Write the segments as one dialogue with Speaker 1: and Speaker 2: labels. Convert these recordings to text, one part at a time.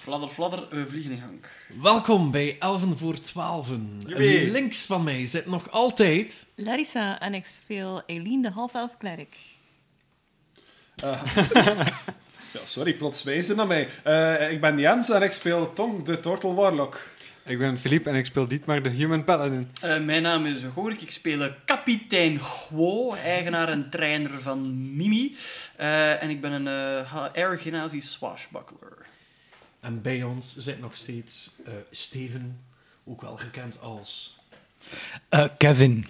Speaker 1: Fladder, fladder, we vliegen in gang.
Speaker 2: Welkom bij Elven voor Twaalfen.
Speaker 1: Joepie.
Speaker 2: Links van mij zit nog altijd...
Speaker 3: Larissa en ik speel Eileen de half-elf klerk.
Speaker 4: Ja, sorry, plots wijzen naar mij. Eh, ik ben Jens en ik speel Tong, de Turtle Warlock.
Speaker 5: Ik ben Philippe en ik speel Dietmar de Human Paladin.
Speaker 1: Eh, mijn naam is Gorik, ik speel eh, kapitein Guo, eigenaar en trainer van Mimi. Eh, en ik ben een eh HR-gymnasie swashbuckler.
Speaker 2: En bij ons zit nog steeds eh, Steven, ook wel gekend als...
Speaker 6: Eh, Kevin.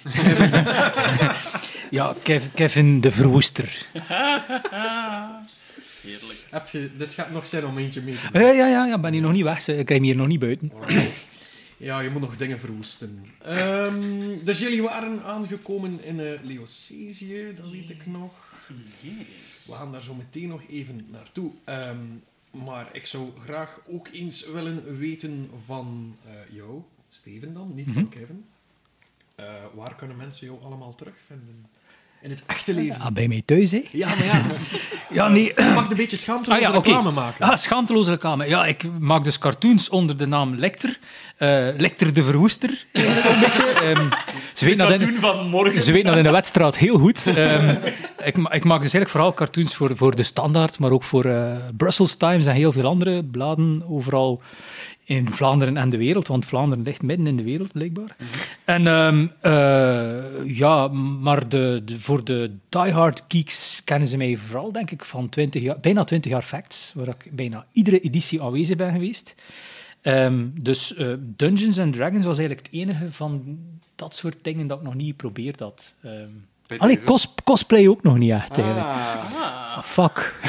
Speaker 6: ja, Kev- Kevin de Verwoester. Ah.
Speaker 1: Heerlijk.
Speaker 2: Heb je, dus je hebt nog zin om eentje mee te doen.
Speaker 6: Eh, ja, ja, ja, ben hier nog niet weg. ze- Ik krijg hem hier nog niet buiten.
Speaker 2: Alright. Ja, je moet nog dingen verwoesten. Ehm, dus jullie waren aangekomen in eh Leocesië, dat weet ik nog. We gaan daar zo meteen nog even naartoe. Ehm, maar ik zou graag ook eens willen weten van eh, jou, Steven dan, niet
Speaker 6: Mhm.
Speaker 2: van Kevin. Eh, waar kunnen mensen jou allemaal terugvinden? In het echte leven.
Speaker 6: Ah, bij mij thuis, hè?
Speaker 2: Ja, maar ja,
Speaker 6: Ja, nee.
Speaker 2: je mag een beetje schaamteloos
Speaker 6: Ah, ja, oké.
Speaker 2: reclame maken.
Speaker 6: Ah, schaamteloze reclame. Ja, ik maak dus cartoons onder de naam Lecter. Eh Lecter de Verwoester. eigenlijk een beetje. Ehm, ze weten dat in,
Speaker 1: Cartoon van morgen.
Speaker 6: ze weten dat in de wedstrijd heel goed. Ehm, ik, ma- ik maak dus eigenlijk vooral cartoons voor, voor de Standaard, maar ook voor eh, Brussels Times en heel veel andere bladen overal in Vlaanderen en de wereld. Want Vlaanderen ligt midden in de wereld, blijkbaar. En ehm, eh, ja, maar de, de- voor de diehard geeks kennen ze mij vooral, denk ik, van 20 jaar, bijna 20 jaar facts, waar ik bijna iedere editie aanwezig ben geweest. Ehm, dus eh, Dungeons and Dragons was eigenlijk het enige van dat soort dingen dat ik nog niet geprobeerd had. Ehm
Speaker 5: Bij
Speaker 6: allee,
Speaker 5: deze.
Speaker 6: cos- cosplay ook nog niet echt, eigenlijk.
Speaker 5: Ah,
Speaker 1: Ah.
Speaker 6: Ah, fuck.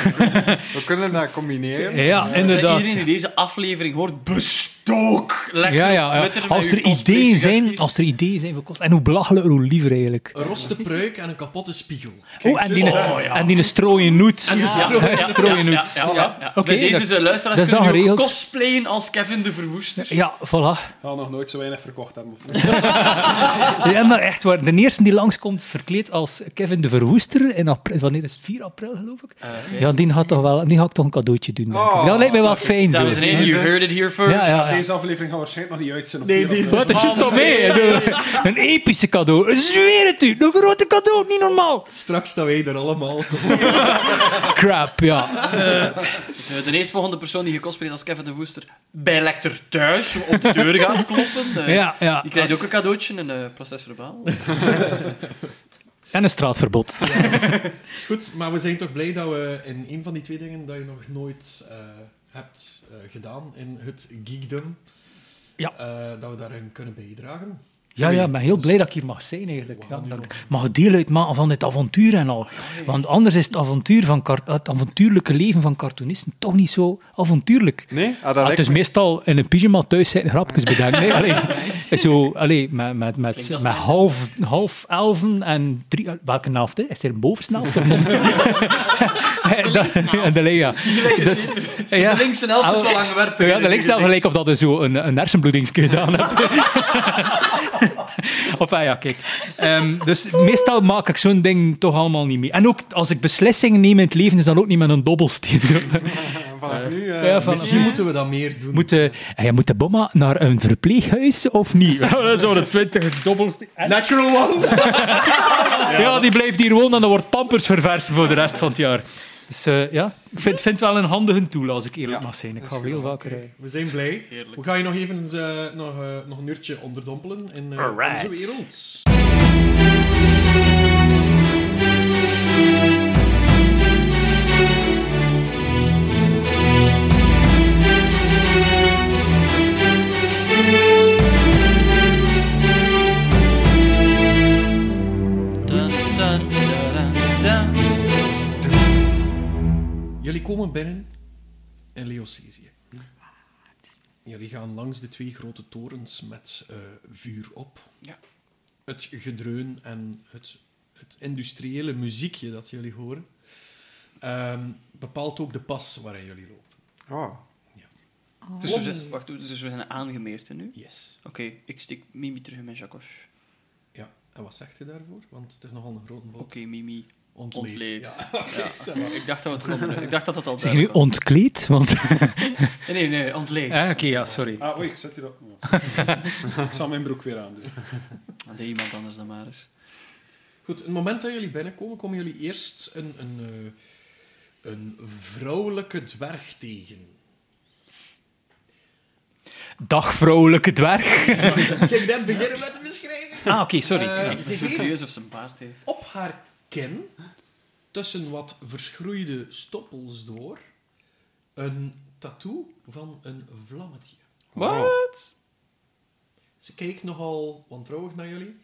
Speaker 5: we kunnen dat combineren.
Speaker 6: Ja,
Speaker 1: Dus, eh,
Speaker 6: inderdaad.
Speaker 1: Iedereen die deze aflevering hoort, bestook! Lekker
Speaker 6: Ja, ja,
Speaker 1: op
Speaker 6: ja.
Speaker 1: Twitter met
Speaker 6: Als
Speaker 1: uw
Speaker 6: er ideeën
Speaker 1: cosplay-suggesties.
Speaker 6: zijn, als er ideeën zijn voor cos- En hoe belachelijker, hoe liever eigenlijk.
Speaker 2: Een roste pruik en een kapotte spiegel.
Speaker 6: Oh, en die,
Speaker 1: Oh, ja.
Speaker 6: en die strooien noet.
Speaker 2: En de
Speaker 1: Ja,
Speaker 2: stroom.
Speaker 1: ja, ja, ja, ja, ja, ja.
Speaker 6: Oké,
Speaker 1: Bij deze
Speaker 6: dat-
Speaker 1: zijn luisteraars
Speaker 6: dat is dan
Speaker 1: kunnen nu ook
Speaker 6: geregeld.
Speaker 1: cosplayen als Kevin de Verwoester.
Speaker 6: Ja, voilà.
Speaker 4: Ik ga nog nooit zo weinig verkocht hebben. Of
Speaker 6: Ja, maar echt waar. De eerste die langskomt verkleed als Kevin de Verwoester in april. Wanneer is het? 4 april, geloof ik.
Speaker 1: Eh,
Speaker 6: ja, die gaat toch wel die gaat toch een cadeautje doen. Denk ik.
Speaker 5: Oh,
Speaker 6: dat lijkt mij wel fijn. Zo.
Speaker 1: Dames en heren, you heard it here first.
Speaker 6: Ja, ja.
Speaker 4: Deze aflevering gaat waarschijnlijk nog niet uit zijn. op
Speaker 2: Nee,
Speaker 4: vier
Speaker 2: die
Speaker 4: april.
Speaker 6: Wat is juist al mee? hè. Zo, Een epische cadeau. Ik Zweer het u. Een grote cadeau. Niet normaal.
Speaker 2: Straks staan wij er allemaal.
Speaker 6: Crap, ja.
Speaker 1: Eh, De eerstvolgende persoon die gecosplayt als Kevin de Woester bij Lecter thuis op de deur gaat kloppen. eh,
Speaker 6: ja, ja.
Speaker 1: Die krijgt ook een cadeautje, een eh, proces verbaal.
Speaker 6: En een straatverbod.
Speaker 2: Goed, maar we zijn toch blij dat we in een van die twee dingen dat je nog nooit eh, hebt eh, gedaan in het geekdom,
Speaker 6: Ja.
Speaker 2: eh, dat we daarin kunnen bijdragen.
Speaker 6: Ja, ja, ik ben heel blij dat ik hier mag zijn eigenlijk. Ja, dat ik mag deel uitmaken van dit avontuur en al. Want anders is het, avontuur van kar- het avontuurlijke leven van cartoonisten toch niet zo avontuurlijk.
Speaker 5: Nee? Ah, dat
Speaker 6: Ah, het
Speaker 5: lijkt
Speaker 6: is
Speaker 5: me-
Speaker 6: meestal in een pyjama thuis zitten grapjes bedenken. Nee, allee, zo, allee, met, met, met,
Speaker 1: Klinkt als
Speaker 6: met
Speaker 1: mijn-
Speaker 6: half, half elven en drie... Welke helft? hè? Is er een bovenste helft of een onderste? Dat- En de Lea. Dus,
Speaker 1: Ja. De linkse helft is wel lang gewerkt.
Speaker 6: ja, dat lijkt wel gelijk of dat je zo een, een hersenbloeding gedaan hebt. of ah ja, kijk. Ehm, dus meestal maak ik zo'n ding toch allemaal niet mee. En ook als ik beslissingen neem in het leven, is dat ook niet met een dobbelsteen. Zo.
Speaker 5: Vanaf nu... eh,
Speaker 6: Ja, van-
Speaker 2: Misschien moeten we dat meer doen.
Speaker 6: moet, eh, ja, moet de bomma naar een verpleeghuis of niet? dat is een twintig dobbelsteen. En-
Speaker 2: Natural one!
Speaker 6: Ja, die blijft hier wonen en dan wordt pampers ververst voor de rest van het jaar. Dus eh, ja, ik vind, vind het wel een handige tool, als ik eerlijk
Speaker 5: Ja,
Speaker 6: mag zijn. Ik ga veel vaker... eh,
Speaker 2: We zijn blij.
Speaker 1: Heerlijk.
Speaker 2: We gaan je nog even eh, nog, eh, nog een uurtje onderdompelen in eh,
Speaker 6: Alright.
Speaker 2: onze wereld. Jullie komen binnen in Leocesië. Jullie gaan langs de twee grote torens met eh, vuur op.
Speaker 1: Ja.
Speaker 2: Het gedreun en het, het industriële muziekje dat jullie horen ehm, bepaalt ook de pas waarin jullie lopen.
Speaker 5: Oh.
Speaker 1: Dus we, zijn- wacht, dus we zijn aangemeerd hè, nu.
Speaker 2: Yes.
Speaker 1: Oké, ik steek Mimi terug in mijn jacos.
Speaker 2: Ja. En wat zegt je daarvoor? Want het is nogal een grote boot.
Speaker 1: Oké, Mimi.
Speaker 2: Ontleed.
Speaker 1: Ontleed.
Speaker 2: Ja.
Speaker 1: Ja. Ik dacht dat we het andere- Ik dacht dat het al
Speaker 6: Zeg je nu
Speaker 1: duidelijk was.
Speaker 6: ontkleed? Want...
Speaker 1: Nee, nee, nee, ontleed.
Speaker 6: Ah, Oké, ja, sorry.
Speaker 4: Ah, oei, ik zet hier op. ik zal mijn broek weer aandoen.
Speaker 1: Ah, Dat deed iemand anders dan maar eens.
Speaker 2: Goed, het moment dat jullie binnenkomen, komen jullie eerst een, een, eh, een vrouwelijke dwerg tegen.
Speaker 6: Dag, vrolijke dwerg.
Speaker 2: Kijk, net beginnen met de beschrijving.
Speaker 6: Ah, oké, sorry.
Speaker 2: Eh,
Speaker 6: Ja.
Speaker 1: Ik ben
Speaker 2: ze
Speaker 1: zo curieus
Speaker 2: heeft
Speaker 1: of ze een baard heeft.
Speaker 2: op haar kin, tussen wat verschroeide stoppels door, een tattoo van een vlammetje.
Speaker 1: Wat?
Speaker 2: Ze keek nogal wantrouwig naar jullie.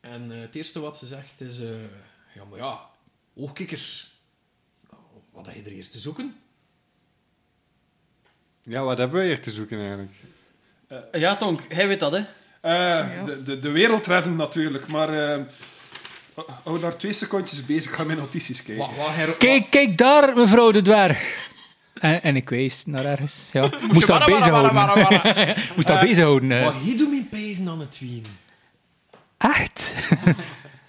Speaker 2: En eh, het eerste wat ze zegt is... eh, ja, maar ja, oogkikkers. Nou, Wat heb je er eerst te zoeken?
Speaker 5: Ja, wat hebben we hier te zoeken eigenlijk?
Speaker 1: Ja, Tonk, hij weet dat, hè?
Speaker 4: Eh, de, de, de wereld redden natuurlijk, maar... eh, hou- hou daar twee secondjes bezig, ik ga mijn notities kijken.
Speaker 2: Wa- wa- her- wa-
Speaker 6: Kijk, kijk daar, mevrouw de dwerg. En, en ik wees naar ergens. Ja. Moest dat bezighouden. Moest dat bezighouden. eh.
Speaker 2: Wat hier doe mijn pijzen aan het wien?
Speaker 6: Echt?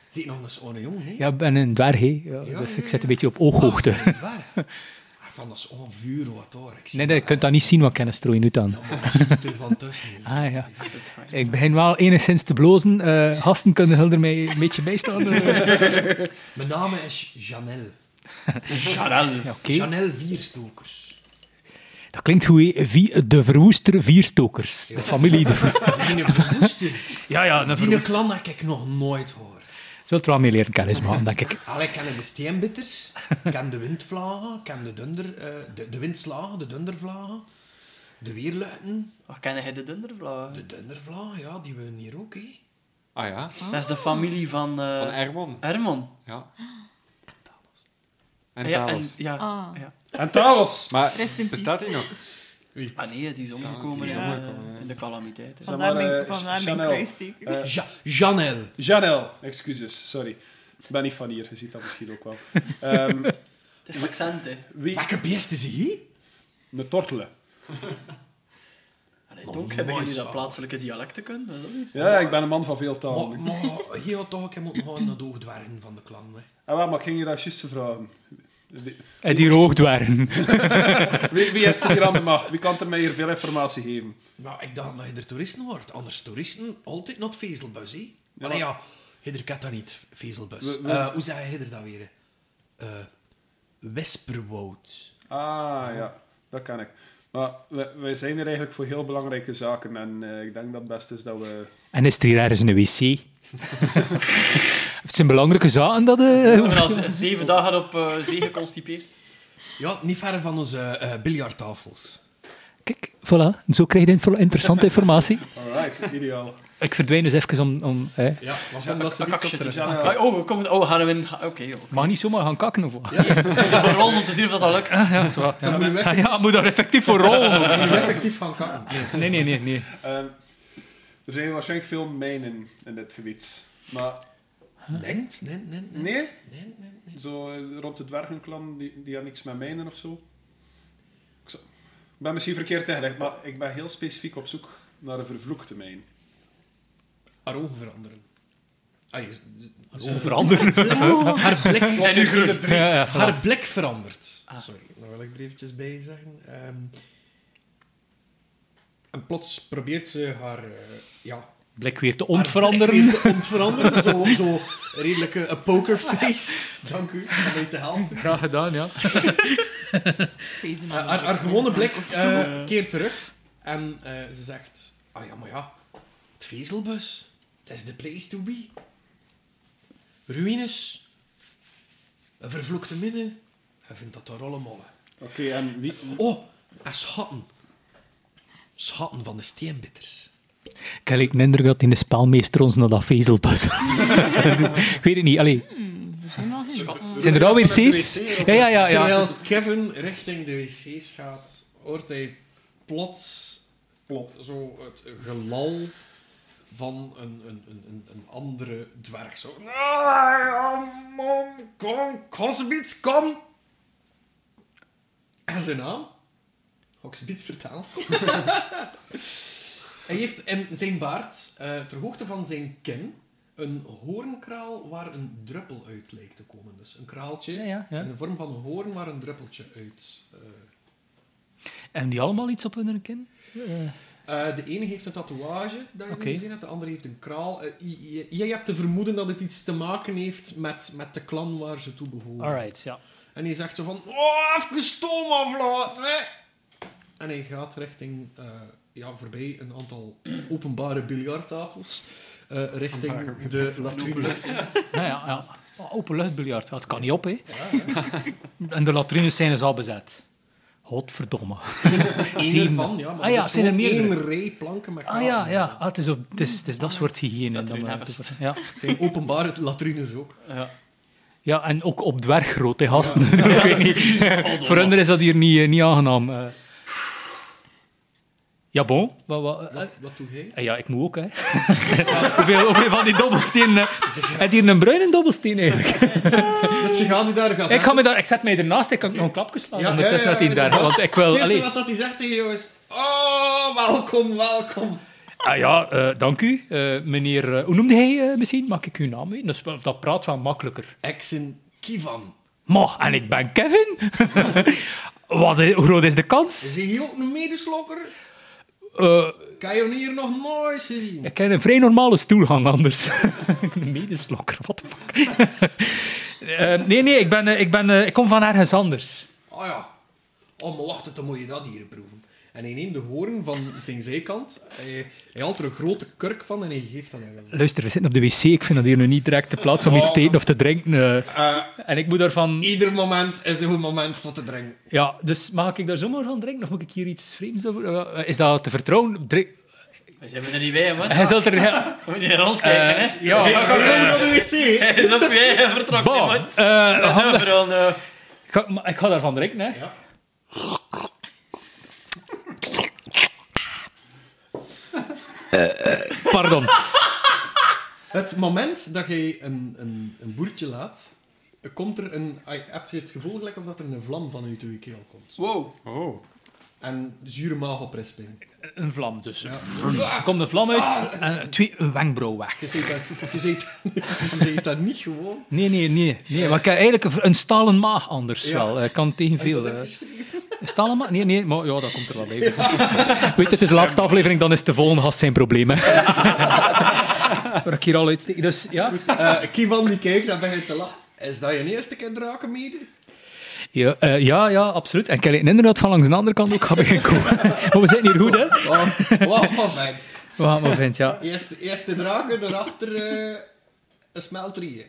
Speaker 2: Ziet nog eens een jongen, hè?
Speaker 6: Ja, ik ben een dwerg, hè. Ja,
Speaker 2: Ja,
Speaker 6: dus
Speaker 2: ja,
Speaker 6: ik zit een beetje op ooghoogte.
Speaker 2: Dat is niet waar. Ah, Van dat is onvuur wat hoor. Ik zie
Speaker 6: Nee, nee, je kunt dat niet zien wat kennis strooien doet dan.
Speaker 2: Ja, maar ze moet er van tussen.
Speaker 6: Ah ja. Ik begin wel enigszins te blozen. Eh gasten kunnen Hilder mij een beetje bijstaan. Eh,
Speaker 2: Mijn naam is Janelle.
Speaker 1: Charel.
Speaker 6: ja, Oké,
Speaker 2: Janelle Vierstokers.
Speaker 6: dat klinkt goed. hè. Vie- de verwoester vierstokers. De familie. De ver-
Speaker 2: Ze zijn een verwoester.
Speaker 6: ja, ja, een
Speaker 2: Die een
Speaker 6: verwoester.
Speaker 2: klan heb ik nog nooit gehoord.
Speaker 6: Zult er wel mee leren kennis maken, denk ik.
Speaker 2: Allee, ik ken de steenbitters, ik ken de windvlagen, ik ken de, dunder, eh, de, de windslagen, de dundervlagen, de weerluiten,
Speaker 1: Wat ken jij de dundervlaag?
Speaker 2: de dundervlagen, ja, die wonen hier ook, hè.
Speaker 5: Ah ja,
Speaker 1: Dat is de familie van, eh,
Speaker 5: van Ermon.
Speaker 1: Herman.
Speaker 5: Ja.
Speaker 1: Ah,
Speaker 5: En
Speaker 1: ja,
Speaker 5: Talos.
Speaker 1: en, ja,
Speaker 3: Ah.
Speaker 2: Oh.
Speaker 1: ja.
Speaker 4: En Talos!
Speaker 5: Maar
Speaker 3: Rest in
Speaker 5: bestaat die nog?
Speaker 1: Ah nee, die is omgekomen
Speaker 5: die is
Speaker 1: in, eh,
Speaker 5: omgekomen, ja.
Speaker 1: in de calamiteit. hè.
Speaker 4: Zeg
Speaker 3: Vandaar
Speaker 4: maar,
Speaker 3: mijn,
Speaker 4: eh,
Speaker 3: vandaar mijn
Speaker 4: Chanel.
Speaker 3: kruisteken.
Speaker 4: Eh,
Speaker 2: Ja, Janelle.
Speaker 4: Janel, excuses, sorry. Ik ben niet van hier, je ziet dat misschien ook wel. Ehm,
Speaker 1: Het is het accent, hè.
Speaker 6: Oh,
Speaker 4: wie?
Speaker 2: Welke beest is hier?
Speaker 4: Een tortelen.
Speaker 1: Allee,
Speaker 2: Nog
Speaker 1: Tonk, heb je
Speaker 2: nooit
Speaker 1: niet dat
Speaker 2: zo.
Speaker 1: plaatselijke dialecten kunnen? Is dat niet?
Speaker 4: Ja, ik ben een man van veel talen.
Speaker 2: Maar, maar hier had toch ook iemand gewoon naar de hoogdwergen van de klan, hè.
Speaker 4: Ah, wel, maar ik ging je dat juist vragen. Wie,
Speaker 6: En die roogdwergen.
Speaker 4: wie wie is er hier aan de macht? Wie kan er mij hier veel informatie geven?
Speaker 2: Maar ik dacht dat je er toeristen wordt. Anders toeristen, altijd not vezelbus, hè.
Speaker 4: Ja.
Speaker 2: Allee, ja, Hidder kent dat niet, vezelbus.
Speaker 4: We- we-
Speaker 2: Eh, hoe zeg je Hidder dat weer, hè? Eh, Wesperwoud.
Speaker 4: Ah, ja, dat kan ik. Maar we- wij zijn hier eigenlijk voor heel belangrijke zaken. En eh, ik denk dat het best is dat we...
Speaker 6: En is er hier ergens een wc? Het zijn belangrijke zaken dat... eh,
Speaker 1: Ik ben al z- zeven dagen op eh, zee geconstipeerd.
Speaker 2: Ja, niet ver van onze eh biljarttafels.
Speaker 6: Kijk, voilà. Zo krijg je info- interessante informatie.
Speaker 4: Alright, ideaal.
Speaker 6: Ik verdwijn dus even om... om eh.
Speaker 2: Ja, want omdat ze niets op terug.
Speaker 4: Janel.
Speaker 1: Ah, Oh, we komen... Oh, gaan we in... Oké, joh.
Speaker 6: Mag niet zomaar gaan kakken of wat?
Speaker 1: Voor Ron om te zien of dat al lukt.
Speaker 6: Ah, ja, zo. Ja,
Speaker 2: Dan moet je weg-
Speaker 6: ja, moet daar effectief voor rollen.
Speaker 2: moet je effectief gaan kakken. Nee, het is-
Speaker 6: Nee, nee, nee. nee.
Speaker 4: Ehm, er zijn waarschijnlijk veel mijnen in dit gebied. Maar
Speaker 2: Nee, nee, nee, nee.
Speaker 4: Nee?
Speaker 2: Nee, nee, nee.
Speaker 4: Zo eh, rond het dwergenklan, die, die had niks met mijnen of zo. Ik zou- ik ben misschien verkeerd ingelegd, maar ik ben heel specifiek op zoek naar een vervloekte mijn.
Speaker 2: Haar ogen veranderen. Ah, je-
Speaker 6: Veranderen.
Speaker 2: haar, blik,
Speaker 1: Zijn nu groen.
Speaker 6: Ja, ja, voilà.
Speaker 2: haar blik verandert. Sorry, daar wil ik er eventjes bij zeggen. Ehm, en plots probeert ze haar... eh, ja,
Speaker 6: Blik weer te
Speaker 2: haar
Speaker 6: ontveranderen.
Speaker 2: blik weer te ontveranderen. zo, zo redelijk eh, een pokerface. Dank u, om mij te helpen.
Speaker 6: Graag gedaan, ja.
Speaker 3: Feesten
Speaker 2: Eh,
Speaker 3: aan
Speaker 2: haar,
Speaker 3: de-
Speaker 2: haar gewone blik eh, keert terug. En eh, ze zegt... Ah ja, maar ja. Het vezelbus. Dat is the place to be. Ruïnes. Een vervloekte midden. Hij vindt dat een rollenmolle.
Speaker 4: Oké, en wie...
Speaker 2: Oh, en schatten. Schatten van de steenbitters.
Speaker 6: Ik heb de indruk dat die spelmeester ons naar dat vezel past. ik weet het niet. Allee,
Speaker 3: Er zijn wel heel wat.
Speaker 6: zijn er alweer wc's? Ja, ja, Ah, ja. ja.
Speaker 2: Terwijl Kevin richting de wc's gaat, hoort hij plots
Speaker 4: Plop.
Speaker 2: zo het gelal van een, een, een, een- een andere dwerg. Zo. "Ah, ja, Mom, kom, Kotsbits, kom! En zijn naam? Hoksbits vertaald. hij heeft in zijn baard, eh, ter hoogte van zijn kin, Een hoornkraal waar een druppel uit lijkt te komen. Dus een kraaltje
Speaker 6: Ja, ja, ja.
Speaker 2: in de vorm van een hoorn waar een druppeltje uit... eh,
Speaker 6: En die allemaal iets op hun kin? Eh,
Speaker 2: Eh, de ene heeft een tatoeage, dat je
Speaker 6: Oké.
Speaker 2: nu gezien hebt. De andere heeft een kraal. Eh, je, je- jij hebt te vermoeden dat het iets te maken heeft met, met de clan waar ze toe behoren.
Speaker 6: alright, ja.
Speaker 2: En hij zegt zo van... Oh, even stoom aflaten, hè." En hij gaat richting... eh, ja, voorbij een aantal openbare biljarttafels. eh, richting de latrines.
Speaker 6: Ja, ja, ja. Oh, Openluchtbiljart, dat kan niet op, hè.
Speaker 2: Ja, ja.
Speaker 6: En de latrines zijn dus al bezet. Godverdomme.
Speaker 2: Eén
Speaker 6: Zeven.
Speaker 2: ervan, ja. Maar
Speaker 6: Ah
Speaker 2: dat
Speaker 6: ja,
Speaker 2: is
Speaker 6: het zijn er
Speaker 2: gewoon één
Speaker 6: meerdere.
Speaker 2: rij planken met
Speaker 6: Ah ja,
Speaker 2: gaten.
Speaker 6: ja. Ah, het, is op, het, is, het is dat soort hygiëne.
Speaker 1: Zat er
Speaker 6: dat
Speaker 1: in
Speaker 6: we-
Speaker 1: Everest.
Speaker 6: ja.
Speaker 2: Het zijn openbare latrines ook.
Speaker 1: Ja.
Speaker 6: ja, en ook op dwerggroot, hè, gasten. Ik weet niet. Voor hun is dat hier niet, eh, niet aangenaam. eh. Ja, bon. Wat, wat, eh,
Speaker 2: Wat, wat doe jij?
Speaker 6: eh, ja, ik moet ook, hè. hoeveel, hoeveel van die dobbelstenen... eh, Heb je hier een bruine dobbelsteen, eigenlijk?
Speaker 2: Dus je gaat nu daar gaan
Speaker 6: Ik, ga me daar, ik zet mij ernaast, ik kan nog een klapje slaan.
Speaker 2: Ja,
Speaker 6: want het
Speaker 2: ja,
Speaker 6: is net
Speaker 2: ja,
Speaker 6: iets daar. Want ik wil...
Speaker 2: Het eerste
Speaker 6: allee.
Speaker 2: wat dat hij zegt tegen jou is... Oh, welkom, welkom.
Speaker 6: Ah ja, eh, dank u. Eh, meneer, eh, hoe noemde hij eh, misschien? Mag ik uw naam weten? Dus, wel, dat praat wel makkelijker.
Speaker 2: Exen Kivan.
Speaker 6: Ma, en ik ben Kevin. Wat, eh, hoe groot is de kans?
Speaker 2: Is hij hier ook een medeslokker?
Speaker 6: Eh,
Speaker 2: Kan je hier nog nooit gezien?
Speaker 6: ik heb een vrij normale stoelgang anders. een medeslokker, what the fuck. Eh, nee, nee, ik, ben, eh, ik, ben, eh, ik kom van ergens anders.
Speaker 2: Oh ja. Oh, maar wacht, dan moet je dat hier proeven. En hij neemt de hoorn van zijn zijkant. Hij, hij haalt er een grote kurk van en hij geeft dat aan hem.
Speaker 6: Luister, we zitten op de wc. Ik vind dat hier nu niet direct de plaats om iets te eten of te drinken. eh. en ik moet daarvan...
Speaker 2: Ieder moment is een goed moment voor te drinken.
Speaker 6: Ja, dus mag ik daar zomaar van drinken? Of moet ik hier iets vreemds over... eh, is dat te vertrouwen? Drink...
Speaker 1: We zijn er niet bij, man.
Speaker 6: Hij zult er...
Speaker 1: We moeten naar ons kijken,
Speaker 6: Eh,
Speaker 1: hè.
Speaker 6: ja.
Speaker 2: We gaan gewoon naar de wc. hè.
Speaker 1: Hij is op jij vertrokken,
Speaker 6: Bon,
Speaker 1: man.
Speaker 6: eh,
Speaker 1: Daar zijn we
Speaker 6: handig.
Speaker 1: voor een... eh,
Speaker 6: Ik ga- maar ik ga daarvan drinken, hè.
Speaker 2: Ja.
Speaker 6: Eh, Pardon.
Speaker 2: Het moment dat jij een, een, een boertje laat, komt er een... ai, Heb je het gevoel gelijk of dat er een vlam vanuit je keel komt?
Speaker 1: Wow.
Speaker 5: Oh.
Speaker 2: En zure maag op resping.
Speaker 6: Een vlam dus.
Speaker 2: Ja.
Speaker 6: Er komt een vlam uit en twee een wenkbrauw weg.
Speaker 2: Je ziet dat, je ziet, je ziet dat niet gewoon.
Speaker 6: Nee, nee, nee. nee. Maar ik heb eigenlijk een, een stalen maag anders
Speaker 2: Ja.
Speaker 6: wel. Ik kan tegen
Speaker 2: En dat
Speaker 6: veel.
Speaker 2: heb
Speaker 6: eh.
Speaker 2: je schrik-
Speaker 6: Een stalen maag? Nee, nee. Maar ja, dat komt er wel bij. Weet je, het is de laatste aflevering, dan is de volgende gast zijn probleem. Hè. Waar ik hier al uitsteek. Dus ja.
Speaker 2: Goed, eh, Kivan die kijkt, dan begint te lachen. Is dat je eerste keer draken mede?
Speaker 6: Ja, eh, ja, ja, absoluut. En ik heb inderdaad van langs de andere kant ook gaan beginnen komen. Maar we zijn hier goed, hè.
Speaker 2: Oh, wow, perfect.
Speaker 6: We gaan maar vindt, ja.
Speaker 2: Eerste, eerste draken, daarachter eh, een smeltrieën.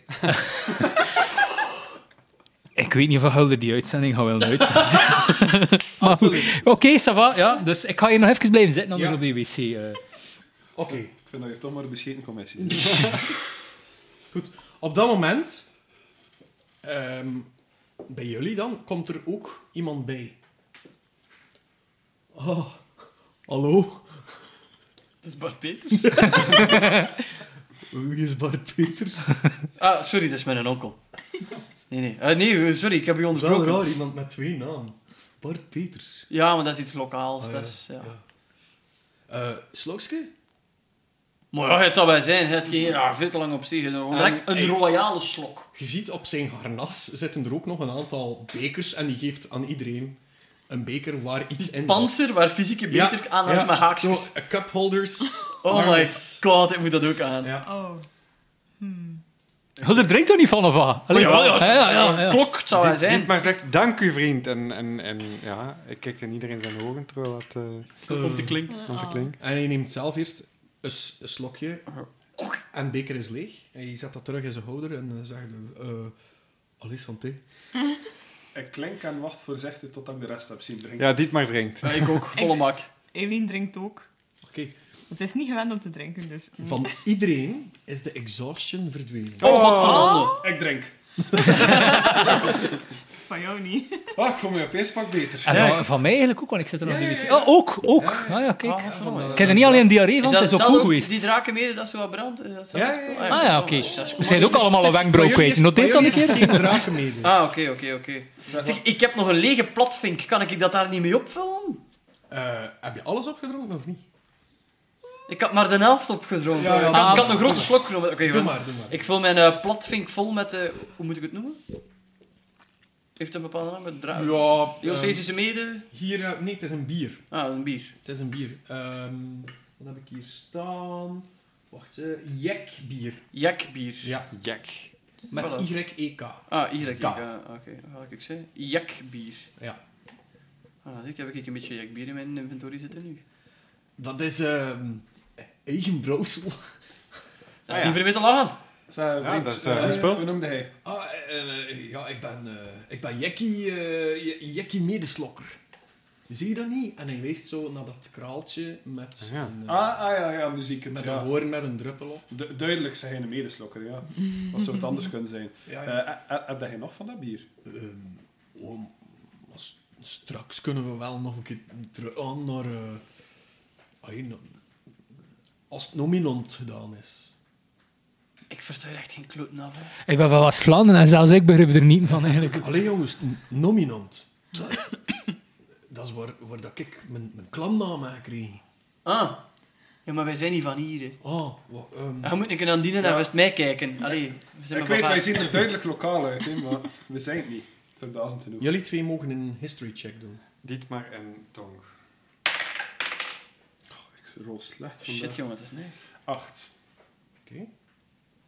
Speaker 6: Ik weet niet of Hulder die uitzending gaat willen uitzenden. Maar goed.
Speaker 2: Absoluut.
Speaker 6: Oké, ça va. Ja, dus ik ga hier nog even blijven zitten, anders
Speaker 2: Ja.
Speaker 6: op de wc. eh.
Speaker 2: Oké,
Speaker 4: Ik vind dat je toch maar een bescheten commissie is.
Speaker 2: goed. Op dat moment, ehm, bij jullie dan, komt er ook iemand bij. Oh, hallo,
Speaker 1: Dat is Bart Peters.
Speaker 2: wie is Bart Peters?
Speaker 1: Ah, sorry, dat is mijn onkel. Nee, nee. Eh, nee, sorry, ik heb je
Speaker 2: Dat is wel
Speaker 1: onderbroken.
Speaker 2: raar, iemand met twee namen. Bart Peters.
Speaker 1: Ja, maar dat is iets lokaals.
Speaker 2: Ah,
Speaker 1: dat
Speaker 2: ja,
Speaker 1: is, ja.
Speaker 2: ja. Eh Slokske?
Speaker 1: Maar ja, het zal wel zijn. Het ging ja, veel te lang op zich. Direct een
Speaker 2: hey.
Speaker 1: royale slok.
Speaker 2: Je ziet op zijn harnas zitten er ook nog een aantal bekers en die geeft aan iedereen een beker waar iets in
Speaker 1: Panzer
Speaker 2: zit.
Speaker 1: waar fysieke
Speaker 2: Ja,
Speaker 1: beter aan als
Speaker 2: ja,
Speaker 1: maar haakjes.
Speaker 2: Zo, eh, cupholders.
Speaker 1: oh my
Speaker 2: arms.
Speaker 1: god, ik moet dat ook aan.
Speaker 2: Ja.
Speaker 3: Oh.
Speaker 6: Hulder drinkt er niet van, of wat? Allee,
Speaker 1: Oh, ja,
Speaker 6: hè, ja, ja, ja.
Speaker 1: Klok, het zou wel
Speaker 5: Die- die
Speaker 1: zijn.
Speaker 5: maar zegt, dank u vriend. En, en, en ja, ik kijk in iedereen zijn ogen terwijl dat eh
Speaker 1: Om te klinken.
Speaker 5: komt te
Speaker 3: Oh.
Speaker 5: klinken.
Speaker 2: En hij neemt zelf eerst een, s- een slokje en de beker is leeg. En hij zet dat terug in zijn houder en eh, zegt... eh Allee, santé.
Speaker 4: Ik klink en wacht voorzichtig tot ik de rest heb zien drinken.
Speaker 5: Ja, Dietmar drinkt.
Speaker 1: Ja, ik ook, volle mak.
Speaker 6: Oh,
Speaker 3: Eileen drinkt ook.
Speaker 2: Oké.
Speaker 3: Ze is niet gewend om te drinken, dus...
Speaker 2: Van iedereen is de exhaustion verdwenen.
Speaker 1: Mm. Oh, god verdomme.
Speaker 4: Ik drink.
Speaker 3: Van jou niet.
Speaker 4: Ah, ik voel me opeens pak beter.
Speaker 6: En van, van mij eigenlijk ook, want ik zit er nog
Speaker 4: Ja,
Speaker 6: niet
Speaker 4: ja,
Speaker 6: wc.
Speaker 4: ja.
Speaker 6: Oh, ook, ook. Ah ja, kijk. Ik heb er niet alleen diarree van,
Speaker 1: dat
Speaker 6: het is ook
Speaker 1: hetzelfde
Speaker 6: goed geweest.
Speaker 1: Die draken mede, dat ze wat brandt. Is dat
Speaker 2: Ja,
Speaker 1: hetzelfde
Speaker 2: ja, ja.
Speaker 1: spul?
Speaker 6: Ah ja,
Speaker 1: dat
Speaker 6: oké.
Speaker 1: is wel- dat is
Speaker 6: We
Speaker 1: goed.
Speaker 6: zijn ook allemaal een wenkbrauw kwijt. Noteer dat een keer.
Speaker 2: geen draken mede.
Speaker 1: Ah, oké, oké, oké. Zeg, ik heb nog een lege platvink. Kan ik dat daar niet mee opvullen?
Speaker 2: Eh, heb je alles opgedronken of niet?
Speaker 1: Ik had maar de helft opgedronken.
Speaker 2: Ja, ja,
Speaker 1: ik,
Speaker 2: doe
Speaker 1: had, ik
Speaker 6: maar.
Speaker 1: had een grote slok genomen. Oké,
Speaker 2: Doe
Speaker 1: wel.
Speaker 2: maar, doe maar.
Speaker 1: ik vul mijn eh, platvink vol met... eh, hoe moet ik het noemen? Heeft het een bepaalde naam? Met dra-
Speaker 2: Ja, ehm,
Speaker 1: Diocesische mede?
Speaker 2: hier... eh, nee, het is een bier.
Speaker 1: Ah, dat is een bier.
Speaker 2: Het is een bier. Ehm, wat heb ik hier staan? Wacht, eh, Jekbier.
Speaker 1: Jakbier.
Speaker 2: Ja.
Speaker 5: Jack.
Speaker 2: Met E
Speaker 1: Voilà.
Speaker 2: Y-E-K.
Speaker 1: Ah, hier heb ik...
Speaker 2: Ja.
Speaker 1: ja, Oké, wat had ik zeggen? Jakbier.
Speaker 2: Ja.
Speaker 1: Ah, zie ik, heb ik een beetje jakbier in mijn inventory zitten nu.
Speaker 2: Dat is ehm eigen brouwsel.
Speaker 1: Dat is
Speaker 5: Ah, ja.
Speaker 1: niet voor mee te lachen.
Speaker 4: Zijn
Speaker 5: Ja,
Speaker 4: vriend,
Speaker 5: dat is,
Speaker 4: eh,
Speaker 5: eh,
Speaker 4: hoe-
Speaker 5: spul.
Speaker 4: Hoe noemde hij?
Speaker 2: Ah, eh, eh, ja, ik ben, eh, ik ben Jekkie, eh, Je- Jekkie medeslokker. Zie je dat niet? En hij wijst zo naar dat kraaltje met,
Speaker 5: Ah, ja.
Speaker 2: een, eh,
Speaker 4: Ah, ah ja, ja, muziek. Het,
Speaker 2: met
Speaker 4: ja.
Speaker 2: een hoorn met een druppel op.
Speaker 4: Du- duidelijk zijn hij een medeslokker, ja. Wat zou het anders kunnen zijn?
Speaker 2: Ja,
Speaker 4: Eh
Speaker 2: ja.
Speaker 4: eh, heb jij nog van dat bier?
Speaker 2: Ehm, oh, maar s- straks kunnen we wel nog een keer terug aan naar... eh, ai, na- als het nominant gedaan is.
Speaker 1: Ik versta echt geen kloten af. hè.
Speaker 6: Ik ben van West-Vlaanderen en zelfs ik begrijp er niet van eigenlijk.
Speaker 2: Allee jongens, n- nominant. Dat, dat is waar, waar dat ik mijn, mijn klamnaam aan kreeg.
Speaker 1: Ah. Ja, maar wij zijn niet van hier, hè.
Speaker 2: Ah, wat... ehm,
Speaker 1: Je moet een keer aan Dina en
Speaker 4: Ja.
Speaker 1: vast mij kijken. Allee, we zijn
Speaker 4: Ik
Speaker 1: maar
Speaker 4: weet,
Speaker 1: van
Speaker 4: wij
Speaker 1: Vlaanderen.
Speaker 4: zien er duidelijk lokaal uit, hè, maar we zijn het niet. Verbazend genoeg.
Speaker 2: Jullie twee mogen een history check doen.
Speaker 5: Dietmar en Tong.
Speaker 4: Ik rol slecht vandaag.
Speaker 1: Shit, jongen, het is neig.
Speaker 4: Acht.
Speaker 2: Oké.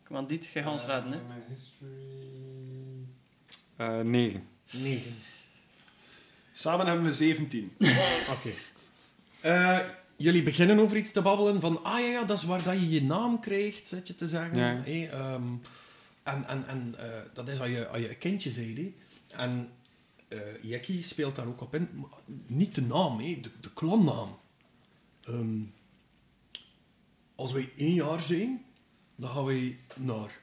Speaker 1: Kom aan, dit, jij gaat ons raden, hè.
Speaker 5: Eh, mijn history... Eh, negen.
Speaker 2: Negen.
Speaker 4: Samen hebben we 17.
Speaker 2: Oké. Eh, jullie beginnen over iets te babbelen van... Ah ja, ja dat is waar dat je je naam krijgt, zet je te zeggen.
Speaker 5: Ja.
Speaker 2: Hé, ehm, en en, en eh, dat is als je, als je een kindje zei. hé. En eh Jackie speelt daar ook op in. Maar Niet de naam, hé, de, de klannaam. Ehm, als wij één jaar zijn, dan gaan wij naar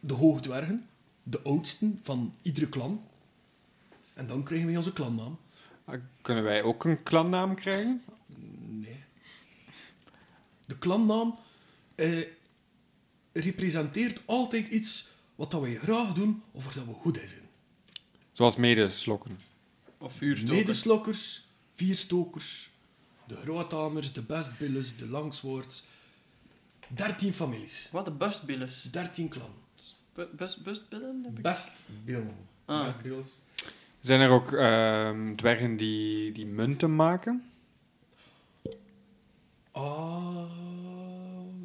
Speaker 2: de Hoogdwergen. De oudsten van iedere klan. En dan krijgen wij onze klannaam.
Speaker 5: Ah, kunnen wij ook een klannaam krijgen?
Speaker 2: Nee. De klannaam eh, representeert altijd iets wat dat wij graag doen of waar dat we goed in zijn.
Speaker 5: Zoals medeslokken.
Speaker 1: Of vuurstoken.
Speaker 2: dus- Medeslokkers, vierstokers, de grootamers, de bestbillers, de langswoords. Dertien families,
Speaker 1: Wat, de busbillers?
Speaker 2: dertien klannen.
Speaker 1: Bu- Bus, busbillen? Heb ik-
Speaker 2: Bestbillen.
Speaker 1: Ah.
Speaker 2: Bestbillers.
Speaker 5: Zijn er ook ehm, dwergen die, die munten maken?
Speaker 2: Ah,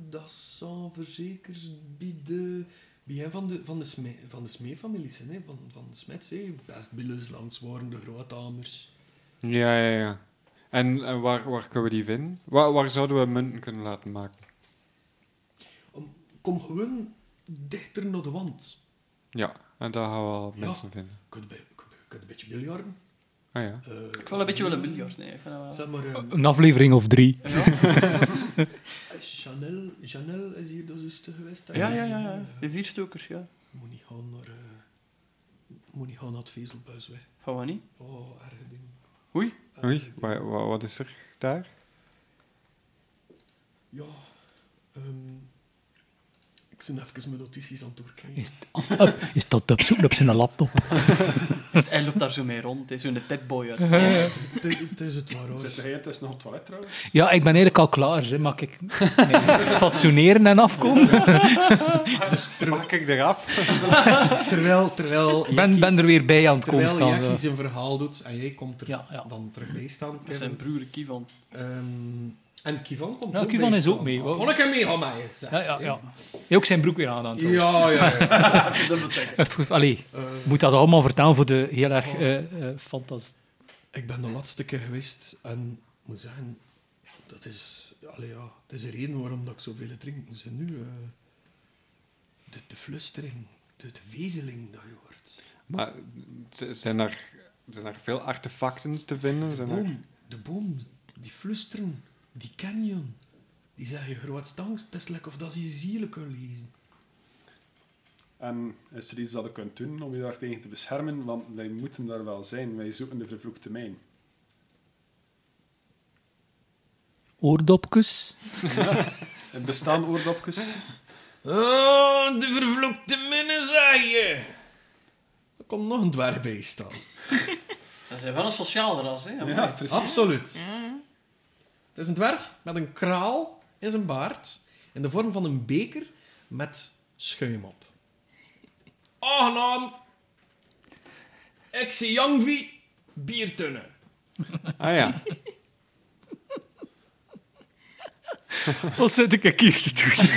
Speaker 2: dat zijn verzekers bij de... Bij hen van de, van de, sme, van de smeefamilies, zijn, hè? Van, van de smets, hè? Bestbillers, langswoorden, de grootamers.
Speaker 5: Ja, ja, ja. En eh, waar, waar kunnen we die vinden? Waar, waar zouden we munten kunnen laten maken?
Speaker 2: Om- Kom gewoon dichter naar de wand.
Speaker 5: Ja, en daar gaan we al
Speaker 2: Ja.
Speaker 5: mensen vinden.
Speaker 2: Je kunt, bij- je kunt- je kunt een beetje biljarten.
Speaker 5: Ah ja.
Speaker 2: Eh,
Speaker 1: Ik wil een Oh. beetje willen biljart, nee. Ik ga dat wel...
Speaker 2: Zeg maar, ehm,
Speaker 6: Een aflevering of drie.
Speaker 1: Ja,
Speaker 2: eh, Chanel, Chanel is hier de zuster geweest. hè?
Speaker 1: ja, ja. ja, ja. De vierstokers, ja.
Speaker 2: Moet niet gaan naar... eh, moet niet gaan naar het vezelbuis, weg.
Speaker 1: Van wat niet?
Speaker 2: Oh, erg ding.
Speaker 1: Oei.
Speaker 2: Erge
Speaker 5: Oei,
Speaker 2: ding.
Speaker 5: wa- wa- wat is er daar?
Speaker 2: Ja, ehm, ik ben even mijn notities aan het doorkijken.
Speaker 6: Is, op, is dat op zoek op zijn laptop?
Speaker 1: Hij loopt daar zo mee rond. Hij is zo'n pepboy uit.
Speaker 2: Het is- Het is het waar, hoor.
Speaker 4: Zit hij tussen nog het toilet trouwens?
Speaker 6: Ja, ik ben eigenlijk al klaar. Hè. Mag ik mij fatsoeneren en afkomen?
Speaker 2: Dus ter-
Speaker 5: Pak ik eraf?
Speaker 2: terwijl, terwijl
Speaker 6: Ik ben,
Speaker 2: Jackie-
Speaker 6: ben er weer bij aan het komen
Speaker 2: terwijl
Speaker 6: staan.
Speaker 2: Jackie
Speaker 6: zo.
Speaker 2: zijn verhaal doet en jij komt er
Speaker 6: Ja, ja.
Speaker 2: dan terug bij staan,
Speaker 1: Met zijn
Speaker 2: Kevin.
Speaker 1: broer Kivan.
Speaker 2: Ehm, en Kivan komt
Speaker 6: Ja,
Speaker 2: ook
Speaker 6: Kivan
Speaker 2: bij
Speaker 6: is ook
Speaker 2: staan.
Speaker 6: mee, hoor.
Speaker 2: Kon ik hem mee gaan mij?
Speaker 6: Ja, ja, ja. Hij ook zijn broek weer aan aan het doen.
Speaker 2: Ja, ja, ja.
Speaker 6: Allee,
Speaker 2: Eh,
Speaker 6: ik moet dat allemaal vertellen voor de heel erg eh eh, fantas-
Speaker 2: ik ben de laatste keer geweest en ik moet zeggen, dat is, allee, ja, het is de reden waarom dat ik zoveel drink. Het is nu eh, de, de flustering, de, de wezeling dat je hoort.
Speaker 5: Maar z- zijn er, zijn er veel artefacten te vinden?
Speaker 2: De
Speaker 5: Zijn er...
Speaker 2: boom, de boom, die flusteren, die canyon. Die zeggen, groot stangst, het is lekker of dat ze je zielen kunnen lezen.
Speaker 4: En is er iets dat ik kunt doen om je daar tegen te beschermen? Want wij moeten daar wel zijn. Wij zoeken de vervloekte mijn.
Speaker 6: oordopjes.
Speaker 4: Er bestaan oordopjes.
Speaker 2: Oh, de vervloekte minnen, zeg je. Er komt nog een dwerg bij staan.
Speaker 1: Dat zijn wel een sociaal ras, hè.
Speaker 4: Ja, precies.
Speaker 2: Absoluut. Het is een dwerg met een kraal is een baard in de vorm van een beker met schuim op. Aangenaam. Ik zie Jangvi biertunnen.
Speaker 5: Ah ja.
Speaker 6: Wat zit ik kies te doen?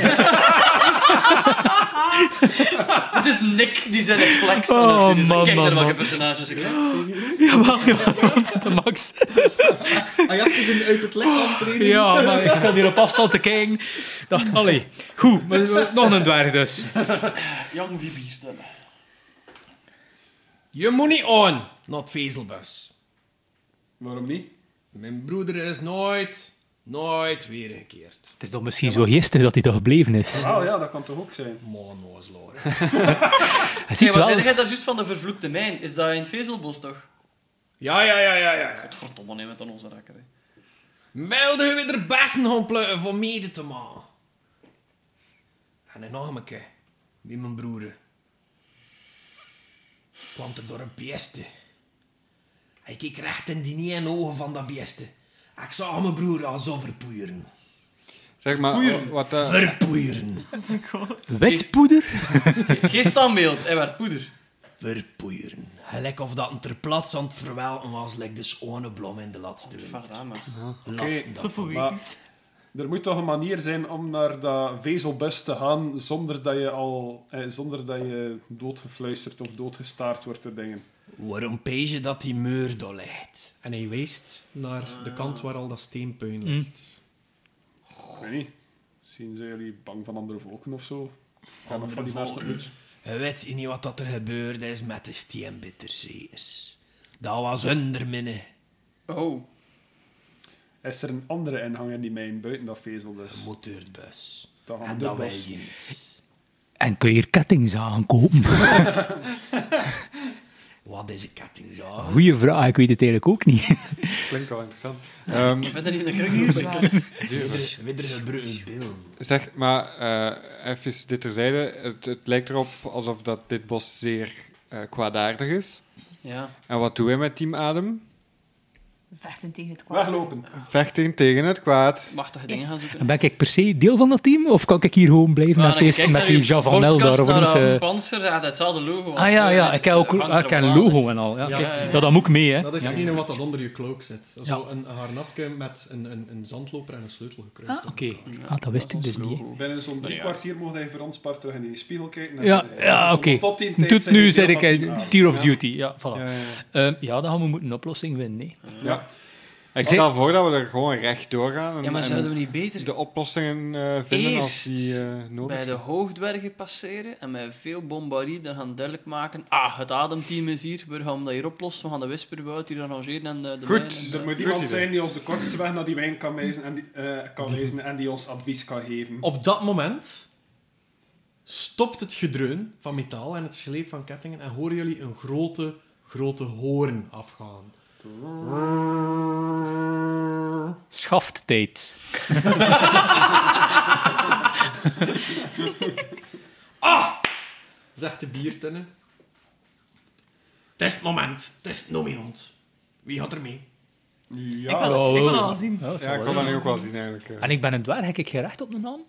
Speaker 1: Het is Nick die zijn een flex.
Speaker 6: Oh,
Speaker 1: aan het doen is.
Speaker 6: man,
Speaker 1: Kijk
Speaker 6: man,
Speaker 1: naar welke
Speaker 6: man.
Speaker 1: personages ik heb.
Speaker 6: Jawel, jawel, de max.
Speaker 2: Ah ja, is in, uit het lichaam treden.
Speaker 6: Ja, maar ik zat hier op afstand te kijken. dacht, allee, goed, maar, maar nog een dwerg dus.
Speaker 1: Young V biertunnen.
Speaker 2: Je moet niet aan, not vezelbus.
Speaker 4: Waarom niet?
Speaker 2: Mijn broeder is nooit, nooit weergekeerd.
Speaker 6: Het is dan misschien zo gisteren dat hij daar gebleven is.
Speaker 4: Ah ja, dat kan toch ook zijn.
Speaker 2: Man, was loren.
Speaker 6: Hij
Speaker 1: Zeg,
Speaker 6: ziet
Speaker 1: wat
Speaker 6: wel...
Speaker 1: zei jij daar juist van de vervloekte mijn? Is dat in het vezelbos toch?
Speaker 2: Ja, ja, ja, ja, ja.
Speaker 1: Godverdomme, neem het aan onze rakker. hè.
Speaker 2: Melden we weer de besten gaan plukken voor mede te maken. En een nameke, wie mijn broer, kwam er door een beeste. Hij keek recht in die ene ogen van dat beeste. Ik zag mijn broer al zo verpoeieren.
Speaker 5: Zeg maar, wat eh, dat...
Speaker 2: Verpoeieren.
Speaker 6: Wit poeder?
Speaker 1: Geen standbeeld, hij werd poeder.
Speaker 2: Verpoeieren. Gelijk of dat een ter plaatse aan het verwelken was, like de schone blom in de laatste winter.
Speaker 1: Verdamme.
Speaker 2: Laatste dag.
Speaker 3: Zo voor
Speaker 4: Maar-
Speaker 3: weekends.
Speaker 4: Er moet toch een manier zijn om naar dat vezelbus te gaan zonder dat je al... Eh, zonder dat je doodgefluisterd of doodgestaard wordt te dingen.
Speaker 2: Waarom pees je dat die muur doorlijdt? En hij wijst naar de kant waar al dat steenpuin ligt.
Speaker 4: Ik weet niet. Zien zijn jullie bang van andere volken of zo? Van,
Speaker 2: Andere
Speaker 4: van die naaste
Speaker 2: volken.
Speaker 4: buurt?
Speaker 2: Je weet niet wat dat er gebeurd is met de steenbitterzees. Dat was underminne.
Speaker 1: Oh.
Speaker 4: Is er een andere ingang in die mijn buiten dat
Speaker 2: Je
Speaker 4: vezelbus?
Speaker 2: moet door het bus.
Speaker 4: Dat gaan we
Speaker 2: en
Speaker 4: door
Speaker 2: dat
Speaker 4: het
Speaker 2: wil je
Speaker 4: bus.
Speaker 2: niet.
Speaker 6: En kun je hier kettingzagen kopen?
Speaker 2: Wat is een kettingzaag?
Speaker 6: Goeie vraag, ik weet het eigenlijk ook niet.
Speaker 5: Klinkt wel interessant. Ehm,
Speaker 1: Ik vind dat niet in de kruk.
Speaker 2: Widder gebruikt beelden.
Speaker 5: zeg maar, eh, even dit terzijde. Het, het lijkt erop alsof dat dit bos zeer eh, kwaadaardig is.
Speaker 1: Ja.
Speaker 5: En wat doen wij met Team Adem?
Speaker 3: Vechten tegen het kwaad.
Speaker 4: Weglopen.
Speaker 5: Vechten tegen het kwaad.
Speaker 1: Machtige dingen gaan zoeken.
Speaker 6: En ben ik per se deel van dat team? Of kan ik hier gewoon blijven
Speaker 1: Ja,
Speaker 6: met
Speaker 1: en ik
Speaker 6: feesten
Speaker 1: Nou, kijk
Speaker 6: met
Speaker 1: naar
Speaker 6: die
Speaker 1: uw
Speaker 6: Javanel daar? Of
Speaker 1: borstkas
Speaker 6: hoe noemt
Speaker 1: naar
Speaker 6: ze-
Speaker 1: een eh, panzer, ja, dat is hetzelfde logo.
Speaker 6: Ah ja, ja, ik heb ook ah, ik heb een logo en al.
Speaker 2: Ja,
Speaker 6: Ja, oké.
Speaker 1: ja, ja.
Speaker 6: ja, dat moet ik mee, hè.
Speaker 2: Dat is hetgene wat dat onder je cloak zit. Dat is
Speaker 6: Ja.
Speaker 2: zo een harnasje met een, een, een zandloper en een sleutel gekruist.
Speaker 6: Ah, oké. Ah, dat wist ik dus niet. hè.
Speaker 4: Binnen zo'n drie
Speaker 1: Ja.
Speaker 4: kwartier mocht hij voor ons part terug in die spiegel kijken. en
Speaker 6: Ja,
Speaker 4: zeggen,
Speaker 6: ja
Speaker 4: zo
Speaker 6: oké.
Speaker 4: Tot die tijd
Speaker 6: Tot
Speaker 4: zijn
Speaker 6: nu
Speaker 4: jullie
Speaker 6: zeg
Speaker 4: deel
Speaker 6: ik
Speaker 4: van
Speaker 6: eh,
Speaker 4: Team Adem.
Speaker 6: Tier of
Speaker 4: Ja.
Speaker 6: Duty. Ja,
Speaker 5: Ja,
Speaker 6: voilà.
Speaker 5: ja, ja.
Speaker 6: Ehm, Ja, dan gaan we moeten een oplossing vinden, nee.
Speaker 5: Ik stel voor dat we er gewoon recht doorgaan. En,
Speaker 1: Ja, maar
Speaker 5: en
Speaker 1: zouden we niet beter
Speaker 5: de oplossingen eh, vinden als
Speaker 1: Eerst
Speaker 5: die eh, nodig
Speaker 1: bij de
Speaker 5: zijn.
Speaker 1: hoogdwergen passeren en met veel bombardie dan gaan duidelijk maken ah, het ademteam is hier, we gaan dat hier oplossen, we gaan de wisperwoud hier arrangeren en de, de
Speaker 5: Goed,
Speaker 1: mijnen.
Speaker 4: Er moet
Speaker 5: Goed
Speaker 4: iemand
Speaker 5: idee.
Speaker 4: zijn die ons de kortste weg naar die wijn kan wijzen en die, eh, kan wijzen en die ons advies kan geven.
Speaker 2: Op dat moment stopt het gedreun van metaal en het sleep van kettingen en horen jullie een grote, grote hoorn afgaan.
Speaker 6: Schafttijd.
Speaker 2: Zegt de biertenne. Het is het moment, het is het nominant. Wie gaat er mee?
Speaker 3: Ik
Speaker 4: Ja,
Speaker 3: wil ik wil
Speaker 6: Oh.
Speaker 3: dat al zien.
Speaker 6: Ja, dat
Speaker 5: Ja,
Speaker 6: zou wel
Speaker 5: ik kan dat nu
Speaker 6: zijn.
Speaker 5: ook wel zien eigenlijk. eh.
Speaker 6: En ik ben een dwerg, heb ik geen recht op de naam?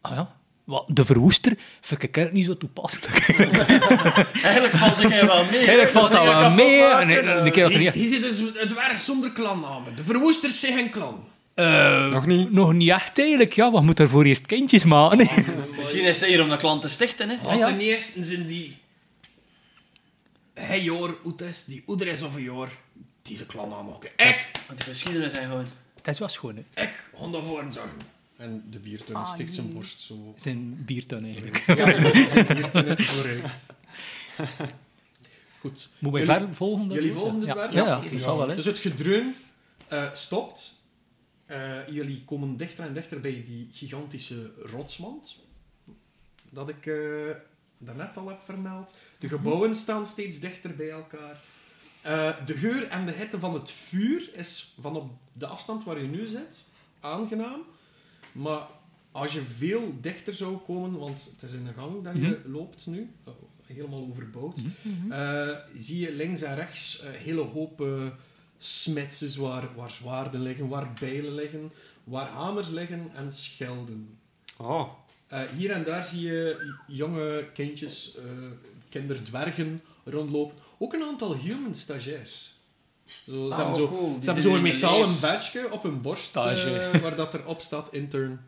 Speaker 6: Ah ja. Wat, de verwoester vind ik eigenlijk niet zo toepasselijk.
Speaker 1: Eigenlijk valt ik wel mee.
Speaker 6: Eigenlijk valt dat wel mee. En en de keer dat er
Speaker 2: Hier
Speaker 6: niet...
Speaker 2: hier zit dus het dwerg zonder klannamen. De verwoesters zijn geen klan.
Speaker 6: Eh,
Speaker 5: Nog niet?
Speaker 6: nog niet echt eigenlijk. Ja, wat moet daarvoor eerst kindjes maken?
Speaker 1: Misschien is hij hier om de klant te stichten, hè.
Speaker 2: Want
Speaker 6: ja.
Speaker 2: ten eerste zijn die... Hij jaar, hoe het is, die oeder is of een jaar, die zijn klannamen ook. Ik
Speaker 1: Want de geschiedenis zijn gewoon...
Speaker 6: Het is wel schoon, hè.
Speaker 2: Ik ga daarvoor zorgen. En de biertun
Speaker 3: Ah,
Speaker 2: stikt zijn
Speaker 3: jee.
Speaker 2: borst zo
Speaker 6: Het is een biertuin eigenlijk.
Speaker 2: vooruit. Goed.
Speaker 6: Moet wij
Speaker 2: Jullie-
Speaker 6: verder volgen? daarvoor?
Speaker 2: Jullie volgen dit
Speaker 6: ja.
Speaker 2: werk?
Speaker 6: Ja, ja, dat zal wel, hè.
Speaker 2: Dus het gedreun eh, stopt. Eh, jullie komen dichter en dichter bij die gigantische rotsmand. Dat ik eh, daarnet al heb vermeld. De
Speaker 6: Mhm.
Speaker 2: gebouwen staan steeds dichter bij elkaar. Eh, de geur en de hitte van het vuur is van op de afstand waar je nu zit aangenaam. Maar als je veel dichter zou komen, want het is in de gang dat je
Speaker 6: Mhm.
Speaker 2: loopt nu, oh, helemaal overbouwd, eh, zie je links en rechts eh, hele hoop eh, smetsels waar, waar zwaarden liggen, waar bijlen liggen, waar hamers liggen en schelden.
Speaker 5: Oh.
Speaker 2: Eh, hier en daar zie je jonge kindjes, eh, kinderdwergen rondlopen. Ook een aantal human stagiairs. Zo, ze
Speaker 1: Ah,
Speaker 2: hebben zo,
Speaker 1: cool. Die
Speaker 2: ze hebben
Speaker 1: zijn
Speaker 2: zo'n
Speaker 1: in de leer.
Speaker 2: metalen badge op hun borst eh,
Speaker 6: Stage.
Speaker 2: waar dat erop staat intern.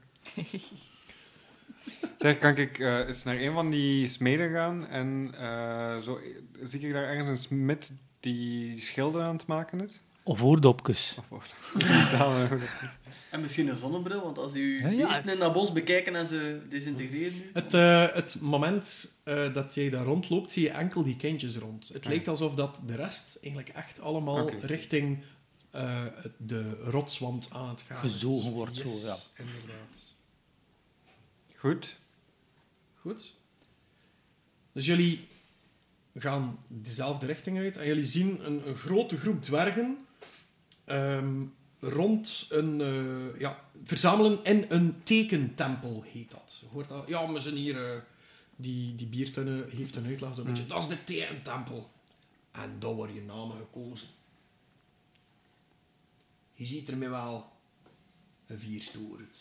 Speaker 5: Zeg, kan ik eh, eens naar een van die smeden gaan en eh, zo, zie ik daar ergens een smid die schilder aan het maken is?
Speaker 6: Of oordopjes.
Speaker 5: Of wordt Ja, maar-
Speaker 1: En misschien een zonnebril, want als die
Speaker 6: Ja,
Speaker 1: je
Speaker 6: ja.
Speaker 1: beesten in dat bos bekijken en ze desintegreren nu...
Speaker 2: Het, eh, het moment eh, dat jij daar rondloopt, zie je enkel die kindjes rond. Het
Speaker 5: Ja.
Speaker 2: lijkt alsof dat de rest eigenlijk echt allemaal
Speaker 5: Oké.
Speaker 2: richting eh, de rotswand aan het gaan is.
Speaker 6: Gezogen wordt, zo,
Speaker 2: Yes,
Speaker 6: ja.
Speaker 2: inderdaad.
Speaker 5: Goed.
Speaker 2: Goed. Dus jullie gaan dezelfde richting uit en jullie zien een, een grote groep dwergen ehm, rond een... eh, ja, verzamelen in een tekentempel, heet dat. Je hoort dat? Ja, we zijn hier... eh, die, die biertunnen heeft een uitleg zo'n beetje. Dat is de tekentempel. En daar worden je namen gekozen. Je ziet er mij wel een vierstoer uit.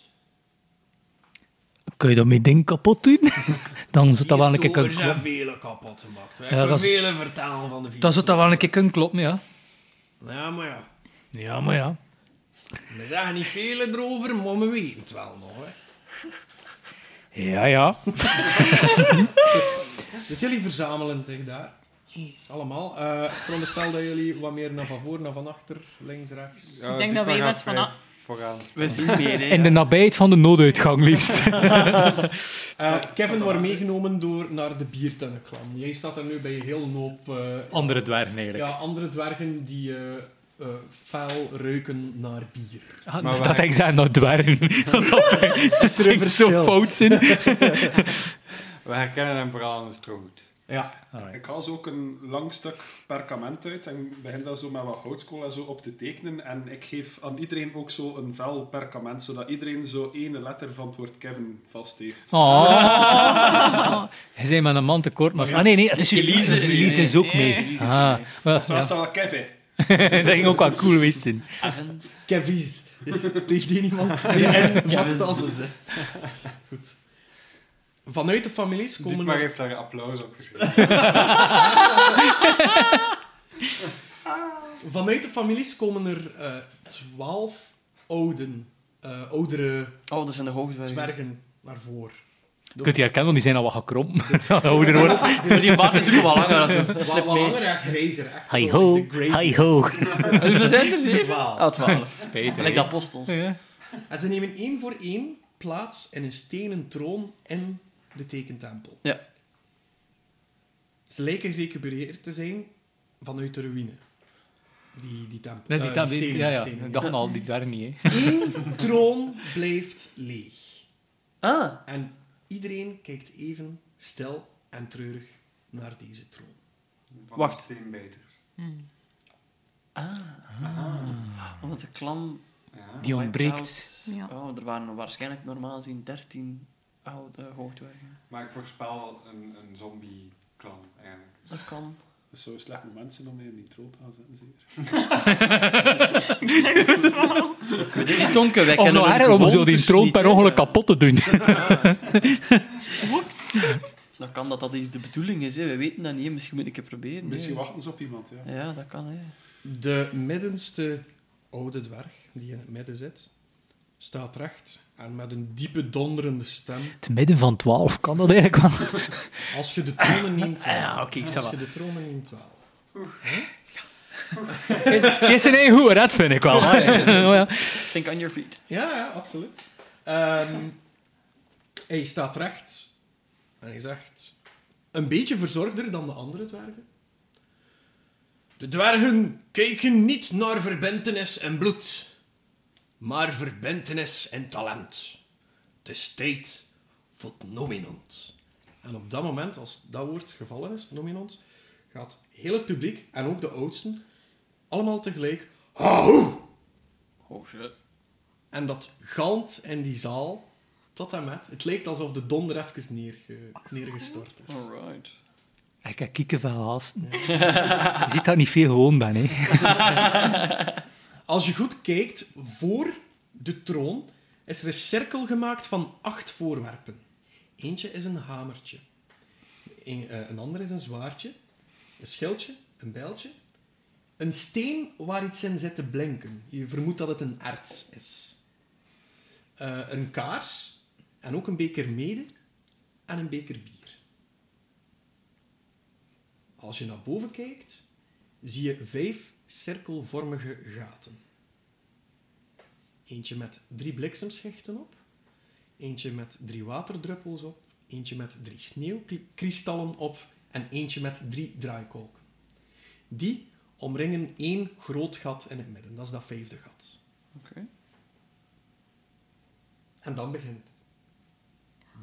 Speaker 6: Kun je dat met ding kapot doen? Dan zou dat wel een keer kunnen
Speaker 2: Vierstoers zijn
Speaker 6: kloppen.
Speaker 2: vele kapot gemaakt. We
Speaker 6: Ja,
Speaker 2: hebben
Speaker 6: dat is-
Speaker 2: vele vertalen van de vier.
Speaker 6: Dan zou dat wel een keer kunnen kloppen, ja.
Speaker 2: Ja, maar ja.
Speaker 6: Ja, maar ja.
Speaker 2: We zeggen niet vele erover, maar we weten het wel nog. Hè.
Speaker 6: Ja, ja.
Speaker 2: Dus jullie verzamelen zich daar. Allemaal. Eh, ik veronderstel dat jullie wat meer naar van voor, naar van achter, links, rechts.
Speaker 5: Ja,
Speaker 3: Ik denk
Speaker 5: die
Speaker 3: dat wij
Speaker 5: paragraaf
Speaker 3: wat van
Speaker 5: vijf
Speaker 3: af-
Speaker 5: Vooraan.
Speaker 1: We zien meer, hè.
Speaker 6: In de nabijheid van de nooduitgang, liefst.
Speaker 2: Eh, Kevin wordt meegenomen door naar de biertennenklam. Jij staat er nu bij een heel hoop eh,
Speaker 6: Andere dwergen, eigenlijk.
Speaker 2: ja, andere dwergen die eh, eh, fel ruiken naar bier.
Speaker 6: Ah,
Speaker 5: Maar
Speaker 6: dat
Speaker 5: waar-
Speaker 6: ik zei, nou dwergen. Dat is er zo
Speaker 2: verschil?
Speaker 6: fout zijn.
Speaker 5: We herkennen hem vooral aan de strohoed.
Speaker 2: Ja.
Speaker 4: Ik haal zo ook een lang stuk perkament uit en begin dat zo met wat houtskool en zo op te tekenen. En ik geef aan iedereen ook zo een vel perkament, zodat iedereen zo ene letter van het woord Kevin vast
Speaker 6: Ah,
Speaker 4: heeft.
Speaker 6: Oh. Hij zei met een man tekort, maar... Ah, nee, nee, het is juist...
Speaker 1: Elise is
Speaker 6: Elise,
Speaker 1: mee.
Speaker 6: is ook
Speaker 1: Nee, Elise
Speaker 6: mee.
Speaker 1: is
Speaker 6: Ah,
Speaker 1: mee.
Speaker 6: wel,
Speaker 4: Het was
Speaker 6: ja.
Speaker 4: dan wel Kevin.
Speaker 6: Dat ging ook wel cool geweest zijn.
Speaker 1: Even.
Speaker 2: Kevies. Tegen die niemand. Ja, vast als ze zit. Goed. Vanuit de families komen...
Speaker 5: Dietmar heeft daar applaus op geschreven.
Speaker 2: Vanuit de families komen er eh, twaalf ouden, eh, oudere
Speaker 1: Oh, dat zijn de hoogzwergen.
Speaker 2: dwergen naar voren.
Speaker 6: Je kunt die herkennen, want die zijn al wat gekrompen. Dat ouder wordt.
Speaker 1: Maar die baard is ook wel langer. als een-
Speaker 2: Wat,
Speaker 1: slip
Speaker 2: wat
Speaker 1: mee.
Speaker 2: langer en grijzer, echt. zo
Speaker 6: Hi ho,
Speaker 2: de Grey-
Speaker 6: hi ho.
Speaker 1: Hoeveel zijn er? Zeven?
Speaker 2: Twaalf.
Speaker 1: Ah, twaalf.
Speaker 6: Spijt, hè.
Speaker 1: Gelijk de apostels.
Speaker 6: Ja.
Speaker 2: En ze nemen één voor één plaats in een stenen troon in de tekentempel.
Speaker 1: Ja.
Speaker 2: Ze lijken gerecupereerd te zijn vanuit de ruïne. Die, die tempel.
Speaker 6: Nee,
Speaker 2: Eh,
Speaker 6: die, die,
Speaker 2: stenen,
Speaker 6: ja,
Speaker 2: die
Speaker 6: ja.
Speaker 2: stenen,
Speaker 6: Dat gaan al die daar niet, hè.
Speaker 2: Eén troon blijft leeg.
Speaker 1: Ah,
Speaker 2: En iedereen kijkt even stil en treurig naar deze troon.
Speaker 5: Van
Speaker 1: Wacht.
Speaker 5: de steenbeters.
Speaker 1: Ah. omdat de klan...
Speaker 5: Ja.
Speaker 6: Die ontbreekt.
Speaker 1: Wipeout.
Speaker 3: Ja.
Speaker 1: Oh, er waren waarschijnlijk normaal gezien 13 oude hoogdwergen.
Speaker 5: Maar ik voorspel een, een zombie-klan, eigenlijk.
Speaker 1: Dat kan.
Speaker 4: Dat is zo slecht voor mensen om mee in die troon te gaan zetten, zeker.
Speaker 1: We doen niet donker, wij
Speaker 6: Of
Speaker 1: kennen
Speaker 6: nog
Speaker 1: hun
Speaker 6: erger, om zo die
Speaker 1: gewoontes
Speaker 6: troon
Speaker 1: niet,
Speaker 6: per
Speaker 1: hè.
Speaker 6: ongeluk kapot te doen.
Speaker 3: Oeps.
Speaker 1: Dat kan dat dat hier de bedoeling is, hè. we weten dat niet. hè. Misschien moet ik het proberen. hè.
Speaker 4: Misschien wachten ze op iemand, ja.
Speaker 1: Ja, dat kan. Hè.
Speaker 2: De middenste oude dwerg, die in het midden zit, staat recht en met een diepe donderende stem.
Speaker 6: Het midden van 12 kan dat eigenlijk wel.
Speaker 2: Als je de tronen neemt wel.
Speaker 6: Ja, oké, ça
Speaker 2: Als
Speaker 6: va.
Speaker 2: je de tronen neemt wel.
Speaker 6: Je is een eigen hoer, dat vind ik wel. Oh, ja.
Speaker 1: Think on your feet.
Speaker 2: Ja, ja, absoluut. Ehm, hij staat recht en hij zegt... Een beetje verzorgder dan de andere dwergen. De dwergen kijken niet naar verbintenis en bloed, maar verbintenis en talent. Het is tijd voor het nominant. En op dat moment, als dat woord gevallen is, nominant, gaat heel het publiek, en ook de oudsten, allemaal tegelijk... Hou!
Speaker 1: Oh shit.
Speaker 2: En dat galmt in die zaal tot en met. Het leek alsof de donder even neerge- neergestort is.
Speaker 1: Alright.
Speaker 6: Ik heb kiekenvel haasten. Je ziet dat ik niet veel gewoon ben, hè.
Speaker 2: Als je goed kijkt, voor de troon is er een cirkel gemaakt van acht voorwerpen. Eentje is een hamertje. Een, eh, een ander is een zwaardje. Een schildje, een bijltje. Een steen waar iets in zit te blinken. Je vermoedt dat het een erts is. Eh, een kaars. En ook een beker mede. En een beker bier. Als je naar boven kijkt, zie je vijf cirkelvormige gaten. Eentje met drie bliksemschichten op, eentje met drie waterdruppels op, eentje met drie sneeuwkristallen op en eentje met drie draaikolken. Die omringen één groot gat in het midden, dat is dat vijfde gat.
Speaker 1: Oké.
Speaker 2: En dan begint het.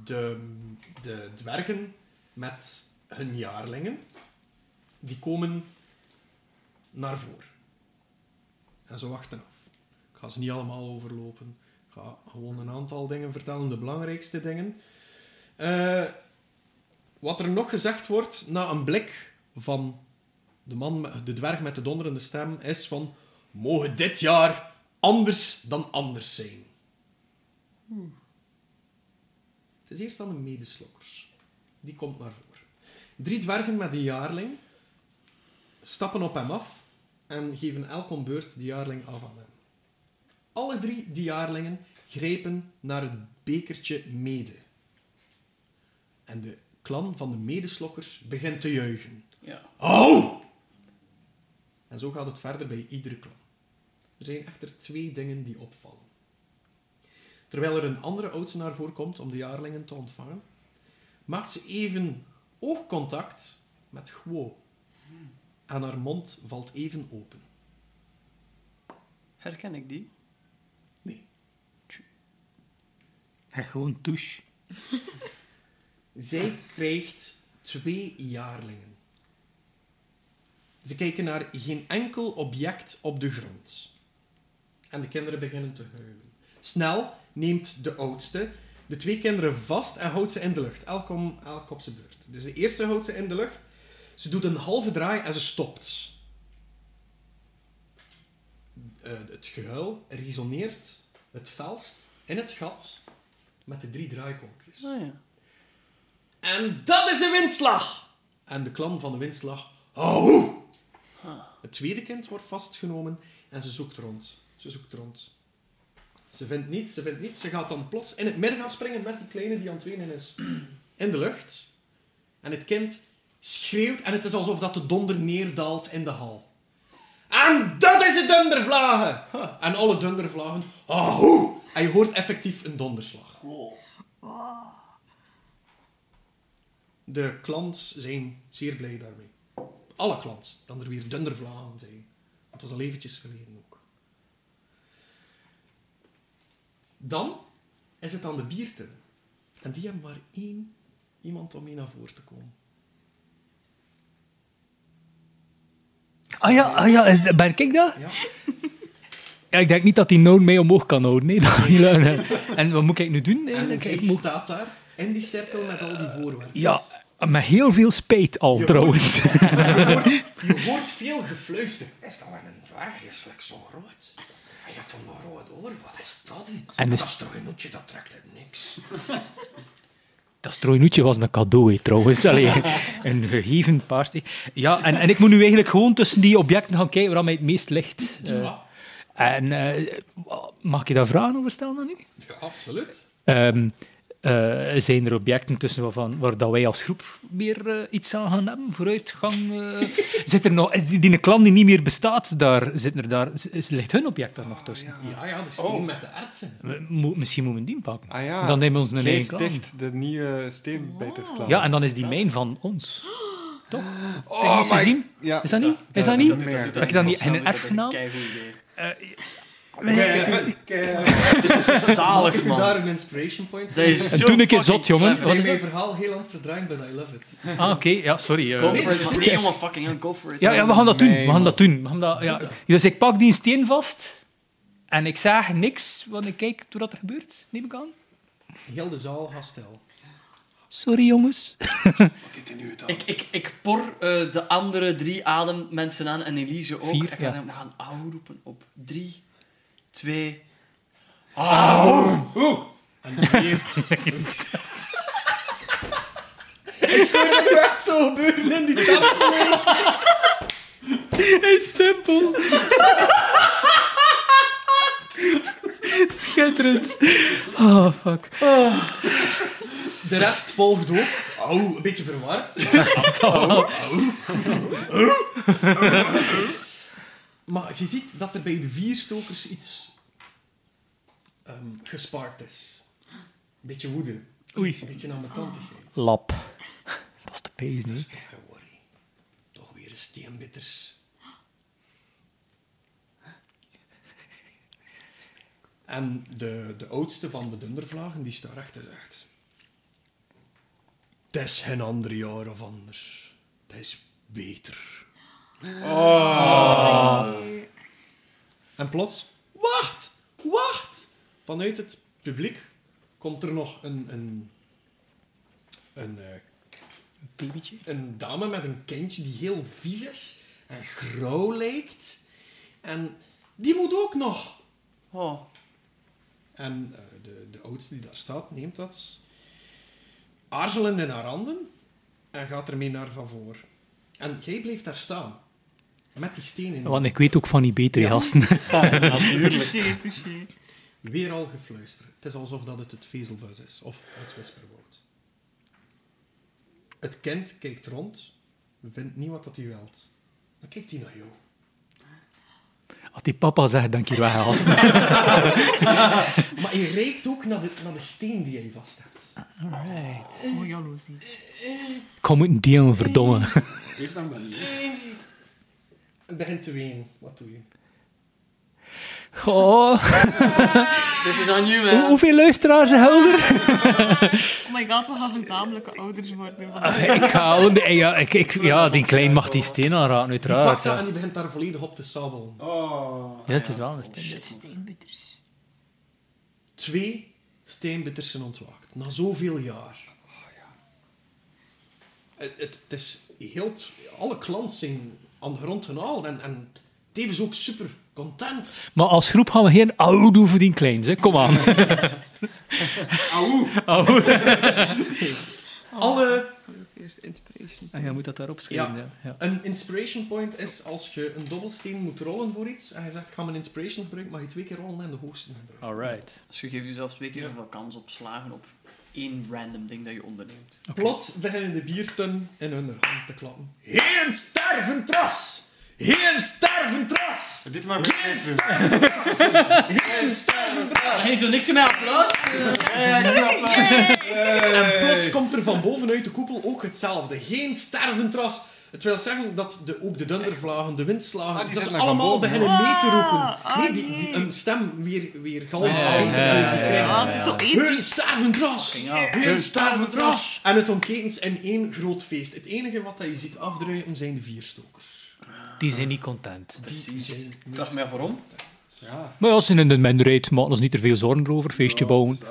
Speaker 2: De, de dwergen met hun jaarlingen, die komen naar voren. En ze wachten af. Ik ga ze niet allemaal overlopen. Ik ga gewoon een aantal dingen vertellen, de belangrijkste dingen. Eh, wat er nog gezegd wordt na een blik van de, man, met- de dwerg met de donderende stem is van... Mogen dit jaar anders dan anders zijn. Het is eerst dan een medeslokkers. Die komt naar voren. Drie dwergen met een jaarling stappen op hem af en geven elk om beurt de jaarling af aan hem. Alle drie die jaarlingen grepen naar het bekertje mede. En de klan van de medeslokkers begint te juichen.
Speaker 1: Ja.
Speaker 2: Oh! En zo gaat het verder bij iedere klan. Er zijn echter twee dingen die opvallen. Terwijl er een andere oudsenaar voorkomt om de jaarlingen te ontvangen, maakt ze even oogcontact met Guo. En haar mond valt even open.
Speaker 1: Herken ik die?
Speaker 2: Nee.
Speaker 6: En Gewoon douche.
Speaker 2: Zij krijgt twee jaarlingen. Ze kijken naar geen enkel object op de grond. En de kinderen beginnen te huilen. Snel neemt de oudste de twee kinderen vast en houdt ze in de lucht. Elk, om, elk op zijn beurt. Dus de eerste houdt ze in de lucht. Ze doet een halve draai en ze stopt. Eh, het gehuil resoneert het felst in het gat met de drie draaikolkjes.
Speaker 1: Oh ja.
Speaker 2: En dat is een windslag! En de klan van de windslag. Oh! Het tweede kind wordt vastgenomen en ze zoekt rond. Ze zoekt rond. Ze vindt niets, ze vindt niets. Ze gaat dan plots in het midden gaan springen met die kleine die aan het wenen is. In de lucht. En het kind schreeuwt en het is alsof dat de donder neerdaalt in de hal. En dat is de dundervlagen! En alle dundervlagen. Oh! En je hoort effectief een donderslag. De klants zijn zeer blij daarmee. Alle klants, dan er weer dundervlagen zijn. Het was al eventjes geleden ook. Dan is het aan de biertuin. En die hebben maar één iemand om mee naar voren te komen.
Speaker 6: Ah ja, ah ja, is- ben ik dat?
Speaker 2: Ja.
Speaker 6: Ja, ik denk niet dat die noon mij omhoog kan houden. Nee, dat gaat niet lukken. En wat moet ik nu doen?
Speaker 2: En
Speaker 6: eigenlijk?
Speaker 2: hij
Speaker 6: Ik moet...
Speaker 2: staat daar in die cirkel met al die voorwerpen.
Speaker 6: Eh, Ja, met heel veel spijt al
Speaker 2: Je
Speaker 6: trouwens.
Speaker 2: Je hoort veel gefluister. Is dat wel een dwerg? Hij is slechts zo groot. Hij heeft Ah, van een rood oor. Wat is dat? hè?
Speaker 6: En is-
Speaker 2: Dat is toch een nootje, dat trekt het niks.
Speaker 6: Dat strooinoetje was een cadeau, hè, trouwens. Allee, een gegeven paars. hè. Ja, en, en ik moet nu eigenlijk gewoon tussen die objecten gaan kijken waar mij het meest ligt. Eh,
Speaker 2: Ja,
Speaker 6: en eh, mag ik daar vragen over stellen dan nu?
Speaker 2: ja absoluut.
Speaker 6: Ehm, eh, zijn er objecten tussen waarvan, waar dat wij als groep meer eh, iets aan gaan hebben? Vooruitgang? eh? zit er nog, is die, die klant die niet meer bestaat, daar, zit er daar, is- is, ligt hun object daar nog tussen?
Speaker 2: Ja, Oh. ja, de steen met de artsen.
Speaker 6: We- mo- misschien moeten we die pakken.
Speaker 5: Ah ja.
Speaker 6: Dan nemen we ons een eigen
Speaker 5: Lees
Speaker 6: klant.
Speaker 5: dicht de nieuwe steenbetersplan.
Speaker 6: Ja, en dan is die mijn van ons. Toch? Heb je
Speaker 5: Oh
Speaker 6: niet
Speaker 5: my-
Speaker 6: gezien?
Speaker 5: Ja.
Speaker 6: Is dat niet? Is dat
Speaker 5: dat-
Speaker 6: niet?
Speaker 5: dat-
Speaker 1: Heb
Speaker 5: dat-
Speaker 6: je dan niet een erfgenaam?
Speaker 1: Dat is een keigoed idee.
Speaker 4: Kijk,
Speaker 1: Zalig,
Speaker 2: Ik heb daar
Speaker 1: man.
Speaker 2: een inspiration point
Speaker 1: Dat
Speaker 2: voor.
Speaker 1: is
Speaker 6: En
Speaker 1: zo
Speaker 6: toen ik
Speaker 1: fucking
Speaker 6: zot, jongen.
Speaker 2: Ik
Speaker 1: clever.
Speaker 2: zijn mijn verhaal heel aan het verdraaien, but I love it.
Speaker 6: Ah, oké. Ja, sorry. eh.
Speaker 1: Go for it. man. Nee, jongen, fucking hell, go for it.
Speaker 6: Ja, ja, we gaan dat doen.
Speaker 5: Nee,
Speaker 6: We gaan
Speaker 5: man.
Speaker 6: dat doen. We gaan dat, ja. Dus ik pak die steen vast en ik zag niks, want ik kijk hoe dat er gebeurt, neem ik aan.
Speaker 2: Heel de zaal gaat stil.
Speaker 6: Sorry jongens.
Speaker 4: Wat dit nu dan?
Speaker 1: Ik, ik, ik por eh, de andere drie ademmensen aan en Elise ook.
Speaker 6: Vier,
Speaker 1: ik ga
Speaker 6: ja.
Speaker 1: zeggen, we gaan au roepen op drie, twee...
Speaker 4: Oeh!
Speaker 2: En weer. ik hoor dat nu echt zo gebeuren in die kamer.
Speaker 6: is simpel. Schitterend. Oh, fuck.
Speaker 2: De rest volgt ook. Au, een beetje verward. Maar je ziet dat er bij de vier stokers iets ehm, gespaard is. Een beetje woede, een
Speaker 6: Oei.
Speaker 2: beetje ambetantigheid.
Speaker 6: Lap. Dat is de pees,
Speaker 2: Dus
Speaker 6: niet?
Speaker 2: toch geen worry. Toch weer een steenbitters. En de, de oudste van de dundervlagen, die staat recht en zegt... Het is geen ander jaar of anders. Het is beter. En plots... Wacht! Wacht! Vanuit het publiek komt er nog een... een, een eh,
Speaker 6: Babytje.
Speaker 2: een dame met een kindje die heel vies is en grauw lijkt. En die moet ook nog.
Speaker 1: Oh.
Speaker 2: En eh, de, de oudste die daar staat, neemt dat aarzelend in haar handen en gaat ermee naar van voor. En jij blijft daar staan. Met die steen in.
Speaker 6: Want ik weet ook van die betere
Speaker 2: Ja.
Speaker 6: gasten.
Speaker 5: Natuurlijk.
Speaker 3: Touché, touché.
Speaker 2: Weer al gefluister. Het is alsof dat het het vezelbuis is. Of het whisperwoord. Het kind kijkt rond, vindt niet wat dat hij wilt. Dan kijkt hij naar jou.
Speaker 6: Als die papa zegt, dank je wel, gasten.
Speaker 2: Maar je reikt ook naar de, naar de steen die je vast hebt.
Speaker 3: Oh, jaloezie.
Speaker 6: Ik ga moeten delen, verdomme.
Speaker 4: Heeft hem dat niet, hè?
Speaker 2: Het begint te wenen. Wat doe je?
Speaker 6: Goh.
Speaker 1: This is on you,
Speaker 6: Hoe-
Speaker 1: man.
Speaker 6: hoeveel luisteraars helder?
Speaker 3: Oh my god, we gaan gezamenlijke ouders worden.
Speaker 6: Ah, ik ga gewoon... de- Ja, ik, ik, ja, die klein mag die steen aanraken,
Speaker 2: Die pakt
Speaker 6: uiteraard.
Speaker 2: dat
Speaker 6: Ja,
Speaker 2: en die begint daar volledig op te sabbelen.
Speaker 4: Oh.
Speaker 6: Ja, het is wel een steen.
Speaker 3: De steenbitters.
Speaker 2: Twee steenbitters zijn ontwaakt. Na zoveel jaar. Het, het, het is heel... t- Alle klans zijn aan de grond gehaald. En, en tevens ook super content.
Speaker 6: Maar als groep gaan we geen oude doen voor die kleins, hè. Kom aan.
Speaker 4: Auw!
Speaker 2: Alle...
Speaker 3: Eerst inspiration.
Speaker 6: En jij moet dat daarop
Speaker 2: schrijven,
Speaker 6: schrijven,
Speaker 2: Ja.
Speaker 6: ja.
Speaker 2: Een inspiration point is als je een dobbelsteen moet rollen voor iets. En je zegt, ik ga mijn inspiration gebruiken. Mag je twee keer rollen en de hoogste gebruiken.
Speaker 6: Alright.
Speaker 1: Dus je geeft jezelf twee keer zoveel kans op slagen op één random ding dat je onderneemt.
Speaker 2: Plots beginnen de biertun in hun hand te klappen. Geen sterventras! Geen sterventras!
Speaker 5: Dit maar
Speaker 2: Geen
Speaker 5: vergeten.
Speaker 2: sterventras! Geen sterventras!
Speaker 1: Hey, zo niks meer met applaus?
Speaker 2: En plots komt er van bovenuit de koepel ook hetzelfde. Geen sterventras! Het wil zeggen dat de, ook de dundervlagen, de
Speaker 5: Ah,
Speaker 2: windslagen,
Speaker 5: die
Speaker 2: dat ze
Speaker 5: zijn naar
Speaker 2: allemaal
Speaker 5: boven.
Speaker 2: beginnen mee te roepen.
Speaker 3: Ah, ah,
Speaker 2: Nee, die, die,
Speaker 3: nee.
Speaker 2: een stem weer, weer galmt
Speaker 1: Ah, ja,
Speaker 2: beter
Speaker 1: ja,
Speaker 2: door die
Speaker 1: ja,
Speaker 2: kring.
Speaker 3: Ah, het is zo
Speaker 2: Heel
Speaker 3: episch.
Speaker 2: stervendras!
Speaker 1: Fucking hell.
Speaker 2: Heel stervendras! En het ontketens in één groot feest. Het enige wat dat je ziet afdruipen zijn de vierstokers.
Speaker 6: Die zijn niet content.
Speaker 1: Precies. Ik vraag me af waarom.
Speaker 4: Ja.
Speaker 6: Maar als ze in de minderheid maken ons niet er veel zorgen over. Feestje
Speaker 4: Wat
Speaker 6: bouwen.
Speaker 4: is dat?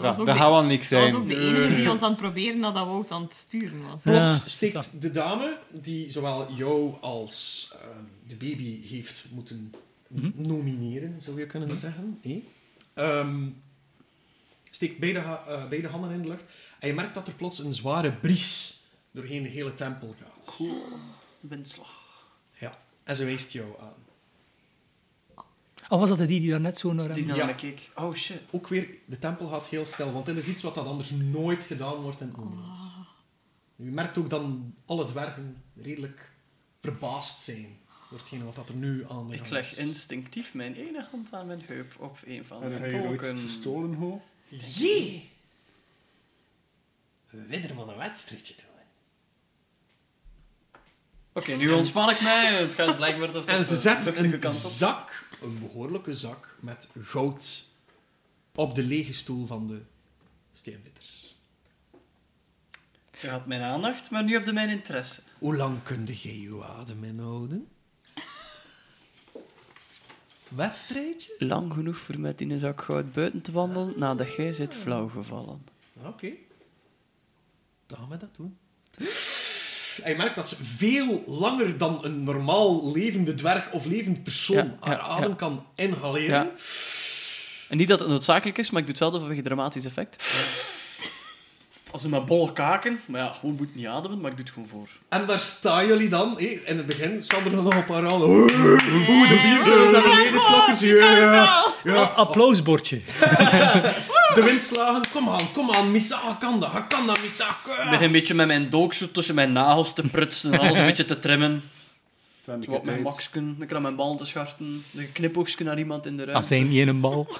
Speaker 3: Dat was
Speaker 5: dat,
Speaker 3: ook
Speaker 5: dat
Speaker 3: de- e-
Speaker 5: gaat wel niks
Speaker 3: Dat was
Speaker 5: zijn.
Speaker 3: ook de enige die ons aan het proberen nadat we ook aan het sturen was.
Speaker 6: Ja,
Speaker 2: Plots
Speaker 6: dat is dat.
Speaker 2: steekt de dame, die zowel jou als ehm, de baby heeft moeten nomineren, zou je kunnen zeggen, nee? Ehm, steekt beide, ha- eh, beide handen in de lucht. En je merkt dat er plots een zware bries doorheen de hele tempel gaat.
Speaker 1: Windslag.
Speaker 2: Ja. En ze wijst jou aan.
Speaker 6: Oh, was dat die die daar net zo naar
Speaker 1: Die
Speaker 6: hem...
Speaker 1: naar
Speaker 2: Ja.
Speaker 1: me keek. Oh shit.
Speaker 2: Ook weer, de tempel gaat heel stil, want dit is iets wat dat anders nooit gedaan wordt in het Moonlight.
Speaker 1: Ah.
Speaker 2: Je merkt ook dat alle dwergen redelijk verbaasd zijn door hetgeen wat dat er nu aan de
Speaker 1: Ik
Speaker 2: gang
Speaker 1: leg
Speaker 2: is.
Speaker 1: instinctief mijn ene hand aan mijn heup op een van
Speaker 4: En
Speaker 1: de
Speaker 4: dan ga je ooit
Speaker 1: tolken.
Speaker 4: gestolen ho.
Speaker 2: Jee! We willen maar een wedstrijdje doen.
Speaker 1: Oké, nu ontspan ik mij. Het gaat blijkbaar tot
Speaker 2: En ze
Speaker 1: de
Speaker 2: zet
Speaker 1: luchtige
Speaker 2: een
Speaker 1: kant op.
Speaker 2: zak, een behoorlijke zak, met goud op de lege stoel van de steenwitters.
Speaker 1: Je had mijn aandacht, maar nu heb je mijn interesse.
Speaker 2: Hoe lang kun je je adem inhouden? Wedstrijdje?
Speaker 1: Lang genoeg voor met in een zak goud buiten te wandelen nadat jij zit flauwgevallen.
Speaker 2: Oké. dan gaan we dat doen. En je merkt dat ze veel langer dan een normaal levende dwerg of levend persoon
Speaker 1: Ja, ja,
Speaker 2: haar adem
Speaker 1: ja.
Speaker 2: kan inhaleren.
Speaker 1: Ja. En niet dat het noodzakelijk is, maar ik doe het zelf vanwege dramatisch effect. Als in mijn bolle kaken. Maar ja, gewoon moet niet ademen, maar ik doe het gewoon voor.
Speaker 2: En daar staan jullie dan. hé. in het begin staan er nog een paar aan. Oeh, oeh, de biertjes en de medeslokkers. Ja, ja, ja.
Speaker 6: Applausbordje.
Speaker 2: De windslagen. Kom aan, kom aan. Missa, kan dat. Kan dat, Missa.
Speaker 1: Ik begin een beetje met mijn dolk zo tussen mijn nagels te prutsen en alles een beetje te trimmen.
Speaker 4: Twintig
Speaker 1: Zo op mijn
Speaker 4: tijd.
Speaker 1: maksken, ik aan mijn ballen te scharten, een knipoogstje naar iemand in de
Speaker 6: Als
Speaker 2: Ah,
Speaker 1: ruimte.
Speaker 6: zijn niet in een bal.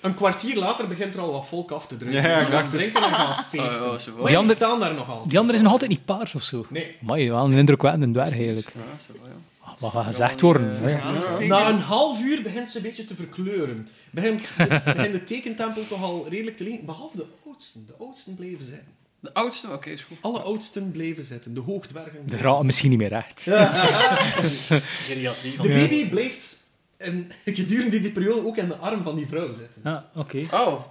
Speaker 2: Een kwartier later begint er al wat volk af te drukken.
Speaker 5: Ja, ja, ik
Speaker 2: Dan
Speaker 5: dacht het.
Speaker 2: drinken en gaan
Speaker 1: Oh,
Speaker 2: feesten.
Speaker 1: ja, ze wel.
Speaker 2: maar
Speaker 6: Die
Speaker 2: die
Speaker 6: ander-
Speaker 2: staan daar nog al.
Speaker 6: Die andere is nog altijd niet paars of zo.
Speaker 2: Nee.
Speaker 6: Maar je wel een indrukwekkende dwerg eigenlijk. Ah,
Speaker 1: Ja, ze wel, ja.
Speaker 6: Wat gaat gezegd worden? hè?
Speaker 2: Na een half uur begint ze een beetje te verkleuren. Begint de, begint de tekentempel toch al redelijk te liggen. Behalve de oudsten. De oudsten bleven zitten.
Speaker 1: De oudste, oké, is goed.
Speaker 2: Alle oudsten bleven zitten. De hoogdwergen.
Speaker 6: De
Speaker 2: bleven
Speaker 6: graat misschien niet meer recht.
Speaker 1: Geriatrie.
Speaker 2: De baby blijft en gedurende die periode ook in de arm van die vrouw zitten.
Speaker 6: Ja, oké.
Speaker 1: Oh,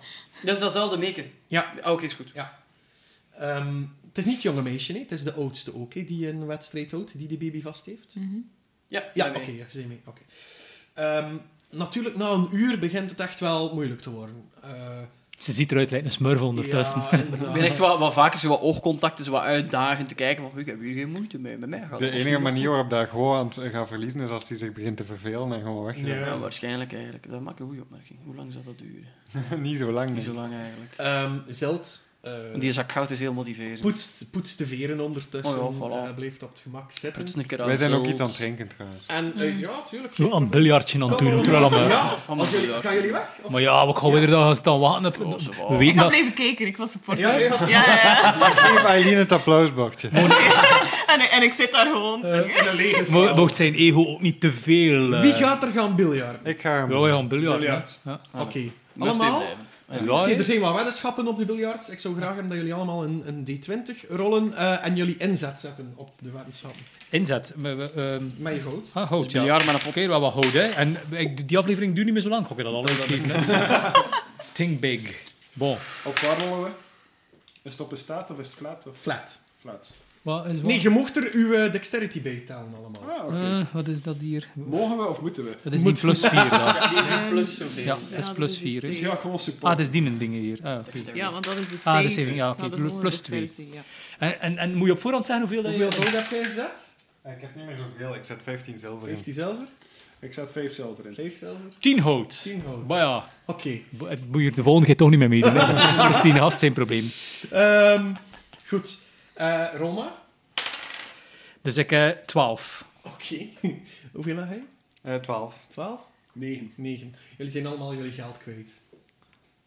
Speaker 1: dat is datzelfde meken.
Speaker 2: Ja.
Speaker 1: Oké, is goed.
Speaker 2: Ehm, het is niet het jonge meisje, nee. het is de oudste ook, hè, die een wedstrijd houdt, die die baby vast heeft.
Speaker 1: Ja,
Speaker 2: Ja,
Speaker 1: daarmee.
Speaker 2: oké, ja, ze zijn mee. oké. Ehm, natuurlijk, na een uur begint het echt wel moeilijk te worden. Eh,
Speaker 6: Ze ziet eruit lijkt een smurf ondertussen.
Speaker 2: ja,
Speaker 1: Ik
Speaker 2: inderdaad.
Speaker 1: ben echt wat, wat vaker zo wat oogcontacten, zo wat uitdagen te kijken van, ik heb hier geen moeite mee, met mij gaat
Speaker 5: De
Speaker 1: het
Speaker 5: enige manier waarop dat gewoon aan het gaan verliezen is als hij zich begint te vervelen en gewoon weg.
Speaker 1: wel. Ja,
Speaker 2: Ja.
Speaker 1: waarschijnlijk eigenlijk. Dat maak een goede opmerking. Hoe lang zal dat duren?
Speaker 5: Niet zo lang.
Speaker 1: Niet
Speaker 5: nee.
Speaker 1: zo lang eigenlijk.
Speaker 2: Ehm, Zeld eh,
Speaker 1: Want die zak goud is heel motiverend.
Speaker 2: poetst, poetst de veren ondertussen,
Speaker 1: Oh ja, voilà.
Speaker 2: eh, blijft op het gemak zitten.
Speaker 1: Poets een keer aan
Speaker 5: Wij zijn ook
Speaker 1: zult.
Speaker 5: iets aan het drinken trouwens.
Speaker 2: En eh, ja, tuurlijk.
Speaker 6: Zo aan het biljartje aan het doen. terwijl aan de-
Speaker 1: Oh,
Speaker 2: Ja, als jullie, gaan jullie weg? Of-
Speaker 6: Maar ja, wat gaan we er dan gaan staan wachten? op-
Speaker 1: Oh, ze wel.
Speaker 6: We
Speaker 3: Ik
Speaker 6: weten
Speaker 3: had
Speaker 6: dat...
Speaker 3: blijven kijken, ik was supporter.
Speaker 2: Ja, ja,
Speaker 3: ja,
Speaker 2: ze-
Speaker 3: ja, ja.
Speaker 5: Geef Aileen het applausbordje.
Speaker 3: En, en ik zit daar gewoon.
Speaker 6: Eh,
Speaker 4: In een lege
Speaker 6: Mo-
Speaker 4: zaal.
Speaker 6: Mocht zijn ego ook niet te veel... eh,
Speaker 2: Wie gaat er gaan biljarten?
Speaker 5: Ik ga hem.
Speaker 6: Ja, we gaan biljarten.
Speaker 4: Biljart.
Speaker 6: Ja.
Speaker 2: Oké,
Speaker 1: Moest
Speaker 2: allemaal?
Speaker 1: even blijven.
Speaker 6: Ja,
Speaker 2: Oké, dus-
Speaker 6: hè.
Speaker 2: er zijn wat weddenschappen op de biljarts. Ik zou graag hebben dat jullie allemaal een, een D20 rollen eh, en jullie inzet zetten op de weddenschappen.
Speaker 6: Inzet. We- we, ehm,
Speaker 2: Met je goud.
Speaker 6: ah,
Speaker 1: Dus
Speaker 6: hout,
Speaker 1: een
Speaker 6: ja.
Speaker 1: jaar met een pot.
Speaker 6: Oké, wel wat hout, hè. En ik- die aflevering duurt niet meer zo lang. Ik ga dat al uitgeven, hè. Think big. Bon.
Speaker 4: Op waar rollen we? Is het op een staat of is het flat? Of
Speaker 2: Flat.
Speaker 4: flat?
Speaker 6: Wat is wat?
Speaker 2: Nee, je mocht er uw eh, dexterity bij tellen allemaal.
Speaker 4: Ah, oké.
Speaker 6: Eh, wat is dat hier?
Speaker 4: Mogen we of moeten we?
Speaker 6: Dat is die plus 4 dan.
Speaker 1: Plus zoveel.
Speaker 6: Ja, dat is plus 4.
Speaker 4: Dus
Speaker 6: Is.
Speaker 4: ga ik gewoon
Speaker 6: Ah, dat
Speaker 4: support.
Speaker 6: is die dingen hier. Ah, oké.
Speaker 3: Ja, want dat is de
Speaker 6: Ah,
Speaker 3: saving.
Speaker 6: de saving, ja, oké,
Speaker 3: Dat
Speaker 6: plus-
Speaker 3: is
Speaker 6: plus
Speaker 3: gewoon de
Speaker 6: twee.
Speaker 3: saving, ja.
Speaker 6: en, en, en moet je op voorhand zeggen hoeveel dat je...
Speaker 2: Hoeveel goud heb jij gezet?
Speaker 5: Eh, Ik heb niet meer zoveel, ik zet 15 zilver in.
Speaker 2: 15 zilver?
Speaker 4: Ik zet 5 zilver in.
Speaker 2: 5 zilver?
Speaker 6: 10 hout.
Speaker 2: 10 goud.
Speaker 6: Maar ja,
Speaker 2: Oké.
Speaker 6: bo- het moet je er de volgende keer toch niet meer meedoen. hè. Dat is die gast zijn probleem.
Speaker 2: Ehm, goed. Eh rol maar.
Speaker 6: Dus ik eh 12.
Speaker 2: Oké. Hoeveel had hij?
Speaker 5: Eh, 12.
Speaker 2: 12?
Speaker 4: 9.
Speaker 2: 9. Jullie zijn allemaal jullie geld kwijt.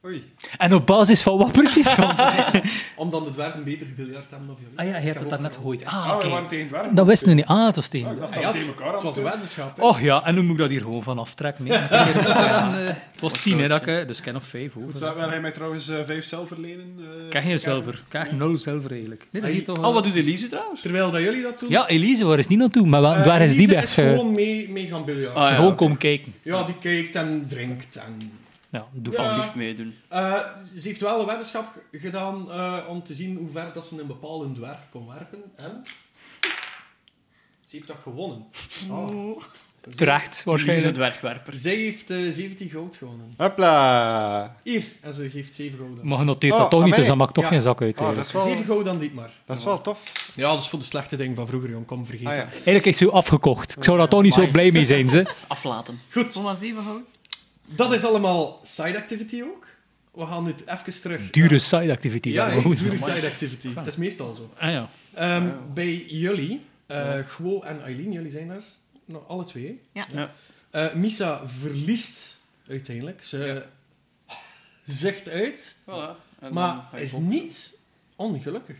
Speaker 5: Oei.
Speaker 6: En op basis van wat precies? Want-
Speaker 2: Om dan de dwergen beter gebiljart te hebben of jullie.
Speaker 6: Ah ja, je
Speaker 2: Ik
Speaker 6: hebt
Speaker 2: heb
Speaker 6: het
Speaker 2: ook
Speaker 6: daarnet
Speaker 2: gerold.
Speaker 6: gegooid.
Speaker 4: Ah,
Speaker 6: Ah,
Speaker 4: we
Speaker 6: oké.
Speaker 4: waren tegen dwergen.
Speaker 6: Dat wisten we niet. Ah, het was tegen.
Speaker 4: Ah, ik dacht
Speaker 2: Ah,
Speaker 4: dat
Speaker 2: ja,
Speaker 4: we
Speaker 2: het,
Speaker 4: tegen elkaar
Speaker 2: het was een
Speaker 1: Oh.
Speaker 4: afspelen.
Speaker 2: weddenschap. hè.
Speaker 6: Och ja, en nu moet ik dat hier gewoon van aftrekken. Nee. En, eh, het was 10, hè, dat ik, eh, dus ik ken nog 5.
Speaker 4: Goed, zou- wil hij mij trouwens eh, vijf zilver lenen? eh,
Speaker 6: Krijg je
Speaker 4: Kevin?
Speaker 6: zilver. Krijg nul zilver eigenlijk. Nee, dat is hier toch...
Speaker 1: Oh, wat doet Elise trouwens?
Speaker 2: Terwijl dat jullie dat doen.
Speaker 6: Ja, Elise, waar is die naartoe? Maar wa-
Speaker 2: eh,
Speaker 6: waar is die
Speaker 2: Elise
Speaker 6: weg?
Speaker 2: is
Speaker 6: eh?
Speaker 2: gewoon mee, mee gaan biljarten.
Speaker 1: Ah, ja,
Speaker 6: Gewoon
Speaker 1: oké.
Speaker 6: komen kijken.
Speaker 2: Ja, die kijkt en drinkt. En...
Speaker 6: Ja, doe
Speaker 2: Ja.
Speaker 6: vast.
Speaker 1: Passief meedoen.
Speaker 2: Eh, ze heeft wel een weddenschap g- gedaan eh, om te zien hoe ver dat ze een bepaalde dwerg kon werpen. En ze heeft dat gewonnen. Oh.
Speaker 6: Terecht,
Speaker 1: Elise
Speaker 6: waarschijnlijk.
Speaker 1: dwergwerper.
Speaker 2: Zij heeft eh, 17 goud gewonnen.
Speaker 5: Hopla.
Speaker 2: Hier, en ze geeft 7 goud aan.
Speaker 6: Maar je noteert dat
Speaker 5: Oh,
Speaker 6: toch niet, dus
Speaker 5: amai.
Speaker 6: dat maakt toch
Speaker 2: Ja. Ah.
Speaker 6: geen zak uit.
Speaker 5: Oh, dat
Speaker 6: eigenlijk.
Speaker 5: is wel,
Speaker 2: 7 goud aan Dietmar.
Speaker 5: dat is wel tof.
Speaker 2: Ja, dat is voor de slechte ding van vroeger, jong. Kom, vergeet
Speaker 5: Ah, ja.
Speaker 2: het.
Speaker 6: Eigenlijk is ze afgekocht. Ik zou daar toch niet zo blij mee zijn, ze.
Speaker 1: Aflaten.
Speaker 2: Goed,
Speaker 3: Kom maar, zeven hout.
Speaker 2: dat is allemaal side activity ook. We gaan nu even terug.
Speaker 6: Dure side-activity.
Speaker 2: Ja,
Speaker 6: dat
Speaker 2: ja,
Speaker 6: gewoon.
Speaker 2: dure side activity. Dat is meestal zo.
Speaker 6: Ah ja.
Speaker 2: Ehm, Bij jullie, eh Gwo en Eileen, jullie zijn daar nog alle twee. hè?
Speaker 3: Ja.
Speaker 1: Ja.
Speaker 2: Eh, Misa verliest uiteindelijk. Ze zegt uit,
Speaker 1: Voilà. En dan
Speaker 2: maar
Speaker 1: ga je
Speaker 2: is
Speaker 1: op.
Speaker 2: niet ongelukkig.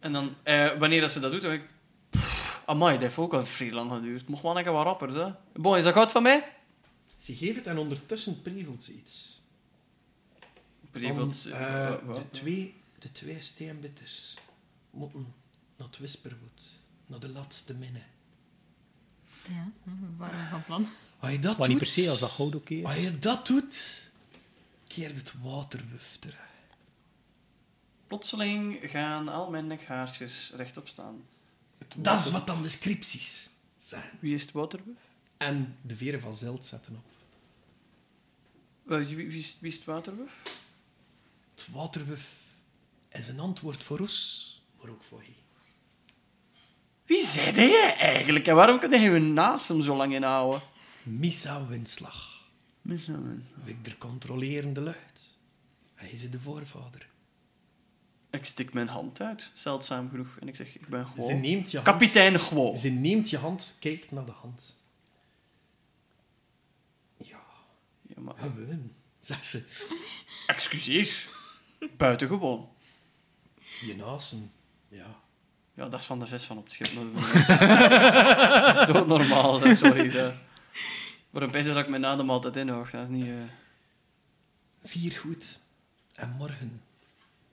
Speaker 1: En dan, eh, wanneer dat ze dat doet, dan denk ik... Pff, amai, dat heeft ook al vrij lang geduurd. Mocht wel een keer wat rapper, hè. Bon, is dat goud van mij?
Speaker 2: Ze geeft het en ondertussen prevelt ze iets.
Speaker 1: Prevelt...
Speaker 2: Van,
Speaker 1: eh,
Speaker 2: eh,
Speaker 1: wat?
Speaker 2: de, twee, de twee steenbitters moeten naar het Whisperwood. Naar de laatste minne.
Speaker 3: Ja, we waren van plan.
Speaker 2: Als je dat
Speaker 6: Maar niet
Speaker 2: doet...
Speaker 6: per se, als dat goud oké is.
Speaker 2: Als je dat doet, keert het waterwuf terug.
Speaker 1: Plotseling gaan al mijn nekhaartjes rechtop staan.
Speaker 2: Dat is wat dan descripties zijn.
Speaker 1: Wie is het Waterwolf?
Speaker 2: En de veren van Zeld zetten op.
Speaker 1: Wel, Wie, wie, is, wie is het Waterwolf?
Speaker 2: Het waterwuf is een antwoord voor Roes, maar ook voor hij.
Speaker 1: Wie zei jij eigenlijk? En waarom kan je hun naast hem zo lang inhouden?
Speaker 2: Missa Windslag.
Speaker 1: Missa Windslag.
Speaker 2: Victor controlerende lucht. Hij is de voorvader.
Speaker 1: Ik stik mijn hand uit, zeldzaam genoeg. En ik zeg, ik ben
Speaker 2: Ze
Speaker 1: gewoon...
Speaker 2: neemt je hand.
Speaker 1: Kapitein gewoon.
Speaker 2: Ze neemt je hand, kijkt naar de hand. Ja,
Speaker 1: Ja, maar...
Speaker 2: gewoon, zegt ze.
Speaker 1: Excuseer. Buitengewoon.
Speaker 2: Je nasen. Ja.
Speaker 1: Ja, dat is van de vis van op het schip. maar- dat is toch normaal, zeg, sorry. Dat... Maar opeens zag ik mijn adem altijd in, hoor. Dat is niet... eh,
Speaker 2: Vier goed. En morgen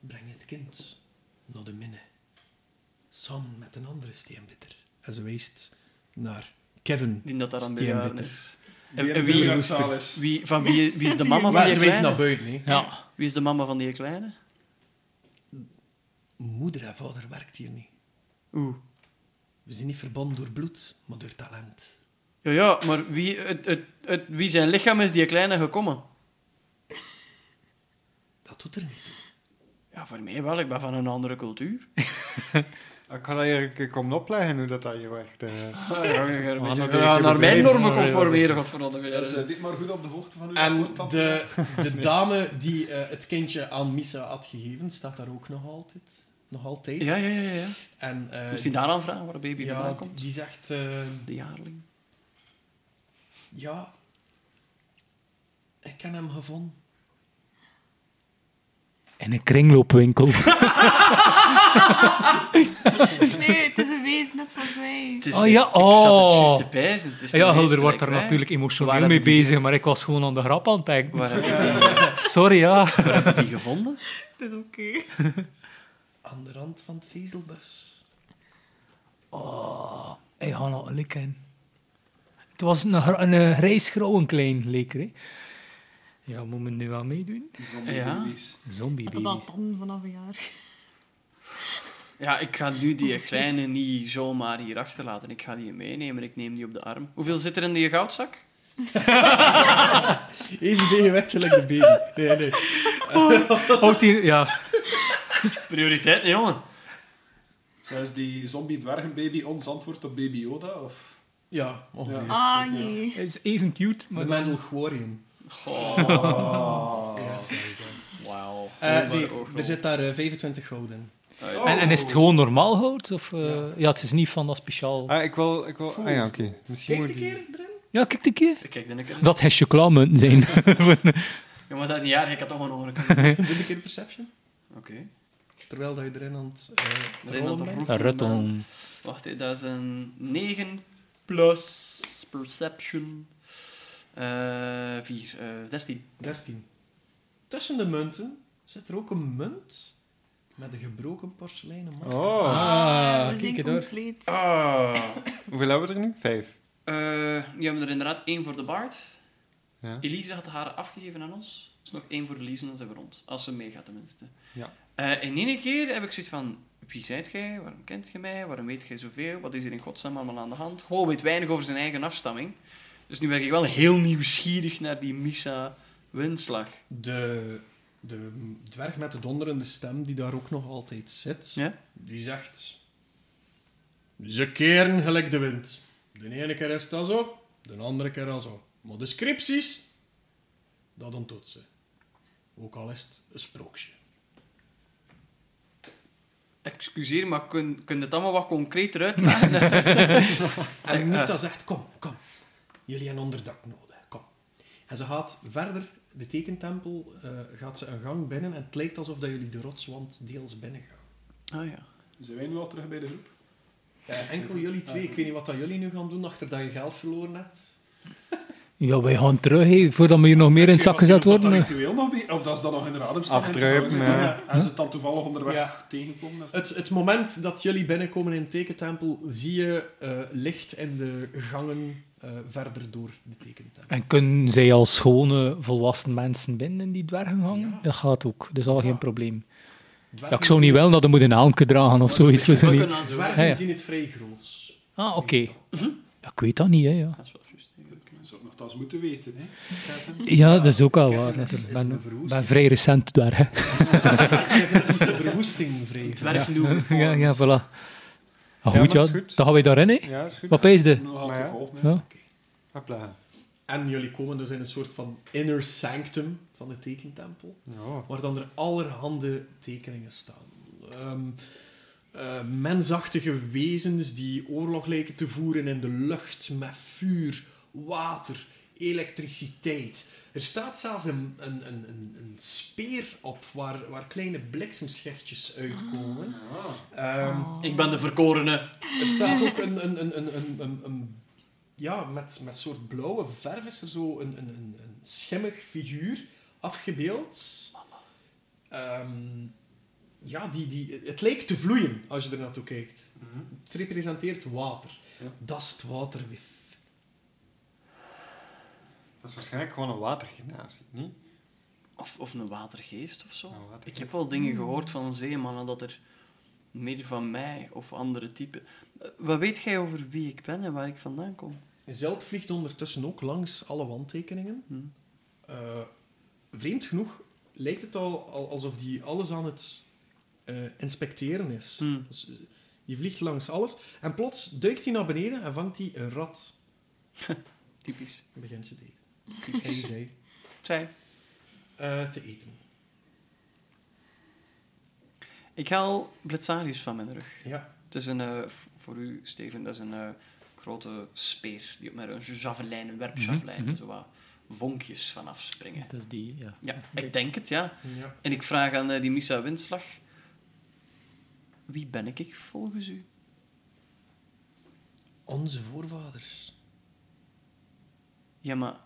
Speaker 2: breng het kind naar de minne. Samen met een andere steenbitter. En ze wijst naar Kevin
Speaker 1: Die dat daar aan bejaarden
Speaker 2: steenbitter.
Speaker 1: En, en
Speaker 4: en
Speaker 1: wie,
Speaker 2: roest-
Speaker 1: wie, van wie, wie is de mama van
Speaker 2: Maar
Speaker 1: die
Speaker 2: ze wijst naar
Speaker 1: kleine?
Speaker 2: buiten. Hè.
Speaker 6: Ja.
Speaker 1: Wie is de mama van die kleine?
Speaker 2: Moeder en vader werkt hier niet.
Speaker 1: Oeh.
Speaker 2: We zijn niet verbonden door bloed, maar door talent.
Speaker 1: Ja, ja, maar wie, het, het, het, wie zijn lichaam is die kleine gekomen?
Speaker 2: Dat doet er niet toe.
Speaker 1: Ja, voor mij wel. Ik ben van een andere cultuur.
Speaker 5: Ik ga dat hier komen opleggen hoe dat, dat hier werkt. eh.
Speaker 1: Ja, ja, ja,
Speaker 5: We gaan
Speaker 1: ja,
Speaker 5: dat een keer
Speaker 1: naar mijn
Speaker 5: bevelen.
Speaker 1: normen
Speaker 6: Ja, ja, ja.
Speaker 1: conformeren, godverdomme.
Speaker 4: Ja, dus, eh, dit maar goed op de hoogte van uw
Speaker 2: En
Speaker 4: voortplan.
Speaker 2: de, de dame die eh, het kindje aan Missa had gegeven, staat daar ook nog altijd. Nog altijd.
Speaker 1: Ja, ja, ja. ja.
Speaker 2: En, eh,
Speaker 1: Misschien daaraan vragen waar de baby vandaan
Speaker 2: ja,
Speaker 1: komt.
Speaker 2: die zegt... eh,
Speaker 1: De jaarling.
Speaker 2: ja... Ik heb hem gevonden.
Speaker 6: In een kringloopwinkel.
Speaker 3: Nee, het is een wees net zoals wij.
Speaker 1: Het is-
Speaker 6: Oh ja,
Speaker 1: Ik zat
Speaker 6: oh.
Speaker 1: het juist te pijzen. Het is
Speaker 6: ja,
Speaker 1: een
Speaker 6: Hulder
Speaker 1: meester,
Speaker 6: wordt daar
Speaker 1: ik weet.
Speaker 6: natuurlijk
Speaker 1: Waar
Speaker 6: emotioneel
Speaker 1: heb
Speaker 6: mee
Speaker 1: je die-
Speaker 6: bezig, maar ik was gewoon aan de grap aan het denken.
Speaker 1: Waar heb je die,
Speaker 6: Sorry, ja.
Speaker 1: waar heb je die gevonden?
Speaker 3: Het is oké.
Speaker 2: Aan de rand van het vezelbus.
Speaker 6: Oh, Ik ga nog likken. Het was een, gr- een eh, grijsgrauwe klein leker, hè. Ja, moet men nu aan meedoen?
Speaker 4: Zonder
Speaker 1: Ja.
Speaker 4: baby's.
Speaker 6: Zombie
Speaker 3: Dat
Speaker 6: baby.
Speaker 3: had dan vanaf een jaar.
Speaker 1: Ja, ik ga nu die kleine niet zomaar hier achterlaten. Ik ga die meenemen. Ik neem die op de arm. Hoeveel zit er in die goudzak?
Speaker 2: Even tegenwerkelijk de baby. Nee, nee.
Speaker 6: Houdt die... Ja.
Speaker 1: Prioriteit, nee, jongen.
Speaker 4: Zijn is die zombie dwergenbaby ons antwoord op baby Yoda? Of?
Speaker 2: Ja, ongeveer.
Speaker 3: Ah, nee.
Speaker 6: Het is even cute, maar...
Speaker 2: De Mendelgorium.
Speaker 4: Oh.
Speaker 1: Wauw.
Speaker 2: Eh
Speaker 1: Hoor
Speaker 2: nee,
Speaker 1: maar ook
Speaker 2: er
Speaker 1: nog.
Speaker 2: zit daar eh, 25 goud in.
Speaker 1: Uit.
Speaker 4: Oh.
Speaker 6: En, en is het gewoon normaal hout? Of, eh, ja. het is niet van dat speciaal...
Speaker 5: Ah, ik wil... Ik wil ah ja, oké. Misschien
Speaker 2: Kijk
Speaker 5: moet
Speaker 2: een
Speaker 5: die-
Speaker 2: keer erin.
Speaker 6: Ja, kijk een keer.
Speaker 1: Ik Kijk, dan een keer.
Speaker 6: Dat hesje klauwmunten zijn.
Speaker 1: Ja, maar dat niet jaar, ik had toch een oren kunnen.
Speaker 2: Doe een keer perception.
Speaker 1: Oké.
Speaker 2: Terwijl dat je erin aan het eh,
Speaker 1: Erin aan
Speaker 2: rollen
Speaker 1: het
Speaker 2: bent.
Speaker 1: roepen.
Speaker 6: Rutton.
Speaker 1: Wacht, hè, dat is een 9 plus perception. eh 4, eh 13.
Speaker 2: 13. Tussen de munten zit er ook een munt met een gebroken porseleinen masker.
Speaker 5: Oh.
Speaker 6: Ah,
Speaker 3: we
Speaker 6: kijk
Speaker 3: zijn
Speaker 6: het hoor.
Speaker 3: compleet.
Speaker 1: Ah.
Speaker 5: Hoeveel hebben we er nu? Vijf.
Speaker 1: Eh, die hebben er inderdaad één voor de baard.
Speaker 5: Ja.
Speaker 1: Elise had haar afgegeven aan ons. Dus nog één voor Elise en dan zijn we rond. Als ze meegaat, tenminste.
Speaker 5: Ja.
Speaker 1: Eh, in één keer heb ik zoiets van... Wie zijt jij? Waarom kent je mij? Waarom weet jij zoveel? Wat is er in godsnaam allemaal aan de hand? Ho weet weinig over zijn eigen afstamming. Dus nu ben ik wel heel nieuwsgierig naar die Misa Windslag.
Speaker 2: De, de dwerg met de donderende stem, die daar ook nog altijd zit,
Speaker 1: Ja?
Speaker 2: die zegt... Ze keren gelijk de wind. De ene keer is dat zo, de andere keer dat zo. Maar de scripties, dat ontdoet ze. Ook al is het een sprookje.
Speaker 1: Excuseer, maar kun, kun je het allemaal wat concreter uitleggen?
Speaker 2: En Missa zegt, kom, kom. Jullie hebben onderdak nodig, kom. En ze gaat verder, de tekentempel, eh, gaat ze een gang binnen en het lijkt alsof dat jullie de rotswand deels binnen gaan.
Speaker 1: ah ja.
Speaker 4: Zijn wij nu al terug bij de groep?
Speaker 2: Eh, enkel jullie twee, ik weet niet wat dat jullie nu gaan doen, achter dat je geld verloren hebt.
Speaker 6: Ja, wij gaan terug, hè, voordat we hier nog meer in het zak
Speaker 4: Ik weet
Speaker 6: gezet
Speaker 4: niet of dat
Speaker 6: worden. hè.
Speaker 4: ritueel nog bij- of dat is dan nog in de adem
Speaker 5: Afdruipen, ja.
Speaker 4: En ze het dan toevallig onderweg
Speaker 2: Ja.
Speaker 4: tegenkomen. of-
Speaker 2: Het, het moment dat jullie binnenkomen in de tekentempel, zie je eh, licht in de gangen eh, verder door de tekentempel.
Speaker 6: En kunnen zij als schone, volwassen mensen binnen in die dwergengang?
Speaker 2: Ja.
Speaker 6: Dat gaat ook, dat is al geen dus probleem.
Speaker 2: Dwergen
Speaker 6: Ja, ik zou niet wel dat hij moet een helmje dragen of zoiets. weet ik
Speaker 1: We
Speaker 6: niet.
Speaker 1: kunnen aan zo.
Speaker 2: Dwergen
Speaker 1: Dat
Speaker 6: Ja, ja.
Speaker 2: zien het vrij groot.
Speaker 6: Ah, oké. Ja, ik weet dat niet, hè. Ja,
Speaker 1: is wel juist.
Speaker 4: Dat zou ik nogthans moeten weten, hè. Kevin.
Speaker 6: ja dat is ook wel waar.
Speaker 2: Kevin is-
Speaker 6: Ik
Speaker 2: is
Speaker 6: ben,
Speaker 2: een verwoesting.
Speaker 6: ben vrij recent daar, hè.
Speaker 2: Kevin is de verwoesting vrij groot.
Speaker 1: Dwergnoemen.
Speaker 6: Ja, ja, voilà. Ah,
Speaker 5: maar
Speaker 6: goed, ja.
Speaker 5: is goed.
Speaker 6: Dan gaan we daarin, hè.
Speaker 5: Ja, is goed.
Speaker 6: Wat is de?
Speaker 4: Nog
Speaker 5: Maar ja.
Speaker 4: altijd volgen, hè.
Speaker 6: Ja.
Speaker 5: Hopla.
Speaker 2: En jullie komen dus in een soort van inner sanctum van de tekentempel.
Speaker 5: Ja.
Speaker 2: waar dan er allerhande tekeningen staan. Ehm, eh, mensachtige wezens die oorlog lijken te voeren in de lucht met vuur, water, elektriciteit. Er staat zelfs een, een, een, een, een speer op waar, waar kleine bliksemschichtjes uitkomen. Ehm,
Speaker 1: Ik ben de verkorene.
Speaker 2: er staat ook een, een, een, een, een, een, een- ja, met, met soort blauwe verf is er zo een, een, een, een schimmig figuur afgebeeld. Ehm, ja, die, die, het lijkt te vloeien als je er naartoe kijkt. Het representeert water.
Speaker 4: Ja.
Speaker 2: Dat is het waterwif.
Speaker 5: Dat is waarschijnlijk gewoon een watergenatie, niet?
Speaker 1: Of, of een watergeest of zo.
Speaker 5: Een watergeest.
Speaker 1: Ik heb wel dingen gehoord van zeemannen dat er meer van mij of andere typen. Eh, Wat weet jij over wie ik ben en waar ik vandaan kom?
Speaker 2: Zeld vliegt ondertussen ook langs alle wandtekeningen.
Speaker 1: Hmm.
Speaker 2: Eh, vreemd genoeg lijkt het al, al- alsof die alles aan het eh, inspecteren is.
Speaker 1: Hmm.
Speaker 2: Dus, eh, die vliegt langs alles. En plots duikt hij naar beneden en vangt hij een rat.
Speaker 1: Typisch.
Speaker 2: En begint ze te eten. En die
Speaker 1: Typisch.
Speaker 2: zei
Speaker 1: Zij.
Speaker 2: eh, te eten.
Speaker 1: Ik haal Blitsarius van mijn rug.
Speaker 2: Ja.
Speaker 1: Het is een, eh, v- voor u, Steven, dat is een eh, grote speer. Die op mijn een javelijn, een werpjavelijn,
Speaker 6: Mhm, mhm.
Speaker 1: zo wat vonkjes vanaf springen.
Speaker 6: Dat is die, ja.
Speaker 1: Ja, ik denk het, ja.
Speaker 2: ja.
Speaker 1: En ik vraag aan eh, die Missa Windslag... Wie ben ik volgens u?
Speaker 2: Onze voorvaders.
Speaker 1: Ja, maar...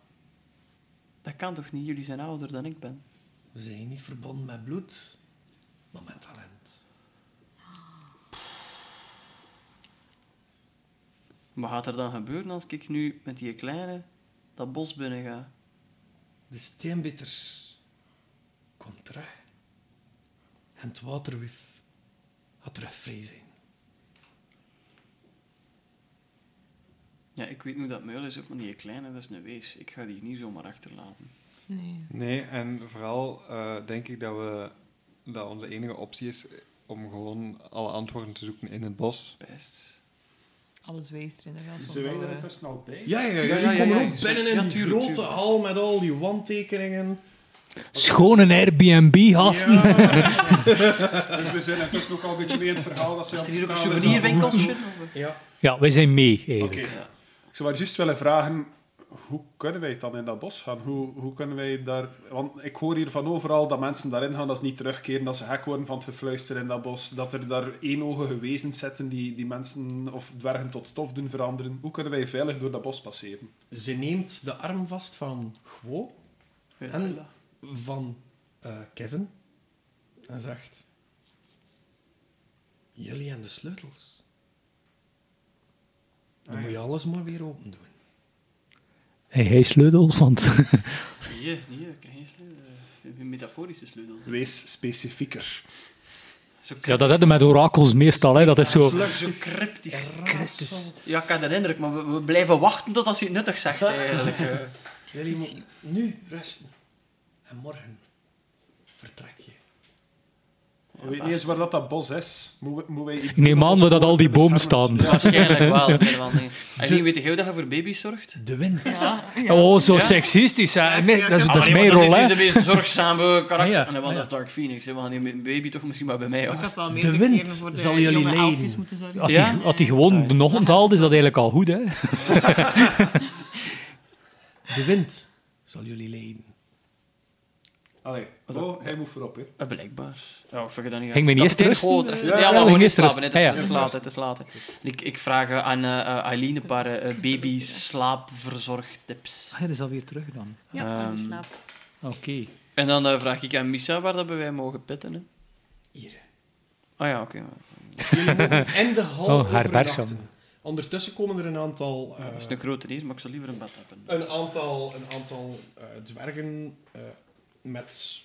Speaker 1: Dat kan toch niet? Jullie zijn ouder dan ik ben.
Speaker 2: We zijn niet verbonden met bloed, maar met talent.
Speaker 1: Wat gaat er dan gebeuren als ik nu met die kleine dat bos binnen ga?
Speaker 2: De steenbitters. Kom terug. En het waterwif gaat terug vrij zijn.
Speaker 1: Ja, ik weet nu dat muil is, ook, maar die kleine, dat is een wees. Ik ga die niet zomaar achterlaten.
Speaker 3: Nee.
Speaker 5: Nee, en vooral eh, denk ik dat, we, dat onze enige optie is om gewoon alle antwoorden te zoeken in het bos.
Speaker 1: Best.
Speaker 3: Alles wees er inderdaad van. eh.
Speaker 4: Zijn wij
Speaker 3: dat
Speaker 4: er
Speaker 3: we-
Speaker 4: intussen al bij?
Speaker 2: Ja, ja,
Speaker 1: Ja,
Speaker 2: ja. Jullie
Speaker 1: ja, ja,
Speaker 2: komen
Speaker 1: ja.
Speaker 2: ook binnen in
Speaker 1: Ja,
Speaker 2: die
Speaker 1: tuurlijk,
Speaker 2: grote
Speaker 1: tuurlijk.
Speaker 2: hal met al die wandtekeningen.
Speaker 6: Schone Airbnb, gasten.
Speaker 4: Dus we zijn intussen ook al een beetje mee in het verhaal. Dat ze
Speaker 1: Is er
Speaker 4: aan
Speaker 1: hier ook een
Speaker 4: het vertalen
Speaker 1: souvenirwinkeltje?
Speaker 4: zijn.
Speaker 1: Of-
Speaker 2: Ja.
Speaker 6: Ja, wij zijn mee, eigenlijk.
Speaker 4: Oké.
Speaker 1: Ja.
Speaker 4: Ik zou maar juist willen vragen, hoe kunnen wij dan in dat bos gaan? Hoe, hoe kunnen wij daar... Want ik hoor hier van overal dat mensen daarin gaan, dat ze niet terugkeren, dat ze gek worden van het gefluister in dat bos, dat er daar eenoge wezens zitten die, die mensen of dwergen tot stof doen veranderen. Hoe kunnen wij veilig door dat bos passeren?
Speaker 2: Ze neemt de arm vast van Gwo, en van eh, Kevin, en zegt... Jullie en de sleutels.
Speaker 1: Ah,
Speaker 2: Dan moet je alles maar weer open doen.
Speaker 6: Hey, hey, sleutels, want...
Speaker 1: Nee, nee, ik heb geen sleutel. Eh, Het zijn Metaforische sleutels.
Speaker 4: Wees specifieker.
Speaker 1: Zo
Speaker 6: Ja, dat hebben met orakels meestal, hè. Dat is zo...
Speaker 1: Vlug, zo cryptisch.
Speaker 2: Raadselt.
Speaker 1: Ja, ik heb de indruk, maar we, we blijven wachten tot als je het nuttig zegt, eigenlijk. eh.
Speaker 2: Jullie moeten nu rusten. En morgen vertrek je.
Speaker 4: We weten niet eens waar dat, dat bos is. Moet, moet wij iets
Speaker 6: Neem aan dat al die bomen staan.
Speaker 4: beschermen?
Speaker 1: Waarschijnlijk wel. nee, wel, nee. En wie weet jij dat je voor baby's zorgt?
Speaker 2: De wind.
Speaker 3: Ja, ja.
Speaker 6: Oh, zo
Speaker 1: Ja?
Speaker 6: seksistisch, hè. Nee, dat is, Ah, dat is
Speaker 1: Allee,
Speaker 6: mijn
Speaker 1: want
Speaker 6: rol,
Speaker 1: dat
Speaker 6: hè.
Speaker 1: is hier de meest zorgzame karakter.
Speaker 6: Ja, ja,
Speaker 1: En dan wel,
Speaker 6: ja.
Speaker 1: dat is Dark Phoenix. Hè. We gaan die baby toch misschien maar bij mij
Speaker 3: Ik
Speaker 1: af.
Speaker 3: heb wel
Speaker 2: De
Speaker 3: meerdere
Speaker 2: wind
Speaker 3: keren voor de
Speaker 2: zal jullie
Speaker 3: jonge
Speaker 2: leiden.
Speaker 3: elfjes moeten zorgen.
Speaker 6: Had hij
Speaker 1: Ja?
Speaker 6: had hij gewoon de ochtend haald, is dat eigenlijk al goed, hè.
Speaker 2: De wind zal jullie leiden.
Speaker 4: Allee, oh, hij moet voorop, hè.
Speaker 1: Eh, Blijkbaar. Ja, of je dat niet
Speaker 6: Ging men
Speaker 1: Dat
Speaker 6: eerst
Speaker 1: is
Speaker 6: rusten?
Speaker 1: gewoon terecht.
Speaker 4: Ja,
Speaker 1: Ja,
Speaker 4: ja,
Speaker 1: maar we
Speaker 6: ging
Speaker 1: gaan
Speaker 6: eerst
Speaker 1: eerst slapen. Het
Speaker 6: rusten.
Speaker 1: is,
Speaker 6: Ja, ja.
Speaker 1: het is laat, het is laat. Ik, ik vraag eh, aan eh, eh, Aileen een paar eh, baby slaapverzorgtips.
Speaker 6: Ah, dat is alweer terug dan.
Speaker 3: Ja,
Speaker 1: Ehm,
Speaker 3: als je slaapt.
Speaker 6: Oké.
Speaker 1: En dan eh, vraag ik aan Missa waar dat bij wij mogen pitten. Hè.
Speaker 2: Hier.
Speaker 1: Ah ja, oké.
Speaker 2: Jullie mogen in de hal
Speaker 6: Oh, haar
Speaker 2: overnachten.
Speaker 6: bergen.
Speaker 2: Ondertussen komen er een aantal, eh,
Speaker 1: dat is een grote eer, maar ik zou liever een bed hebben.
Speaker 2: een aantal, een aantal eh, dwergen eh, met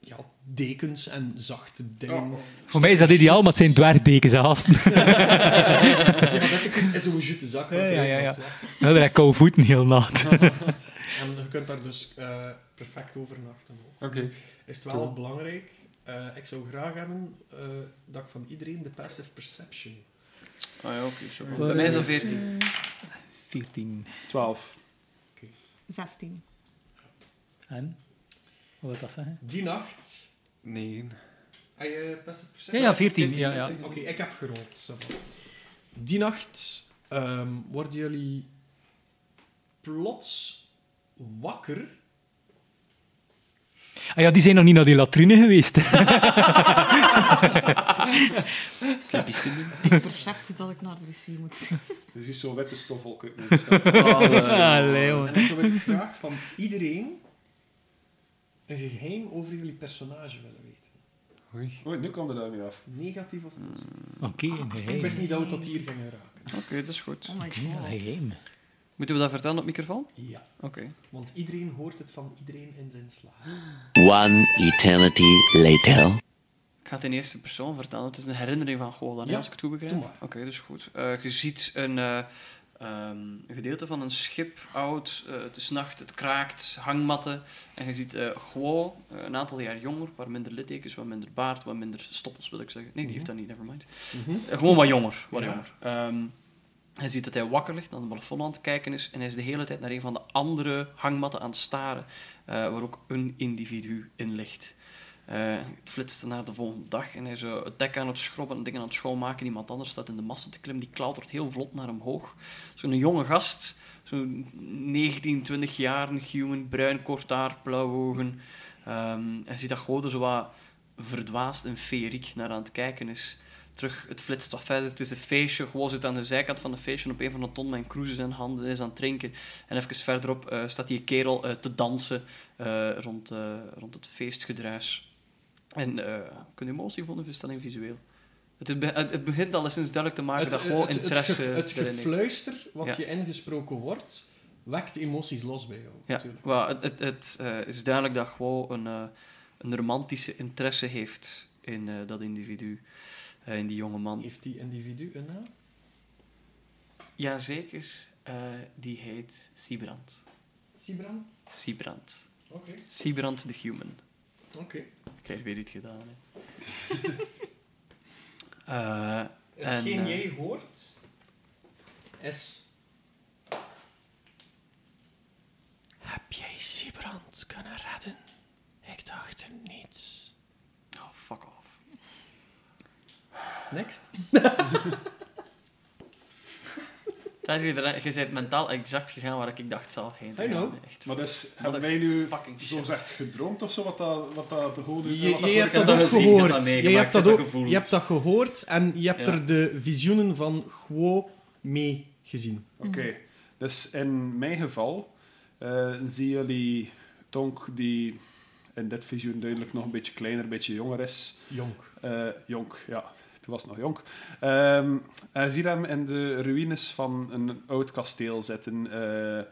Speaker 2: ja, dekens en zachte dingen.
Speaker 6: Voor mij is dat ideaal, maar het zijn dwergdekens, hè, gasten.
Speaker 2: Ja, dat effectief is zo'n jute zak.
Speaker 6: Ja, ja, ja, ja.
Speaker 2: dat slaat ze.
Speaker 6: Dan Nou, heb ik koude voeten heel nat.
Speaker 2: En je kunt daar dus eh, perfect overnachten. ook.
Speaker 5: Oké.
Speaker 2: Is het wel
Speaker 5: Cool.
Speaker 2: belangrijk? eh, ik zou graag hebben eh, dat ik van iedereen de passive perception.
Speaker 1: Ah ja, oké. zo goed. Bij mij is dat 14.
Speaker 6: 14.
Speaker 4: 12.
Speaker 3: 16.
Speaker 6: En? Wat wil dat zeggen?
Speaker 2: Die nacht.
Speaker 5: Nee.
Speaker 2: Heb je passive
Speaker 6: Ja,
Speaker 2: perception?
Speaker 6: ja, 14. Ja, ja.
Speaker 2: Oké, ik heb gerold. ça va. Die nacht ehm, worden jullie plots wakker.
Speaker 6: Ah ja, die zijn nog niet naar die latrine geweest.
Speaker 3: Ik besefte dat ik naar de wc moet.
Speaker 4: Dus is zo'n witte stofwolk uit mijn
Speaker 6: Allee, hoor.
Speaker 2: En dan zou ik graag van iedereen een geheim over jullie personage willen weten.
Speaker 5: Oei.
Speaker 4: Oei, Oh, nu kwam er daarmee af.
Speaker 2: Negatief of positief.
Speaker 6: Oké, een
Speaker 2: Ik
Speaker 6: geheim.
Speaker 2: wist niet dat we tot hier gingen raken.
Speaker 1: Oké, dat is goed.
Speaker 3: Oh my
Speaker 6: Ja, een
Speaker 3: god.
Speaker 6: geheim.
Speaker 1: Moeten we dat vertellen op microfoon?
Speaker 2: Ja,
Speaker 1: Oké.
Speaker 2: want iedereen hoort het van iedereen in zijn slaap.
Speaker 7: One eternity later.
Speaker 1: Ik ga het in eerste persoon vertellen. Het is een herinnering van Golan,
Speaker 2: Ja,
Speaker 1: als ik het goed begrijp.
Speaker 2: doe
Speaker 1: Oké,
Speaker 2: maar.
Speaker 1: dat is goed. Eh, je ziet een eh, ehm, een gedeelte van een schip, oud. eh, het is nacht, het kraakt, hangmatten. En je ziet eh Guo, eh, een aantal jaar jonger, wat minder littekens, wat minder baard, wat minder stoppels wil ik zeggen. Nee, die heeft dat niet, nevermind. Eh, gewoon wat jonger. Wat
Speaker 2: Mhm. Ja.
Speaker 1: jonger. Ehm, hij ziet dat hij wakker ligt, aan de plafond aan het kijken is. En hij is de hele tijd naar een van de andere hangmatten aan het staren, eh, waar ook een individu in ligt. Eh, het flitste naar de volgende dag en hij is eh, het dek aan het schrobben en dingen aan het schoonmaken. Iemand anders staat in de massa te klimmen, die klautert heel vlot naar omhoog. Zo'n jonge gast, zo'n 19, 20 jaar, een human, bruin, kort haar, blauwe ogen. Ehm, hij ziet dat Gode zo wat verdwaasd en feriek naar aan het kijken is. Terug, het flitst wat verder. Het is een feestje. Gewoon zit aan de zijkant van een feestje op een van de ton mijn cruises in handen is aan het drinken. En even verderop eh, staat die kerel eh, te dansen eh, rond, eh, rond het feestgedruis. En eh kun je emotie vonden of is dat in visueel? Het, be- het, het begint alleszins duidelijk te maken dat gewoon
Speaker 2: het,
Speaker 1: interesse
Speaker 2: ge- het
Speaker 1: erin is.
Speaker 2: gefluister wat
Speaker 1: Ja.
Speaker 2: je ingesproken wordt, wekt emoties los bij jou.
Speaker 1: Ja,
Speaker 2: natuurlijk.
Speaker 1: maar het, het, het, eh, is duidelijk dat gewoon een, eh, een romantische interesse heeft in eh, dat individu, eh, in die jonge man.
Speaker 2: Heeft die individu een naam?
Speaker 1: Jazeker, eh, die heet Sibrand.
Speaker 2: Sibrand?
Speaker 1: Sibrand.
Speaker 2: Oké.
Speaker 1: Sibrand the Human.
Speaker 2: Oké.
Speaker 1: Ik heb weer iets gedaan. Hè. Eh,
Speaker 2: Hetgeen
Speaker 1: En, eh,
Speaker 2: jij hoort is. Heb jij Sibrand kunnen redden? Ik dacht het niet.
Speaker 1: oh, fuck off.
Speaker 2: Next.
Speaker 1: Daar, je, je bent mentaal exact gegaan waar ik dacht zelf heen. te
Speaker 2: I
Speaker 1: gaan,
Speaker 2: know.
Speaker 1: hè, Echt.
Speaker 4: Maar dus,
Speaker 1: Wat
Speaker 4: hebben
Speaker 1: een
Speaker 4: wij nu
Speaker 1: fucking shit.
Speaker 4: zo gezegd gedroomd of zo, wat, dat, wat dat de goden...
Speaker 2: Je,
Speaker 4: wat dat
Speaker 2: je hebt
Speaker 1: heb
Speaker 2: dat
Speaker 1: dat
Speaker 2: ook
Speaker 1: gezien, ik heb dat
Speaker 2: gehoord. Je
Speaker 1: meegemaakt, ik heb
Speaker 2: hebt dat
Speaker 1: dat
Speaker 2: ook
Speaker 1: gevoeld.
Speaker 2: je hebt dat gehoord en je hebt
Speaker 1: Ja.
Speaker 2: er de visioenen van Guo mee gezien.
Speaker 4: Oké, dus in mijn geval eh, zien jullie Tonk, die in dit visioen duidelijk nog een beetje kleiner, een beetje jonger is.
Speaker 2: Jonk.
Speaker 4: Eh, jonk, ja, toen was het nog jonk. Ehm hij ziet hem in de ruïnes van een oud kasteel zitten, eh,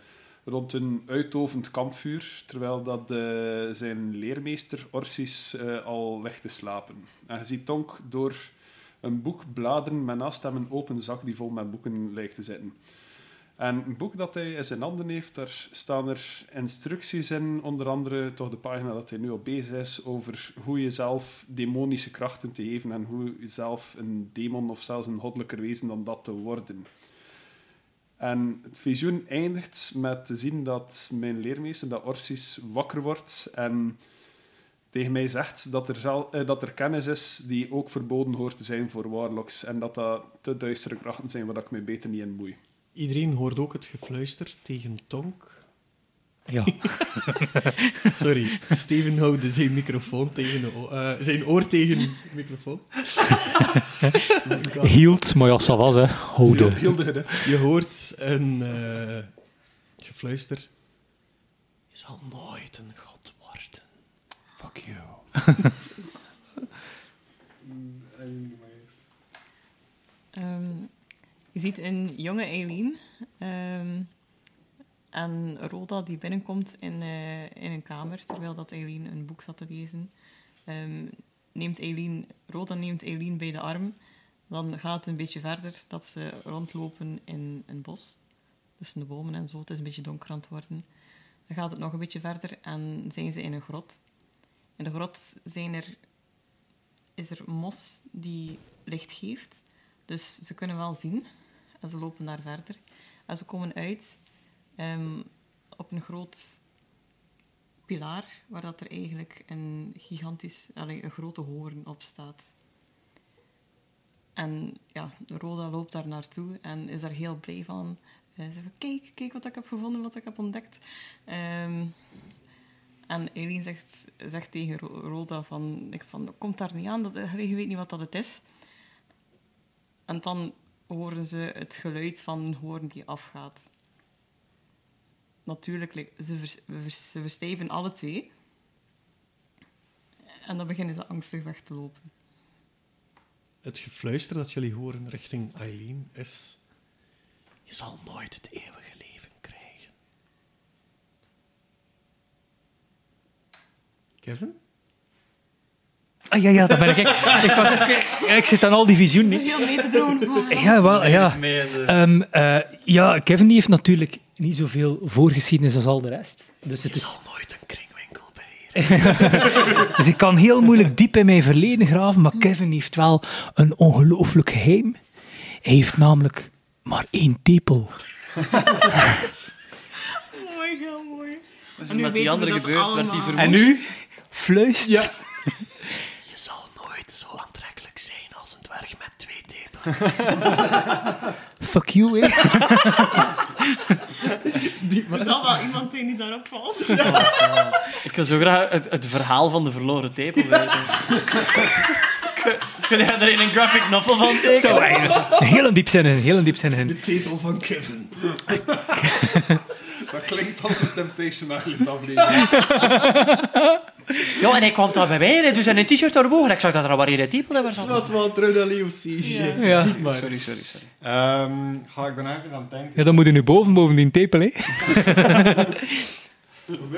Speaker 4: rond een uitdovend kampvuur, terwijl dat, eh, zijn leermeester Orsis eh, al ligt te slapen. En je ziet Tonk door een boek bladeren, met naast hem een open zak die vol met boeken lijkt te zitten. En een boek dat hij in zijn handen heeft, daar staan er instructies in, onder andere toch de pagina dat hij nu op bezig is, over hoe je zelf demonische krachten te geven en hoe je zelf een demon of zelfs een goddelijker wezen dan dat te worden. En het visioen eindigt met te zien dat mijn leermeester, dat Orsis, wakker wordt en tegen mij zegt dat er, zel- eh, dat er kennis is die ook verboden hoort te zijn voor warlocks en dat dat te duistere krachten zijn waar ik me beter niet in moei.
Speaker 2: Iedereen hoort ook het gefluister tegen Tonk.
Speaker 6: Ja.
Speaker 2: Sorry, Steven houden zijn microfoon tegen de o- eh, zijn oor tegen de microfoon.
Speaker 6: Hield, maar ja, ça was, hè. Houden.
Speaker 4: Heel de- de-
Speaker 2: Je hoort een eh, gefluister. Je zal nooit een god worden.
Speaker 5: Fuck you.
Speaker 3: Ehm, je ziet een jonge Eileen ehm, en Roda die binnenkomt in, eh, in een kamer terwijl dat Eileen een boek zat te lezen. ehm, neemt Eileen, Rhoda neemt Eileen bij de arm. Dan gaat het een beetje verder dat ze rondlopen in een bos. Tussen de bomen en zo. Het is een beetje donker aan het worden. Dan gaat het nog een beetje verder en zijn ze in een grot. In de grot zijn er, is er mos die licht geeft. Dus ze kunnen wel zien. En ze lopen daar verder. En ze komen uit ehm, op een groot pilaar waar dat er eigenlijk een gigantisch, allee, een grote hoorn op staat. En ja, Roda loopt daar naartoe en is daar heel blij van. Eh, Ze zegt, kijk, kijk wat ik heb gevonden, wat ik heb ontdekt. Ehm, en Eileen zegt, zegt tegen Ro- Roda van, ik van, komt daar niet aan, dat, allee, je weet niet wat dat het is. En dan horen ze het geluid van een hoorn die afgaat. Natuurlijk, like, ze, vers, we vers- ze verstijven alle twee. En dan beginnen ze angstig weg te lopen.
Speaker 2: Het gefluister dat jullie horen richting Eileen is... Je zal nooit het eeuwige leven krijgen. Kevin?
Speaker 6: Ah ja, ja, dat ben ik. Ik, had- ja, ik zit aan al die visioenen. hè.
Speaker 3: Heel mee te doen.
Speaker 6: Ja, wel, ja. Ehm, eh, ja, Kevin die heeft natuurlijk niet zoveel voorgeschiedenis als al de rest. Dus, het
Speaker 2: Je
Speaker 6: is,
Speaker 2: zal nooit een kringwinkel beheren.
Speaker 6: dus ik kan heel moeilijk diep in mijn verleden graven, maar Kevin heeft wel een ongelooflijk geheim. Hij heeft namelijk maar één tepel.
Speaker 3: Mooi, heel mooi.
Speaker 1: Wat is
Speaker 3: En
Speaker 1: er
Speaker 3: nu
Speaker 1: met die
Speaker 3: weten we
Speaker 1: andere
Speaker 3: dat
Speaker 1: gebeurd? Werd die
Speaker 3: allemaal.
Speaker 1: vermoord?
Speaker 6: En nu fluist.
Speaker 2: Ja.
Speaker 7: Je zal nooit zo aantrekkelijk zijn als een dwerg met twee tepels.
Speaker 6: Fuck you, hè.
Speaker 2: Die, maar
Speaker 3: Er zal wel iemand zijn die daarop valt.
Speaker 1: Ik wil zo graag het, het verhaal van de verloren tepel weten. Kun- Kun jij er een graphic novel van tekenen?
Speaker 6: Heel een diep zin in, heel een diep zin in.
Speaker 2: de tepel van Kevin.
Speaker 4: Dat klinkt als een Temptation Island aflevering.
Speaker 1: Ja, en hij kwam daar bij mij, hè, dus in een t-shirt door de boven. Ik zag dat er al wat in de tepel
Speaker 2: Dat is
Speaker 1: was.
Speaker 2: wat wel terug naar Leocesië.
Speaker 6: Ja.
Speaker 2: Dit maar.
Speaker 1: Sorry, sorry, sorry.
Speaker 5: Ehm, ga ik ben ergens aan het denken.
Speaker 6: Ja, dan moet je nu boven, boven die tepel, hè.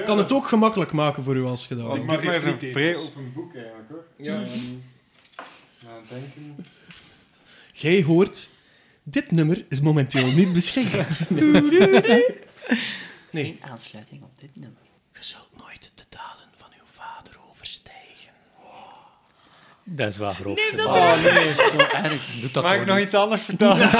Speaker 2: Kan het ook gemakkelijk maken voor u als gedaan.
Speaker 5: Want
Speaker 4: maar
Speaker 5: Oh, maar is
Speaker 4: heeft
Speaker 5: een
Speaker 4: drie
Speaker 5: vrij
Speaker 4: tepels.
Speaker 5: open boek eigenlijk hoor.
Speaker 2: Ja.
Speaker 5: Ehm, aan het denken.
Speaker 2: Jij hoort, dit nummer is momenteel niet beschikbaar. Nee.
Speaker 1: Geen aansluiting op dit nummer.
Speaker 7: Je zult nooit de daden van uw vader overstijgen.
Speaker 6: Dat is wel grof.
Speaker 1: Oh nee, zo erg.
Speaker 6: Doet dat
Speaker 5: Mag ik
Speaker 6: toch
Speaker 5: nog
Speaker 6: niet?
Speaker 5: iets anders vertellen?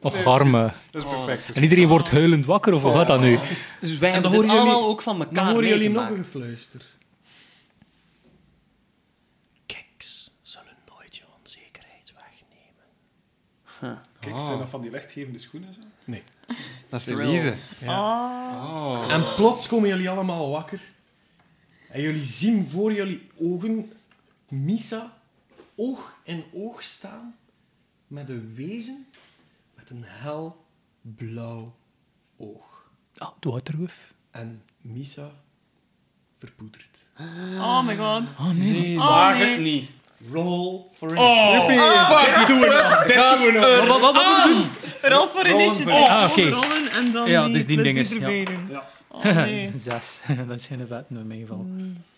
Speaker 6: Och, arme.
Speaker 5: Dat is
Speaker 1: Oh,
Speaker 5: perfect.
Speaker 6: En iedereen wordt huilend wakker, of wat gaat dat nu?
Speaker 1: Dus wij hebben
Speaker 2: dan
Speaker 1: dit
Speaker 2: horen jullie-
Speaker 1: allemaal ook van elkaar
Speaker 2: Dan horen jullie nog
Speaker 1: meegemaakt.
Speaker 2: een gefluister.
Speaker 7: Kiks zullen nooit je onzekerheid wegnemen.
Speaker 4: Kijk, zijn dat van die lichtgevende schoenen? Zo?
Speaker 5: Dat is
Speaker 1: Thrill.
Speaker 5: Elise.
Speaker 2: En plots komen jullie allemaal wakker. En jullie zien voor jullie ogen Misa oog in oog staan met een wezen met een hel blauw oog.
Speaker 6: Ah, doe het er weer.
Speaker 2: En Misa verpoedert.
Speaker 3: Oh my god.
Speaker 6: Ah, nee.
Speaker 1: Waag
Speaker 3: nee.
Speaker 1: het niet.
Speaker 2: Roll for
Speaker 1: Oh,
Speaker 2: initiative. Dit doen we nog, dit doen we nog.
Speaker 6: Wat, Eh, wat, wat moeten we doen?
Speaker 3: Rol voor initiative. Oh,
Speaker 6: Ah, oké.
Speaker 3: Rollen en dan
Speaker 6: Ja,
Speaker 3: die
Speaker 6: dus die
Speaker 3: plus
Speaker 6: dinges, ja.
Speaker 3: erbij doen.
Speaker 4: Ja.
Speaker 3: Oh nee.
Speaker 6: Zes. Dat is geen vet in mijn geval.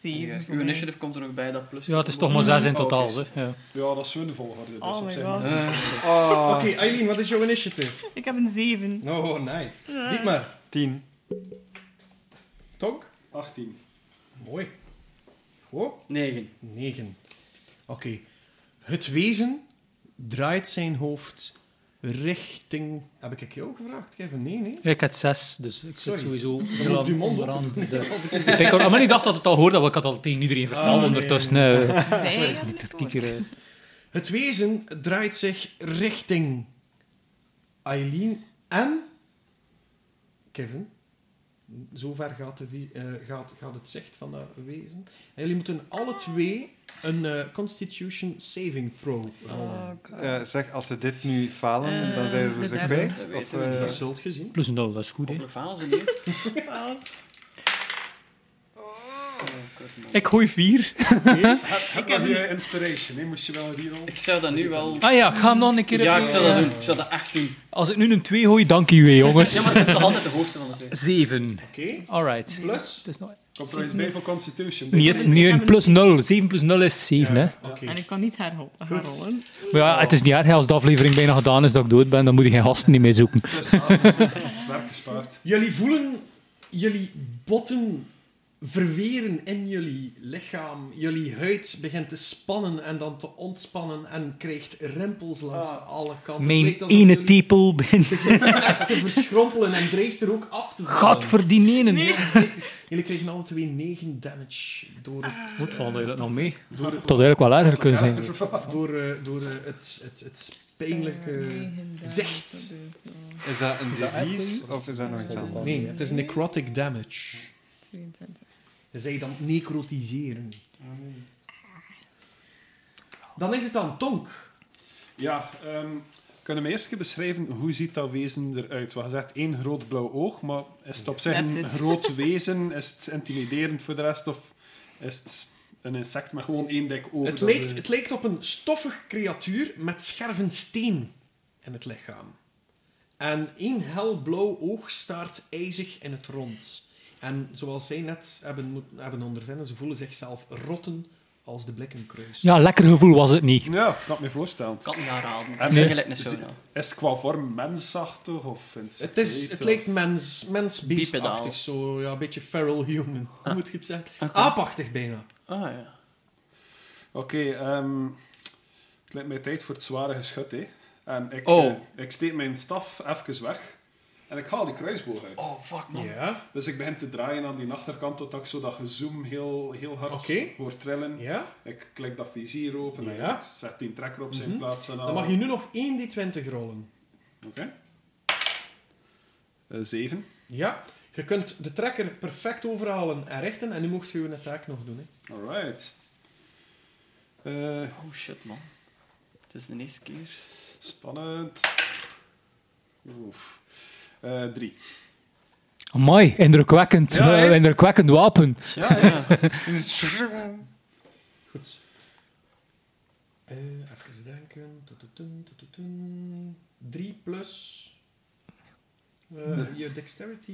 Speaker 3: Zeven. voor
Speaker 1: Uw
Speaker 3: mij.
Speaker 1: initiative komt er nog bij, dat plus.
Speaker 6: Ja, het is toch maar zes in
Speaker 4: Oh, oké.
Speaker 6: totaal. hè. Ja.
Speaker 4: ja, dat is zo'n volgorde. Dus
Speaker 3: Oh
Speaker 4: op
Speaker 3: my
Speaker 4: zijn
Speaker 3: god.
Speaker 2: Oké, Eileen, wat is jouw initiative?
Speaker 3: Ik heb een zeven.
Speaker 2: Oh, nice. Dietmar.
Speaker 5: 10.
Speaker 2: Tonk.
Speaker 4: 18.
Speaker 2: Mooi. Oh,
Speaker 1: 9.
Speaker 2: negen. Oké. Het wezen draait zijn hoofd richting... Heb ik jou gevraagd, Kevin? Nee, nee.
Speaker 6: Ik had zes, dus ik zit
Speaker 2: Sorry.
Speaker 6: sowieso
Speaker 2: je
Speaker 6: onderaan,
Speaker 2: je mond
Speaker 6: onderaan de... de picker. Ah, maar ik dacht dat het al hoorde, want ik had al tegen iedereen verteld
Speaker 2: Ah, nee,
Speaker 6: ondertussen. Nee.
Speaker 3: Nee,
Speaker 6: dat is niet het kikker. eh.
Speaker 2: Het wezen draait zich richting Eileen en Kevin. Zover gaat, de vi- eh, gaat, gaat het zicht van dat wezen. En jullie moeten alle twee een eh, Constitution Saving Throw rollen.
Speaker 3: Oh god.
Speaker 5: Eh, zeg, als ze dit nu falen,
Speaker 3: Eh,
Speaker 5: dan zijn we
Speaker 3: de
Speaker 5: ze
Speaker 3: derde.
Speaker 5: kwijt.
Speaker 1: Dat
Speaker 5: Of,
Speaker 1: weten we
Speaker 5: eh,
Speaker 2: Dat zult gezien.
Speaker 6: Plus een nul, dat is goed. Hè.
Speaker 1: Hopelijk falen ze niet.
Speaker 3: Twaalf.
Speaker 6: Ik gooi vier.
Speaker 4: Heb wel je inspiration, hè? moest je wel reroll.
Speaker 1: Ik zou dat nu wel...
Speaker 6: Ah ja, ik ga hem nog een keer
Speaker 1: Ja, ik
Speaker 6: opnieuw-
Speaker 1: zou dat doen. Ik zou dat echt doen.
Speaker 6: Als ik nu een 2 gooi, dank u weer, jongens.
Speaker 1: Ja, maar dat is toch altijd de hoogste van de twee.
Speaker 6: 7.
Speaker 2: Oké.
Speaker 6: Alright.
Speaker 2: Plus?
Speaker 6: Het is nog...
Speaker 4: Komt er eens bij voor Constitution.
Speaker 6: Niet, niet een plus 0. 7 plus 0 is 7, hè.
Speaker 2: Oké.
Speaker 3: En ik kan niet herhol- herrollen.
Speaker 6: Maar ja, het is niet erg als de aflevering bijna gedaan is dat ik dood ben. Dan moet je geen gasten niet meer zoeken.
Speaker 4: Plus Het is werk gespaard.
Speaker 2: Jullie voelen jullie botten verweren in jullie lichaam. Jullie huid begint te spannen en dan te ontspannen en krijgt rimpels langs alle kanten. Het
Speaker 6: Mijn
Speaker 2: lijkt alsof
Speaker 6: ene
Speaker 2: jullie
Speaker 6: tepel begint...
Speaker 2: echt te verschrompelen en dreigt er ook af te vallen.
Speaker 6: Gat voor die ene.
Speaker 2: Jullie krijgen alle twee 9 damage door het,
Speaker 6: Moet vallen dat nog mee.
Speaker 2: door,
Speaker 6: Dat had eigenlijk wel erger kunnen zijn.
Speaker 2: door, eh, door eh, het, het, het
Speaker 1: eh,
Speaker 2: pijnlijke... zicht.
Speaker 5: Is dat een disease of is dat nog iets anders?
Speaker 2: Nee, het is necrotic damage.
Speaker 3: 22.
Speaker 2: Dus zij dan necrotiseren. Dan is het dan Tonk.
Speaker 4: Ja, ehm, kunnen we eerst even beschrijven hoe ziet dat wezen eruit? Want je zegt één groot blauw oog, maar is het op zich
Speaker 3: That's
Speaker 4: een
Speaker 3: it.
Speaker 4: groot wezen? Is het intimiderend voor de rest? Of is het een insect met gewoon één dik oog?
Speaker 2: Het
Speaker 4: dat,
Speaker 2: lijkt,
Speaker 4: eh,
Speaker 2: het lijkt op een stoffig creatuur met scherven steen in het lichaam. En één helblauw oog staart ijzig in het rond. En zoals zij net hebben, moeten- hebben ondervinden, ze voelen zichzelf rotten als de blikken kruisen.
Speaker 6: Ja, lekker gevoel was het niet.
Speaker 4: Ja, ik kan het me voorstellen.
Speaker 1: Ik kan het niet aanraden.
Speaker 4: Nee.
Speaker 1: Ik zeg gelijk een sauna.
Speaker 4: Is het qua vorm mensachtig of insect?
Speaker 2: Het, is, het lijkt mens,
Speaker 1: Bipedaal.
Speaker 2: mens-beestachtig, zo ja, een beetje feral human, hoe moet je het zeggen?
Speaker 1: Oké.
Speaker 2: Aapachtig bijna.
Speaker 1: Ah ja.
Speaker 4: Oké, ehm, het lijkt mij tijd voor het zware geschut, hè. En ik,
Speaker 1: Oh.
Speaker 4: eh, ik steek mijn staf even weg. En ik haal die kruisboog uit.
Speaker 1: Oh, fuck man.
Speaker 2: Ja,
Speaker 4: Dus ik begin te draaien aan die achterkant totdat ik zo dat gezoom heel, heel hard
Speaker 2: Oké.
Speaker 4: hoor trillen.
Speaker 2: ja.
Speaker 4: Ik klik dat vizier open en
Speaker 2: Ja. Mhm.
Speaker 4: ik zet die trekker op zijn plaats. En
Speaker 2: Dan mag je nu nog 1d20 rollen.
Speaker 4: Oké. Eh, zeven.
Speaker 2: Ja, je kunt de trekker perfect overhalen en richten. En nu mocht je je attack nog doen. Hè.
Speaker 4: Alright. Eh,
Speaker 1: Oh shit man. Het is de eerste keer.
Speaker 4: spannend. Oef. Eh, drie.
Speaker 6: Mooi, indrukwekkend.
Speaker 4: Ja, hè?
Speaker 6: Eh, indrukwekkend wapen.
Speaker 1: Ja, ja.
Speaker 2: Goed. Eh, even denken. Tututun, tututun. 3 plus... eh, Je dexterity,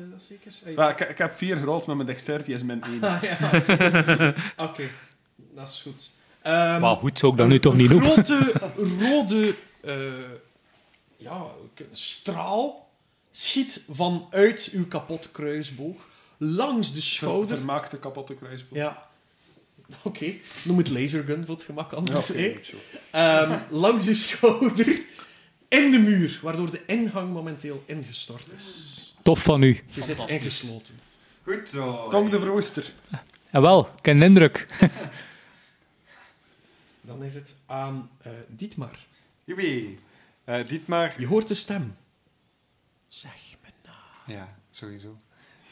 Speaker 2: is dat zeker? Eh,
Speaker 4: Wel, ik, ik heb vier gerold, maar mijn dexterity is min één.
Speaker 2: ah, ja. Oké, dat is goed. Ehm,
Speaker 6: Maar goed, zou ik dat nu toch niet
Speaker 2: Een
Speaker 6: doen?
Speaker 2: grote rode eh, ja, straal schiet vanuit uw kapot kruisboog langs de schouder.
Speaker 4: Vermaakte kapotte kruisboog.
Speaker 2: Ja. Oké, noem het lasergun voor het gemak
Speaker 4: Ja,
Speaker 2: anders.
Speaker 4: oké,
Speaker 2: hè.
Speaker 4: goed zo.
Speaker 2: Ehm, langs de schouder in de muur, waardoor de ingang momenteel ingestort is.
Speaker 6: Tof van u.
Speaker 2: Je zit
Speaker 1: Fantastisch.
Speaker 2: ingesloten.
Speaker 5: Goed zo.
Speaker 4: Tong de Vrooster.
Speaker 6: En wel, ik heb een indruk.
Speaker 2: Dan is het aan eh, Dietmar.
Speaker 5: Joepie. Eh, Dietmar.
Speaker 2: Je hoort de stem. Zeg me na.
Speaker 5: Ja, sowieso.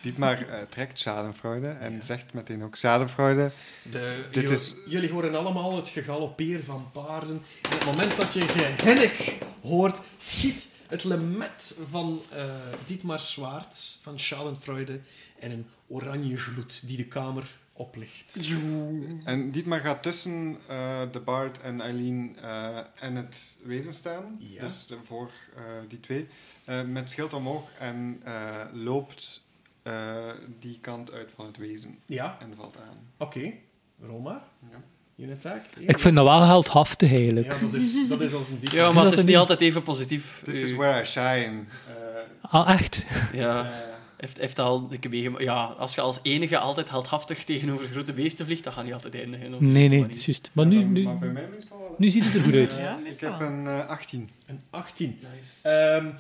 Speaker 5: Dietmar eh, trekt schadenfreude en zegt meteen ook schadenfreude.
Speaker 2: De,
Speaker 5: Dit
Speaker 2: ju-
Speaker 5: is-
Speaker 2: Jullie horen allemaal het gegalopeer van paarden. En op het moment dat je gehennik hoort, schiet het lemet van eh Dietmar Zwaard van Schadenfreude en een oranje gloed die de kamer oplicht.
Speaker 5: En Dietmar gaat tussen eh, de Bard en Eileen eh, en het wezen staan.
Speaker 2: Ja.
Speaker 5: Dus de- voor eh, die twee. eh, met schild omhoog en eh, loopt eh, die kant uit van het wezen.
Speaker 2: Ja,
Speaker 5: En valt aan.
Speaker 2: oké. Rol maar.
Speaker 5: Ja.
Speaker 2: Unit attack.
Speaker 6: Ik vind dat wel heldhaftig eigenlijk.
Speaker 2: Ja, dat is, dat is als een Dietmar.
Speaker 1: Ja, maar het
Speaker 6: Dat
Speaker 1: is
Speaker 6: is
Speaker 1: niet
Speaker 6: niet-
Speaker 1: altijd even positief.
Speaker 5: This is
Speaker 1: Eh,
Speaker 5: where I shine. Eh,
Speaker 6: Ah, echt?
Speaker 1: Ja.
Speaker 5: eh,
Speaker 1: Heeft, heeft dat al een keer meegemaakt? Ja, als je als enige altijd heldhaftig tegenover grote beesten vliegt, dan ga je altijd eindigen. op de
Speaker 6: Nee,
Speaker 1: juiste
Speaker 6: nee,
Speaker 1: manier.
Speaker 6: juist. Maar nu,
Speaker 5: maar bij
Speaker 6: nu,
Speaker 5: mij meestal wel. hè.
Speaker 6: nu ziet het er goed uit.
Speaker 3: Ja,
Speaker 5: ik
Speaker 3: meestal
Speaker 5: heb
Speaker 3: wel.
Speaker 5: een eh, 18.
Speaker 2: Een 18.
Speaker 1: Nice.
Speaker 2: Ehm,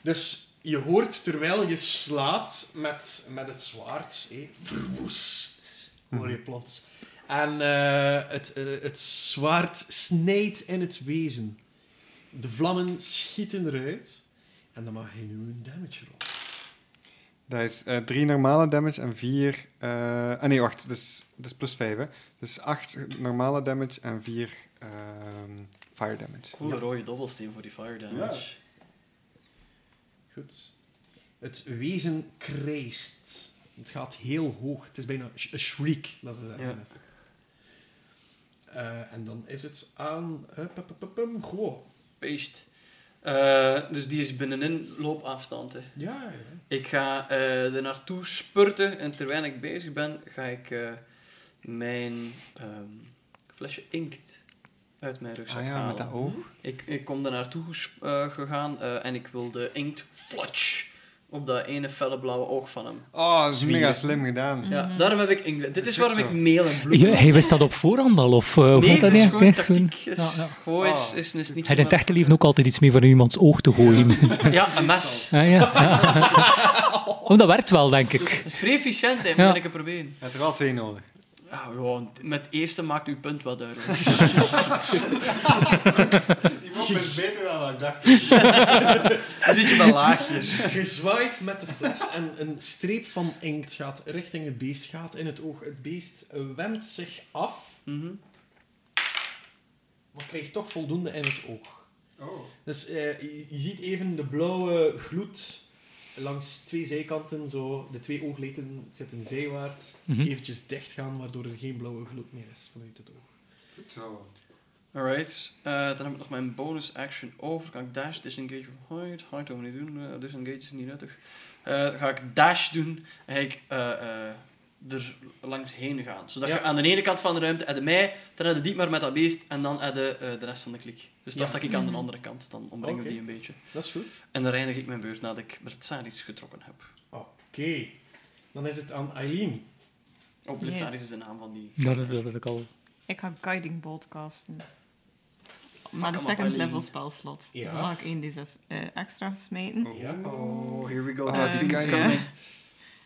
Speaker 2: dus je hoort terwijl je slaat met, met het zwaard, hé, verwoest, hoor je plots. En eh, het, eh, het zwaard snijdt in het wezen. De vlammen schieten eruit. En dan mag je nu een damage rollen.
Speaker 5: Dat is 3 normale damage en 4. ah nee, wacht. Dat is, dat is plus 5. Hè. Dus 8 normale damage en 4 fire damage.
Speaker 1: Coole rode dobbelsteen voor die fire damage.
Speaker 2: Goed. Het wezen krijst. Het gaat heel hoog. Het is bijna sh- een shriek, dat ze zeggen.
Speaker 1: Ja.
Speaker 2: Eh, en dan is het aan... eh, pu- pu- pu- pum, Gewoon.
Speaker 1: Beest. Eh, dus die is binnenin loopafstand. hè.
Speaker 2: Ja, ja, ja.
Speaker 1: Ik ga eh er naartoe spurten en terwijl ik bezig ben, ga ik eh, mijn ehm, flesje inkt uit mijn rugzak
Speaker 5: Ah ja,
Speaker 1: halen.
Speaker 5: met dat oog.
Speaker 1: Ik, ik kom daar naartoe ges- eh, gegaan eh, en ik wil de inkt flutsch op dat ene felle blauwe oog van hem.
Speaker 5: Oh, dat is
Speaker 1: Zwier.
Speaker 5: mega slim gedaan.
Speaker 1: Ja, daarom heb ik inkt. Dit is
Speaker 5: Goed
Speaker 1: waarom ik
Speaker 5: zo.
Speaker 1: meel en bloed.
Speaker 6: Je- hij wist dat op voorhand al, of eh, hoe
Speaker 1: nee,
Speaker 6: gaat dat
Speaker 1: dat is gewoon
Speaker 6: eigenlijk? Nee,
Speaker 1: tactiek.
Speaker 6: gewoon-
Speaker 1: Is,
Speaker 6: Ja, ja.
Speaker 1: Gewoon is,
Speaker 5: Ah,
Speaker 1: is een sneaky
Speaker 6: Hij in het
Speaker 1: man.
Speaker 6: echte leven ook altijd iets mee van iemands oog te gooien.
Speaker 1: Ja, een mes.
Speaker 6: Ah, ja. Oh, dat werkt wel, denk ik.
Speaker 1: Dat is vrij efficiënt, hè. Moet
Speaker 6: Ja.
Speaker 1: ik het proberen.
Speaker 5: Je hebt er wel twee nodig.
Speaker 1: Ah, ja, met het eerste maakt uw punt wel duidelijk.
Speaker 5: Die mop is beter dan ik dacht.
Speaker 1: Dan zit je wel laagjes.
Speaker 2: Je zwaait met de fles en een streep van inkt gaat richting het beest, gaat in het oog. Het beest wendt zich af,
Speaker 1: Mhm.
Speaker 2: maar krijgt toch voldoende in het oog.
Speaker 4: Oh.
Speaker 2: Dus eh, je, je ziet even de blauwe gloed langs twee zijkanten, zo, de twee oogleden zitten zijwaarts,
Speaker 6: Mhm.
Speaker 2: eventjes dicht gaan, waardoor er geen blauwe gloed meer is vanuit het oog.
Speaker 5: Zo.
Speaker 1: Alright, eh, dan heb ik nog mijn bonus action over. Kan ik dash, disengage of hide? Hide doen we niet doen, eh, disengage is niet nuttig. Eh, ga ik dash doen en ga ik eh, eh, er langs heen gaan. Zodat
Speaker 2: Ja.
Speaker 1: je aan de ene kant van de ruimte de mij, dan heb je die maar met dat beest en dan heb je eh, de rest van de klik. Dus dat
Speaker 2: Ja.
Speaker 1: stak ik aan de
Speaker 3: Mhm.
Speaker 1: andere kant, dan ombreng ik
Speaker 2: Oké.
Speaker 1: die een beetje.
Speaker 2: Dat is goed.
Speaker 1: En dan eindig ik mijn beurt nadat ik Britsaris getrokken heb.
Speaker 2: Oké, dan is het aan Eileen.
Speaker 1: Oh,
Speaker 3: Yes.
Speaker 1: Britsaris is de naam van die.
Speaker 6: Ja, dat, dat, dat ik al.
Speaker 3: Ik ga Guiding Bolt casten. Maar de
Speaker 1: up,
Speaker 3: second
Speaker 1: Eileen.
Speaker 3: level spelslot.
Speaker 2: Ja.
Speaker 3: Dus dan ga ik 1d6 eh, extra smijten.
Speaker 2: Ja.
Speaker 1: Oh, here we go.
Speaker 5: Oh,
Speaker 1: that
Speaker 3: die
Speaker 1: fiend's
Speaker 3: guy.
Speaker 1: coming.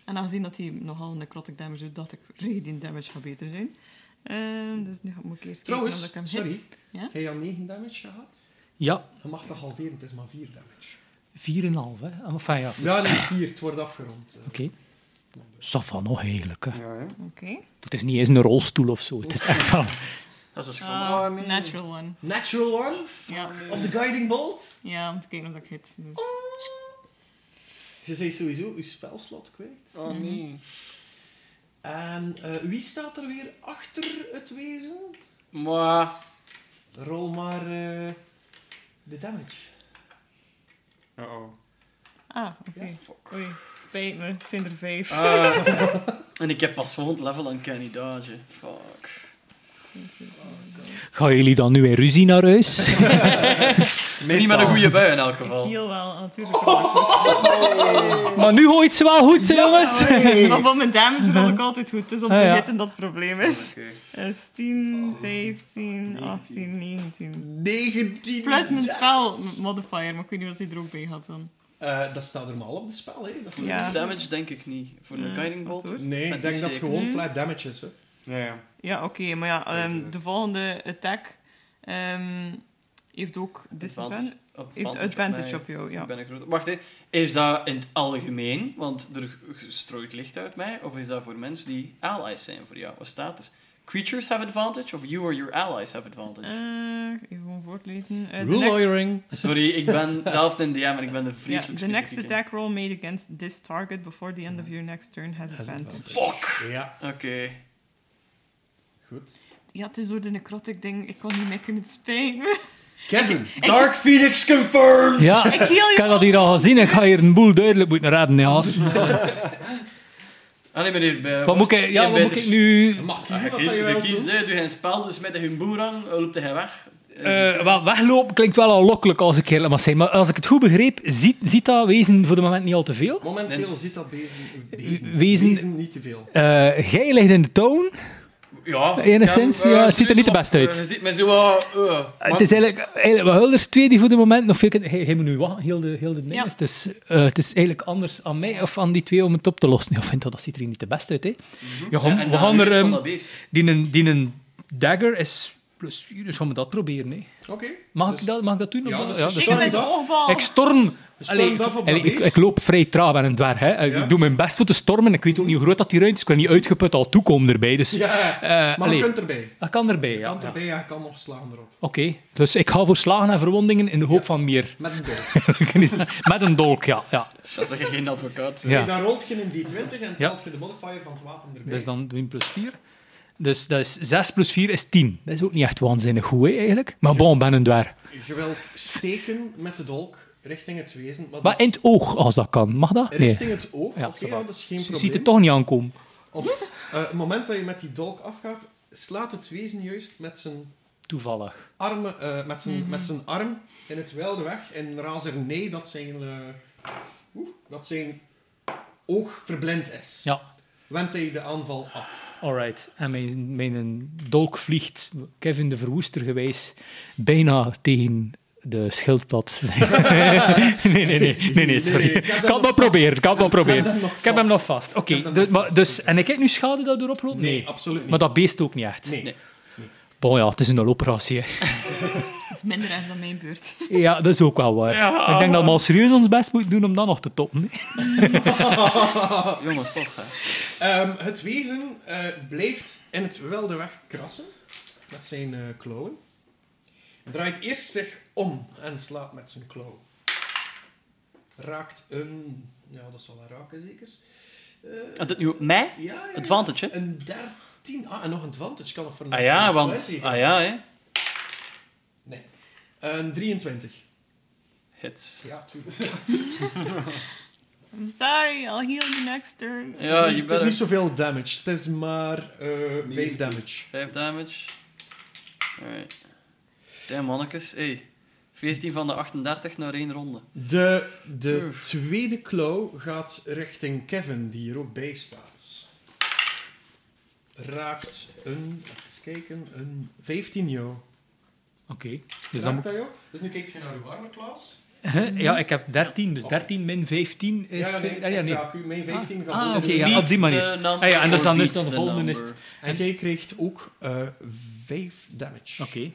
Speaker 3: En aangezien dat hij nogal necrotic damage doet, dacht ik, radiant damage gaat beter zijn. Ehm, dus nu ga- moet ik eerst
Speaker 2: Trouwens,
Speaker 3: kijken of ik hem
Speaker 2: sorry,
Speaker 3: hit. Ja?
Speaker 2: heb je al 9 damage gehad?
Speaker 6: Ja,
Speaker 2: Je mag dat halveren, het is maar 4 damage.
Speaker 6: 4,5. Hè? Ah, Enfin, ja. Oké.
Speaker 2: Ja, nee, 4, het wordt afgerond. eh.
Speaker 6: Safa nog heerlijk. Hè.
Speaker 5: Ja, hè?
Speaker 3: Oké.
Speaker 6: Het is niet eens een rolstoel of zo. Het is echt wel.
Speaker 1: Dat is een schommel.
Speaker 3: Ah,
Speaker 5: nee.
Speaker 3: Natural one.
Speaker 2: Natural one
Speaker 3: Ja.
Speaker 2: of the guiding bolt.
Speaker 3: ja, om te kijken of ik hit. Dus.
Speaker 2: Je zei sowieso je spelslot kwijt. Mhm.
Speaker 5: Oh nee.
Speaker 2: En eh, wie staat er weer achter het wezen?
Speaker 1: Maar...
Speaker 2: Rol maar eh, de damage.
Speaker 5: Uh-oh.
Speaker 3: Ah, oké. Oei, spijt me. Het zijn er vijf.
Speaker 1: Ah. en ik heb pas volgend level aan Kenny Dodge. hè. Fuck.
Speaker 6: Gaan jullie dan nu in ruzie naar huis?
Speaker 1: Is er niet met een goede bui in elk geval.
Speaker 3: Ik heel wel, natuurlijk. Oh.
Speaker 6: maar nu gooit ze wel goed, hè,
Speaker 2: Oh,
Speaker 6: jongens.
Speaker 3: Maar van mijn damage rol ik altijd goed. dus Het is op de
Speaker 6: Ah, ja.
Speaker 3: hit en dat het probleem
Speaker 2: Oh,
Speaker 3: is.
Speaker 1: Oké.
Speaker 3: Dus 10, 15, 18, 19.
Speaker 2: 19.
Speaker 3: Plus mijn spel modifier, maar ik weet niet wat hij er ook bij had dan.
Speaker 2: Eh, dat staat er maar al op het spel, hè? Dat-
Speaker 1: Voor
Speaker 3: Ja.
Speaker 1: de damage denk ik niet. Voor een
Speaker 3: Ja,
Speaker 1: guiding bolt.
Speaker 3: wat hoor.
Speaker 2: Nee,
Speaker 1: Dat
Speaker 2: ik denk
Speaker 1: is
Speaker 2: dat het
Speaker 1: zeker.
Speaker 2: gewoon
Speaker 3: Mm.
Speaker 2: flat damage is. Hè.
Speaker 5: Ja, ja.
Speaker 3: Ja, oké, maar ja, ehm,
Speaker 5: Oké.
Speaker 3: de volgende attack ehm, heeft ook disadvantage. Heeft advantage,
Speaker 1: mij.
Speaker 3: op jou, ja.
Speaker 1: Ik ben een grote... Wacht, hè. is dat in het algemeen? Want er strooit licht uit mij. Of is dat voor mensen die allies zijn voor jou? Wat staat er? Creatures have advantage of you or your allies have advantage?
Speaker 3: Eh, even gewoon voortlezen. Eh, the
Speaker 2: Rule
Speaker 3: next-
Speaker 2: lawyering.
Speaker 1: Sorry, ik ben zelf een DM en ik ben de
Speaker 3: ja,
Speaker 1: vreselijk
Speaker 3: the next
Speaker 1: specifiek in.
Speaker 3: attack roll made against this target before the end of your next turn has
Speaker 2: Has
Speaker 3: advantage.
Speaker 1: Fuck!
Speaker 2: Ja,
Speaker 1: Oké.
Speaker 2: goed.
Speaker 3: Ja, het is door de necrotic ding. Ik kon niet meer kunnen spelen.
Speaker 2: Kevin.
Speaker 1: Dark Phoenix confirmed!
Speaker 6: Ja,
Speaker 3: ik heel
Speaker 6: ik heb dat hier al gezien. Ik ga hier een boel duidelijk moeten raden. Ja.
Speaker 1: Allee Ah, meneer, bij,
Speaker 6: Wat moet ik, ja, wat moet ik nu...
Speaker 2: Je mag
Speaker 1: Ah,
Speaker 2: kiezen wat
Speaker 1: je
Speaker 2: dat je
Speaker 1: je
Speaker 2: wilt
Speaker 1: kiest,
Speaker 2: doen.
Speaker 1: hè. doe geen spel, dus met hun boerang loopt hij weg.
Speaker 6: Eh, wel, weglopen klinkt wel al lokkelijk als ik eerlijk mag zijn. Maar als ik het goed begreep, ziet, ziet dat wezen voor de moment niet al te veel.
Speaker 2: Momenteel
Speaker 1: Nee.
Speaker 2: zit dat bezen, bezen,
Speaker 6: Wezen-
Speaker 2: bezen niet te veel.
Speaker 6: Eh jij ligt in de toon.
Speaker 1: Dus, ja,
Speaker 6: enigszins,
Speaker 1: kan, eh,
Speaker 6: ja, het ziet er niet de beste uit. Ah,
Speaker 1: eh, je ziet mij zo wat... eh,
Speaker 6: het
Speaker 1: maar-
Speaker 6: is eigenlijk, eigenlijk wel Hulders twee die voor de moment nog veel... kunnen- Hij, hij moet nu wachten, heel de, heel de ding
Speaker 3: Ja.
Speaker 6: is. Dus eh, het is eigenlijk anders aan mij of aan die twee om het op te lossen. Ja, vindt dat, dat ziet er hier
Speaker 2: Mhm.
Speaker 6: niet de beste uit, hè. Ja,
Speaker 1: Ja,
Speaker 6: gaan-
Speaker 1: en
Speaker 6: we
Speaker 1: dan
Speaker 6: gaan
Speaker 1: weer
Speaker 6: er...
Speaker 1: stond
Speaker 6: ehm,
Speaker 1: dat beest.
Speaker 6: Die, een- die een dagger is plus 4, dus gaan we dat proberen. Hè.
Speaker 2: Oké.
Speaker 6: Mag,
Speaker 2: Dus-
Speaker 6: ik dat, mag ik dat doen?
Speaker 2: Ja,
Speaker 6: Of-
Speaker 2: dus
Speaker 6: dat-
Speaker 2: je
Speaker 3: Ik
Speaker 2: Storm
Speaker 3: ben
Speaker 2: dat?
Speaker 3: ongeval.
Speaker 6: Ik storm.
Speaker 2: Je stormt af op dat
Speaker 6: ik,
Speaker 2: beest.
Speaker 6: ik loop vrij traag ben een dwerg. Hè.
Speaker 2: Ja.
Speaker 6: Ik doe mijn best voor te stormen. Ik weet ook niet hoe groot dat die ruimte is. Ik ben niet uitgeput al toekomen erbij. Dus,
Speaker 2: Ja,
Speaker 6: eh,
Speaker 2: maar
Speaker 6: allee,
Speaker 2: je kunt erbij.
Speaker 6: dat kan erbij.
Speaker 2: Je
Speaker 6: Ja.
Speaker 2: kan
Speaker 6: Ja. Oké,
Speaker 2: erbij, ja, je kan nog slaan erop.
Speaker 6: dus ik ga voor slagen en verwondingen in de hoop
Speaker 2: Ja.
Speaker 6: van meer.
Speaker 2: Met een dolk.
Speaker 6: Met een dolk, ja. ja.
Speaker 1: Dat is geen advocaat. hè.
Speaker 6: ja.
Speaker 2: Daar rolt je een D20 en
Speaker 6: Ja.
Speaker 2: telt je de modifier van het wapen erbij.
Speaker 6: Dus dan doe je plus 4. Dus dat is 6 plus 4 is 10. Dat is ook niet echt waanzinnig goed, hè, eigenlijk. Maar bon, ben een dwerg.
Speaker 2: Je wilt steken met de dolk richting het wezen. Maar
Speaker 6: Maar in het oog, als dat kan. Mag dat? Nee.
Speaker 2: richting het oog,
Speaker 6: Ja,
Speaker 2: oké,
Speaker 6: ça va.
Speaker 2: ja, dat is geen
Speaker 6: Je
Speaker 2: probleem.
Speaker 6: ziet het toch niet aankomen.
Speaker 2: Op eh, het moment dat je met die dolk afgaat, slaat het wezen juist met zijn
Speaker 6: Toevallig.
Speaker 2: armen, eh, met
Speaker 6: Mhm.
Speaker 2: zijn, met zijn arm in het wilde weg. En razernij dat zijn, eh, oeh, dat zijn oog verblind is.
Speaker 6: Ja.
Speaker 2: Wendt hij de aanval af.
Speaker 6: Alright, en mijn, mijn dolk vliegt, Kevin de Verwoester geweest, bijna tegen de schildpad. nee, nee, nee, nee, nee,
Speaker 2: Nee, nee,
Speaker 6: sorry.
Speaker 2: ik heb
Speaker 6: Ik
Speaker 2: hem nog
Speaker 6: kan het maar
Speaker 2: vast.
Speaker 6: proberen, ik kan het maar proberen.
Speaker 2: hem nog
Speaker 6: Ik heb hem
Speaker 2: vast.
Speaker 6: nog vast. Oké,
Speaker 2: Ik heb hem
Speaker 6: de-
Speaker 2: nog
Speaker 6: maar-
Speaker 2: vast,
Speaker 6: dus, en ik kijk nu schade dat erop loopt? Nee.
Speaker 2: absoluut niet.
Speaker 6: Maar dat beest ook niet echt.
Speaker 2: Nee.
Speaker 1: Nee.
Speaker 6: Bon ja, het is een loopoperatie. hè.
Speaker 3: Dat is minder erg dan mijn beurt.
Speaker 6: Ja, dat is ook wel waar. Ik denk dat we al serieus ons best moeten doen om dat nog te toppen. hè.
Speaker 1: Jongens, toch. Hè.
Speaker 2: Ehm, het wezen eh, blijft in het wilde weg krassen met zijn eh, klauwen. Draait eerst zich om en slaat met zijn klauw. Raakt een... Ja, dat zal wel raken, zeker. Eh,
Speaker 1: Ah, dit nu op mij?
Speaker 2: ja, ja, ja.
Speaker 1: Advantage, hè?
Speaker 2: Een 13. Ah, en nog een advantage kan nog voor een
Speaker 1: Ah ja,
Speaker 2: 23
Speaker 1: want... Ah ja, hè.
Speaker 2: Nee. Een 23.
Speaker 1: Hits.
Speaker 2: Ja, tuurlijk.
Speaker 3: I'm sorry, I'll heal you next turn.
Speaker 1: Ja, je
Speaker 2: het is niet- het is
Speaker 1: bent...
Speaker 2: niet zoveel damage. Het is maar eh 5 damage.
Speaker 1: 5 damage. Alright. Damn, mannetjes. Hey. 14 van de 38 naar één ronde.
Speaker 2: De, de
Speaker 1: Oef.
Speaker 2: tweede klauw gaat richting Kevin, die er ook bij staat. Raakt een, even kijken, een 15 jou.
Speaker 6: Oké, dus dan
Speaker 2: Raakt
Speaker 6: moet
Speaker 2: dat jou? Dus nu kijkt je naar uw arme Klaas.
Speaker 6: ik- Ja, ik heb 13, dus 13 min 15 is...
Speaker 2: ja, nee,
Speaker 6: Ah,
Speaker 2: ik
Speaker 6: nee.
Speaker 2: raak u, mijn 15 gaat
Speaker 6: Ah,
Speaker 2: dood.
Speaker 6: oké, ja, op die manier.
Speaker 1: Beat the number
Speaker 6: Ah ja, en dus dan
Speaker 1: or
Speaker 6: is
Speaker 1: beat
Speaker 6: dan de
Speaker 1: the
Speaker 6: volgende is-
Speaker 1: number.
Speaker 2: En jij krijgt ook eh 5 damage.
Speaker 6: Oké,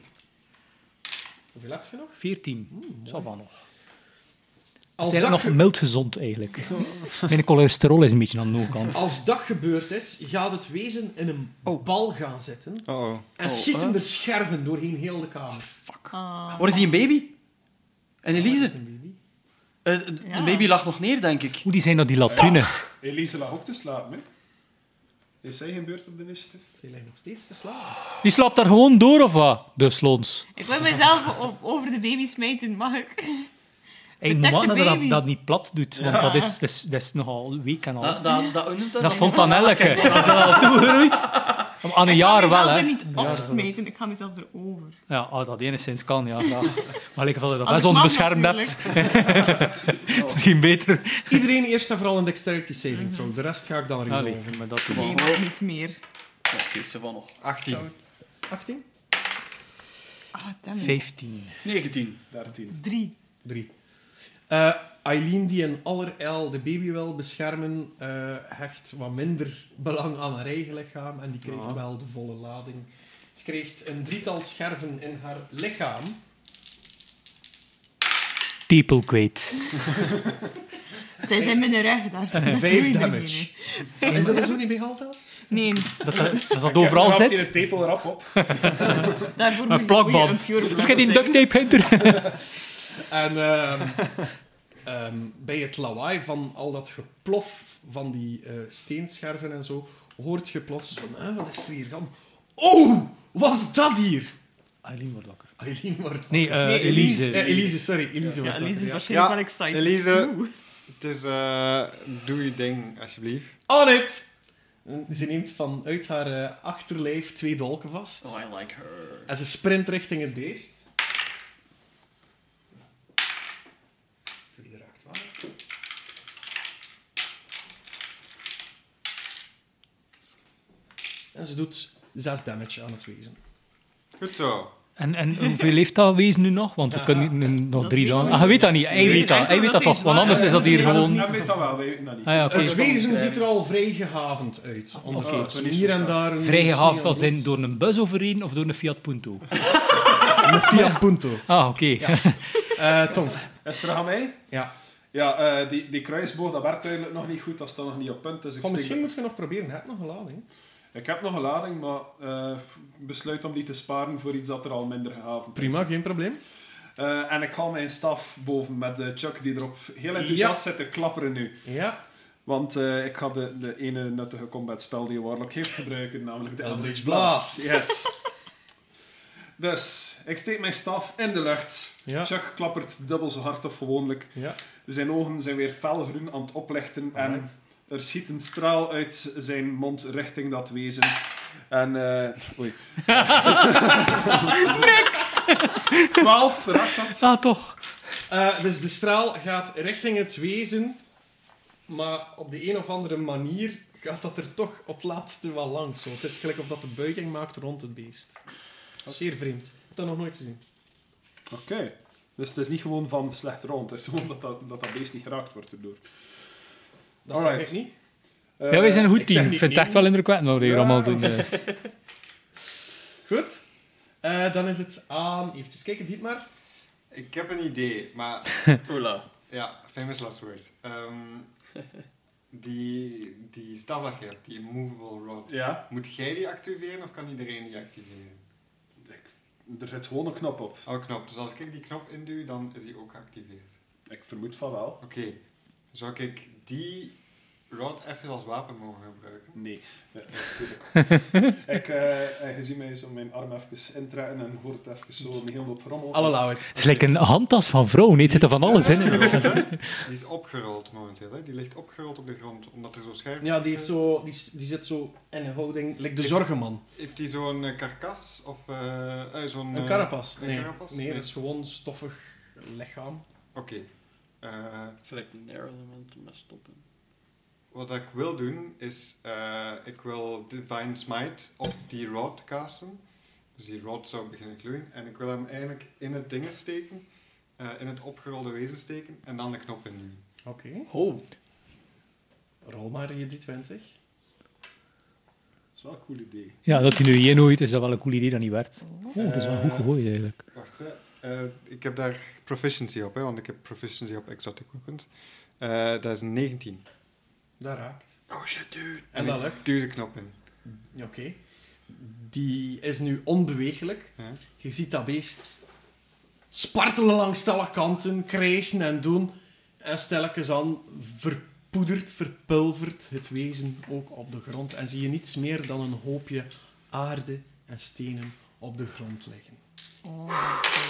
Speaker 2: Hoeveel heb je nog?
Speaker 6: 14. Zal van nog.
Speaker 2: Als
Speaker 6: Zijn
Speaker 2: dat,
Speaker 6: nog
Speaker 2: ge-
Speaker 6: mild gezond eigenlijk. Mijn cholesterol is een beetje aan de hoogkant.
Speaker 2: als dat gebeurd is, gaat het wezen in een
Speaker 6: Oh.
Speaker 2: bal gaan zitten
Speaker 5: Oh, oh.
Speaker 2: en
Speaker 1: Oh,
Speaker 2: schieten
Speaker 1: eh?
Speaker 2: er scherven doorheen heel de kamer.
Speaker 3: Ah.
Speaker 1: Waar is die een baby? En Elise?
Speaker 2: Dat is een baby.
Speaker 1: Eh, de
Speaker 3: Ja.
Speaker 1: baby lag nog neer, denk ik.
Speaker 6: Hoe die zijn dat die latrine?
Speaker 4: Elise lag ook te slapen, hè? Heeft zij geen beurt op de initiatief?
Speaker 2: Ze lijkt nog steeds te slapen.
Speaker 6: Die slaapt daar gewoon door of wat? De slons.
Speaker 3: Ik wil mezelf op, over de baby smijten, mag ik?
Speaker 6: Ik
Speaker 3: Protect
Speaker 6: moet
Speaker 3: the
Speaker 6: dat dat,
Speaker 3: baby.
Speaker 6: dat niet plat doet, want dat, is, dat, is, dat is nogal week en al.
Speaker 1: Dat,
Speaker 6: Dat,
Speaker 1: dat, dat, hoe noemt dat,
Speaker 6: fontanelletje, dat is al toegeroeid. Om aan een jaar wel,
Speaker 3: Ik
Speaker 6: hè.
Speaker 3: ga mezelf er niet opsmijten, ik ga mezelf erover.
Speaker 6: Ja, als dat enigszins kan, ja. graag. Maar ik geval dat
Speaker 3: Als
Speaker 6: best
Speaker 3: ik
Speaker 6: ons
Speaker 3: mag
Speaker 6: beschermd hebt,
Speaker 3: natuurlijk.
Speaker 6: misschien beter.
Speaker 2: Iedereen eerst en vooral een dexterity saving throw. De rest ga ik dan
Speaker 6: Ah,
Speaker 2: resolven.
Speaker 6: nee, maar dat doe ik.
Speaker 3: Nee, maar niet meer.
Speaker 1: Oké, ze van nog.
Speaker 5: 18.
Speaker 2: 18?
Speaker 3: Ah, damn it.
Speaker 6: 15.
Speaker 1: 19.
Speaker 4: 13.
Speaker 3: Drie.
Speaker 2: 3. Eh Eileen, die in allerijl de baby wil beschermen, eh, hecht wat minder belang aan haar eigen lichaam en die krijgt
Speaker 5: Ah.
Speaker 2: wel de volle lading. Ze krijgt een drietal scherven in haar lichaam.
Speaker 6: Tepel kwijt.
Speaker 3: Het is in mijn rug, daar zit het
Speaker 2: Vijf
Speaker 3: niet in.
Speaker 2: damage. Is dat er zo niet bij half elf?
Speaker 3: Nee,
Speaker 6: Dat dat, dat, dat overal
Speaker 4: Rapt
Speaker 6: zit.
Speaker 4: hij de tepel rap op.
Speaker 3: daarvoor moet
Speaker 6: Een
Speaker 3: je-
Speaker 6: plakband.
Speaker 3: moet je een pure
Speaker 6: Heb je die
Speaker 3: blad
Speaker 6: duct tape, Hunter?
Speaker 2: En ehm, ehm, bij het lawaai van al dat geplof van die eh, steenscherven en zo, hoort je plots van, "Ah, wat is er hier gaan? Oh, was dat hier?
Speaker 6: Eileen wordt wakker.
Speaker 2: Eileen wordt...
Speaker 6: Nee, eh,
Speaker 3: Nee,
Speaker 6: Elise.
Speaker 2: Eh, Elise, sorry. Elise
Speaker 3: zijn.
Speaker 2: wordt
Speaker 3: Ja,
Speaker 2: wakker,
Speaker 3: Elise is
Speaker 2: ja.
Speaker 3: waarschijnlijk
Speaker 5: Ja,
Speaker 3: wel excited.
Speaker 5: Elise.
Speaker 3: Oeh.
Speaker 5: Het is, eh, doe je ding, alsjeblieft.
Speaker 2: On it! En Ze neemt vanuit haar eh, achterlijf twee dolken vast.
Speaker 1: Oh, I like her.
Speaker 2: En ze sprint richting het beest. Twee raakt wel. En ze doet zes damage aan het wezen.
Speaker 5: Goed zo.
Speaker 6: En, en hoeveel leeft dat wezen nu nog? Want we kunnen nu nog
Speaker 3: Dat
Speaker 6: drie
Speaker 3: weten
Speaker 6: dagen...
Speaker 3: we
Speaker 6: Ah, je weet
Speaker 3: niet.
Speaker 6: dat niet. Hij
Speaker 3: Nee,
Speaker 6: weet dat.
Speaker 3: enkel
Speaker 6: Hij weet
Speaker 3: dat
Speaker 6: dat
Speaker 3: hij
Speaker 6: toch. Want
Speaker 3: zwaar
Speaker 6: anders is dat hier
Speaker 3: is.
Speaker 6: gewoon...
Speaker 4: Dat weet dat wel, wij weten dat niet.
Speaker 6: Ah ja, oké.
Speaker 2: Het wezen ziet er al vrij gehavend uit. Ondertussen
Speaker 4: Oh, oké.
Speaker 2: hier en daar... een-
Speaker 6: Vrijgehaald als in door een bus overreden of door een Fiat Punto?
Speaker 2: Een Fiat Punto.
Speaker 6: Ah, oké.
Speaker 2: Eh, Tom.
Speaker 4: Is het terug aan mij?
Speaker 2: Ja.
Speaker 4: Ja, eh, die, die kruisboog, dat werkt duidelijk nog niet goed. Dat staat nog niet op punt. Dus ik,
Speaker 2: Van,
Speaker 4: steek
Speaker 2: misschien
Speaker 4: de-
Speaker 2: moeten we nog proberen. Hij heeft nog een lading.
Speaker 4: ik heb nog een lading, maar eh, besluit om die te sparen voor iets dat er al minder gehavend is.
Speaker 2: Prima, geen probleem.
Speaker 4: Eh, en ik haal mijn staf boven met eh, Chuck, die erop heel enthousiast zit te klapperen nu.
Speaker 2: Ja.
Speaker 4: Want eh, ik ga de, de ene nuttige combat spel die Warlock heeft gebruiken, namelijk de
Speaker 2: Eldritch Blast.
Speaker 4: Yes. dus, ik steek mijn staf in de lucht.
Speaker 2: Ja.
Speaker 4: Chuck klappert dubbel zo hard of gewoonlijk.
Speaker 2: Ja.
Speaker 4: Zijn ogen zijn weer felgroen aan het oplichten en
Speaker 2: Alright.
Speaker 4: er schiet een straal uit zijn mond richting dat wezen. En, eh oei. Niks! 12, raakt dat?
Speaker 6: Ah, toch.
Speaker 2: Eh, dus de straal gaat richting het wezen. Maar op de een of andere manier gaat dat er toch op het laatste wel langs. Zo. Het is gelijk of dat de buiging maakt rond het beest. Zeer vreemd. Ik heb dat nog nooit gezien.
Speaker 4: Oké. Dus het is niet gewoon van slecht rond, het is gewoon dat dat, dat, dat beest niet geraakt wordt erdoor.
Speaker 2: Dat
Speaker 4: Alright.
Speaker 2: zeg ik niet.
Speaker 4: Eh,
Speaker 6: Ja, wij zijn een goed
Speaker 2: ik zeg
Speaker 6: team. Ik
Speaker 2: niet
Speaker 6: vind het echt wel indrukwekkend wat we hier
Speaker 4: Ja.
Speaker 6: allemaal doen. eh.
Speaker 2: Goed. Eh, dan is het aan... Even kijken, dit maar.
Speaker 5: Ik heb een idee, maar
Speaker 1: Oula.
Speaker 5: Ja, famous last word. Ehm, die, die staf dat je hebt, die immovable rod.
Speaker 4: Ja,
Speaker 5: Moet jij die activeren of kan iedereen die activeren?
Speaker 4: ik, er zit gewoon een knop op.
Speaker 5: Oh, knop. Dus als ik die knop induw, dan is die ook geactiveerd.
Speaker 4: Ik vermoed van wel.
Speaker 5: Oké. Zou ik die rod even als wapen mogen gebruiken?
Speaker 4: Nee. Ja, natuurlijk. ik, eh, en je ziet mij zo mijn arm even intrekken en hoort het even zo een heel hoop rommel.
Speaker 2: Alle allow it.
Speaker 6: Het is like een handtas van vrouwen. Nee, het zit er van alles in.
Speaker 5: Die is opgerold momenteel, hè? Die ligt opgerold op de grond, omdat hij zo scherp
Speaker 2: Ja, die, heeft zo, die, s- die zit zo in een houding... Like de zorgenman.
Speaker 5: Heeft die zo'n eh, karkas of eh, eh, zo'n...
Speaker 2: Een
Speaker 5: eh,
Speaker 2: carapas.
Speaker 5: een
Speaker 2: Nee,
Speaker 5: carapas?
Speaker 2: nee,
Speaker 5: Nee.
Speaker 2: dat is gewoon stoffig lichaam.
Speaker 5: Oké. Eh,
Speaker 1: Gelijk een element maar stoppen.
Speaker 5: Wat ik wil doen is, eh, ik wil Divine Smite op die rod casten. Dus die rod zou beginnen gloeien. En ik wil hem eigenlijk in het ding steken, eh, in het opgerolde wezen steken en dan de knop induwen.
Speaker 2: Oké.
Speaker 1: Ho.
Speaker 2: Rol maar je die 20.
Speaker 4: Dat is wel een cool idee.
Speaker 6: Ja, dat hij nu hier nooit is, dat wel een cool idee dat niet werd. Oh, dat is wel goed gegooid eigenlijk.
Speaker 5: Wacht, hè. Eh, ik heb daar proficiency op, hè, want ik heb proficiency op exotic weapons. Eh, dat is een 19.
Speaker 2: Dat raakt.
Speaker 1: Oh shit, dude.
Speaker 2: En dat
Speaker 5: ik
Speaker 2: lukt.
Speaker 5: duw de knop in.
Speaker 2: Oké. Die is nu onbeweeglijk.
Speaker 5: Ja.
Speaker 2: Je ziet dat beest spartelen langs alle kanten, krijsen en doen. En stelkens aan verpoedert, verpulvert het wezen ook op de grond. En zie je niets meer dan een hoopje aarde en stenen op de grond liggen.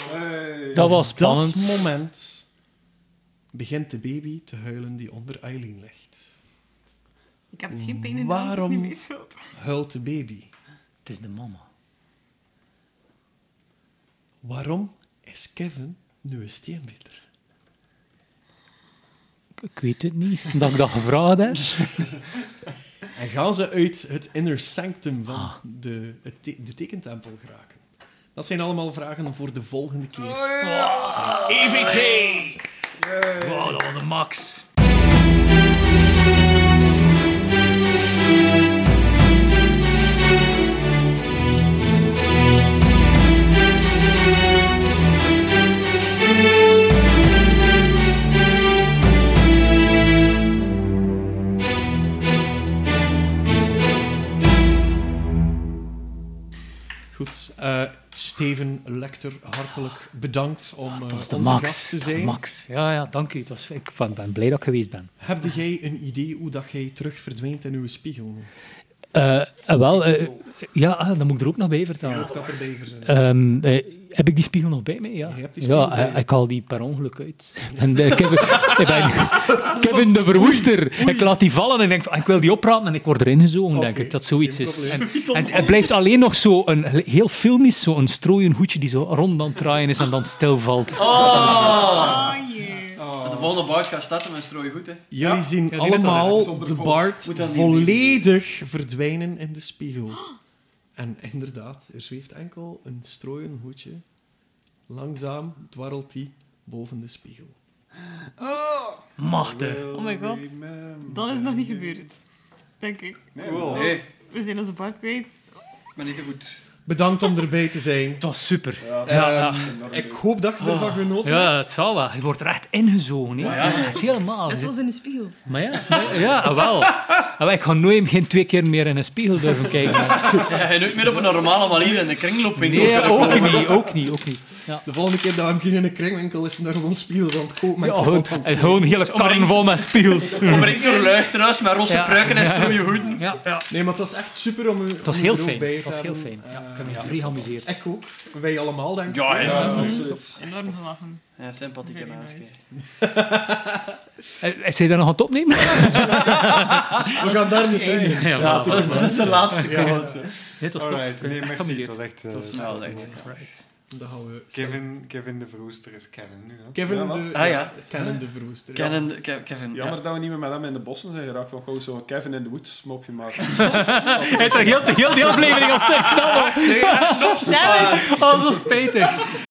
Speaker 4: Hey.
Speaker 6: Dat was
Speaker 2: Op dat
Speaker 6: spannend.
Speaker 2: moment begint de baby te huilen die onder Eileen ligt.
Speaker 3: Ik heb het geen pijn in de hand, het is
Speaker 2: Waarom-
Speaker 3: niet mijn schuld.
Speaker 2: Huilt de baby.
Speaker 6: Het is de mama.
Speaker 2: Waarom is Kevin nu een steenbieter?
Speaker 6: Ik, ik weet het niet, omdat ik dat gevraagd heb.
Speaker 2: En gaan ze uit het inner sanctum
Speaker 6: Ah.
Speaker 2: van de, het te- de tekentempel geraken? Dat zijn allemaal vragen voor de volgende keer.
Speaker 6: EVT! Wow, dat was de max.
Speaker 2: Goed, eh, Steven Lecter, hartelijk bedankt om eh,
Speaker 6: Dat was de
Speaker 2: onze
Speaker 6: max.
Speaker 2: gast te
Speaker 6: Dat was de
Speaker 2: zijn.
Speaker 6: max. Ja, ja, dank u. Het was, ik van- ben blij dat ik geweest ben.
Speaker 2: Heb jij een idee hoe dat jij terug verdwijnt in uw spiegel?
Speaker 6: Eh, eh, wel, eh, ja, ah, dat moet ik er ook nog bij vertellen.
Speaker 2: Mocht dat erbij verzinnen?
Speaker 6: Ehm, eh, heb ik die spiegel nog bij mij? Ja,
Speaker 2: Je hebt die spiegel
Speaker 6: ja
Speaker 2: bij
Speaker 6: eh,
Speaker 2: je.
Speaker 6: ik haal die per ongeluk uit. En, eh, ik heb ik ben, Kevin de verwoester. Ik laat die vallen en ik denk, van, ah, ik wil die oprapen en ik word erin gezogen, denk
Speaker 2: Oké,
Speaker 6: ik, dat zoiets
Speaker 2: geen
Speaker 6: is. En,
Speaker 2: probleem.
Speaker 6: en het blijft alleen nog zo een heel filmisch, zo'n strooien hoedje die zo rond aan het draaien is en dan stilvalt.
Speaker 3: Ah, jee.
Speaker 1: De volgende baas gaat starten met strooi goed, hè.
Speaker 2: Jullie
Speaker 4: Ja,
Speaker 2: zien
Speaker 6: die
Speaker 2: allemaal
Speaker 4: zonder
Speaker 2: de
Speaker 4: pols.
Speaker 2: baard
Speaker 1: Moet dat niet
Speaker 2: volledig verdwijnen in de spiegel. En inderdaad, er zweeft enkel een strooien hoedje. Langzaam dwarrelt die boven de spiegel.
Speaker 6: Machte.
Speaker 4: Will
Speaker 3: Oh my god.
Speaker 4: remember.
Speaker 3: Dat is nog niet gebeurd. Denk ik. Oh,
Speaker 4: Nee,
Speaker 5: Cool.
Speaker 1: Nee,
Speaker 3: We zijn onze part kwijt.
Speaker 1: maar niet te goed.
Speaker 2: Bedankt om erbij te zijn. Ehm,
Speaker 6: Het was super.
Speaker 4: Ja, dat
Speaker 6: Ja,
Speaker 4: is
Speaker 6: ja.
Speaker 4: enorm
Speaker 2: Ik
Speaker 4: leuk.
Speaker 2: hoop dat je ervan genoten hebt.
Speaker 6: Ah. Ja, het zal wel. Je wordt er echt ingezogen. Hè.
Speaker 1: Ja, ja.
Speaker 6: Echt helemaal.
Speaker 3: Het was in de spiegel.
Speaker 6: Maar ja, maar- ja ah, wel. Maar ik ga nooit geen twee keer meer in een spiegel durven kijken.
Speaker 1: Ja, nooit meer op een normale manier in de kringloopwinkel.
Speaker 6: Nee, oh. ook niet. Ook niet, ook niet. Ja.
Speaker 2: De volgende keer dat we hem zien in een kringwinkel is hij daar gewoon spiegels aan het kopen. en
Speaker 6: Ja,
Speaker 2: kapot
Speaker 6: gewoon,
Speaker 2: aan het
Speaker 6: en
Speaker 2: snijden.
Speaker 6: gewoon een hele karren vol met spiegels.
Speaker 1: Omringd door luisteraars met rosse
Speaker 6: Ja.
Speaker 1: pruiken en strooie hoeden.
Speaker 6: Ja, ja.
Speaker 2: Nee, maar het was echt super om u,
Speaker 6: Het was
Speaker 2: om u
Speaker 6: heel
Speaker 2: er ook
Speaker 6: fijn.
Speaker 2: bij
Speaker 6: Het
Speaker 2: te
Speaker 6: was heel
Speaker 2: hebben.
Speaker 6: fijn. Ja, ik heb
Speaker 2: Eh,
Speaker 6: me vrij geamuseerd.
Speaker 2: Ik ook. Wij allemaal, denk ik.
Speaker 1: Ja, hè.
Speaker 4: Ja, absoluut.
Speaker 3: Enorm gelachen.
Speaker 1: Ja, sympathieke
Speaker 3: Very
Speaker 1: mensen.
Speaker 3: nice.
Speaker 6: Eh, Is hij daar nog aan het opnemen?
Speaker 2: We gaan daar niet heen.
Speaker 6: Ja,
Speaker 2: Dat
Speaker 6: dat
Speaker 1: Dat
Speaker 2: is
Speaker 1: is,
Speaker 2: de laatste.
Speaker 1: de laatste
Speaker 2: Ja.
Speaker 1: quote.
Speaker 6: Dit was tof.
Speaker 5: Alright,
Speaker 6: Ik ben
Speaker 5: nee,
Speaker 6: echt
Speaker 5: merci. Het
Speaker 6: geamuseerd.
Speaker 5: was echt... eh,
Speaker 2: Het was-
Speaker 5: het
Speaker 1: Ja,
Speaker 5: was
Speaker 1: dat is
Speaker 5: mooi.
Speaker 1: echt, ja.
Speaker 6: Right.
Speaker 2: Dat gaan we...
Speaker 5: Kevin, Kevin de Verwoester is Kevin nu, hè?
Speaker 2: Kevin
Speaker 4: Ja, wat?
Speaker 2: de...
Speaker 1: Ah, ja.
Speaker 2: Kennen de verwoester. ja.
Speaker 1: Kennen, Ke- Kevin.
Speaker 4: Jammer
Speaker 1: Ja.
Speaker 4: dat we niet meer met hem in de bossen zijn geraakt. Want gewoon zo'n Kevin in de Woods mopje maken.
Speaker 6: Hij heeft er heel, heel die aflevering op zijn knallen.
Speaker 3: Sam!
Speaker 6: Oh, zo spijtig.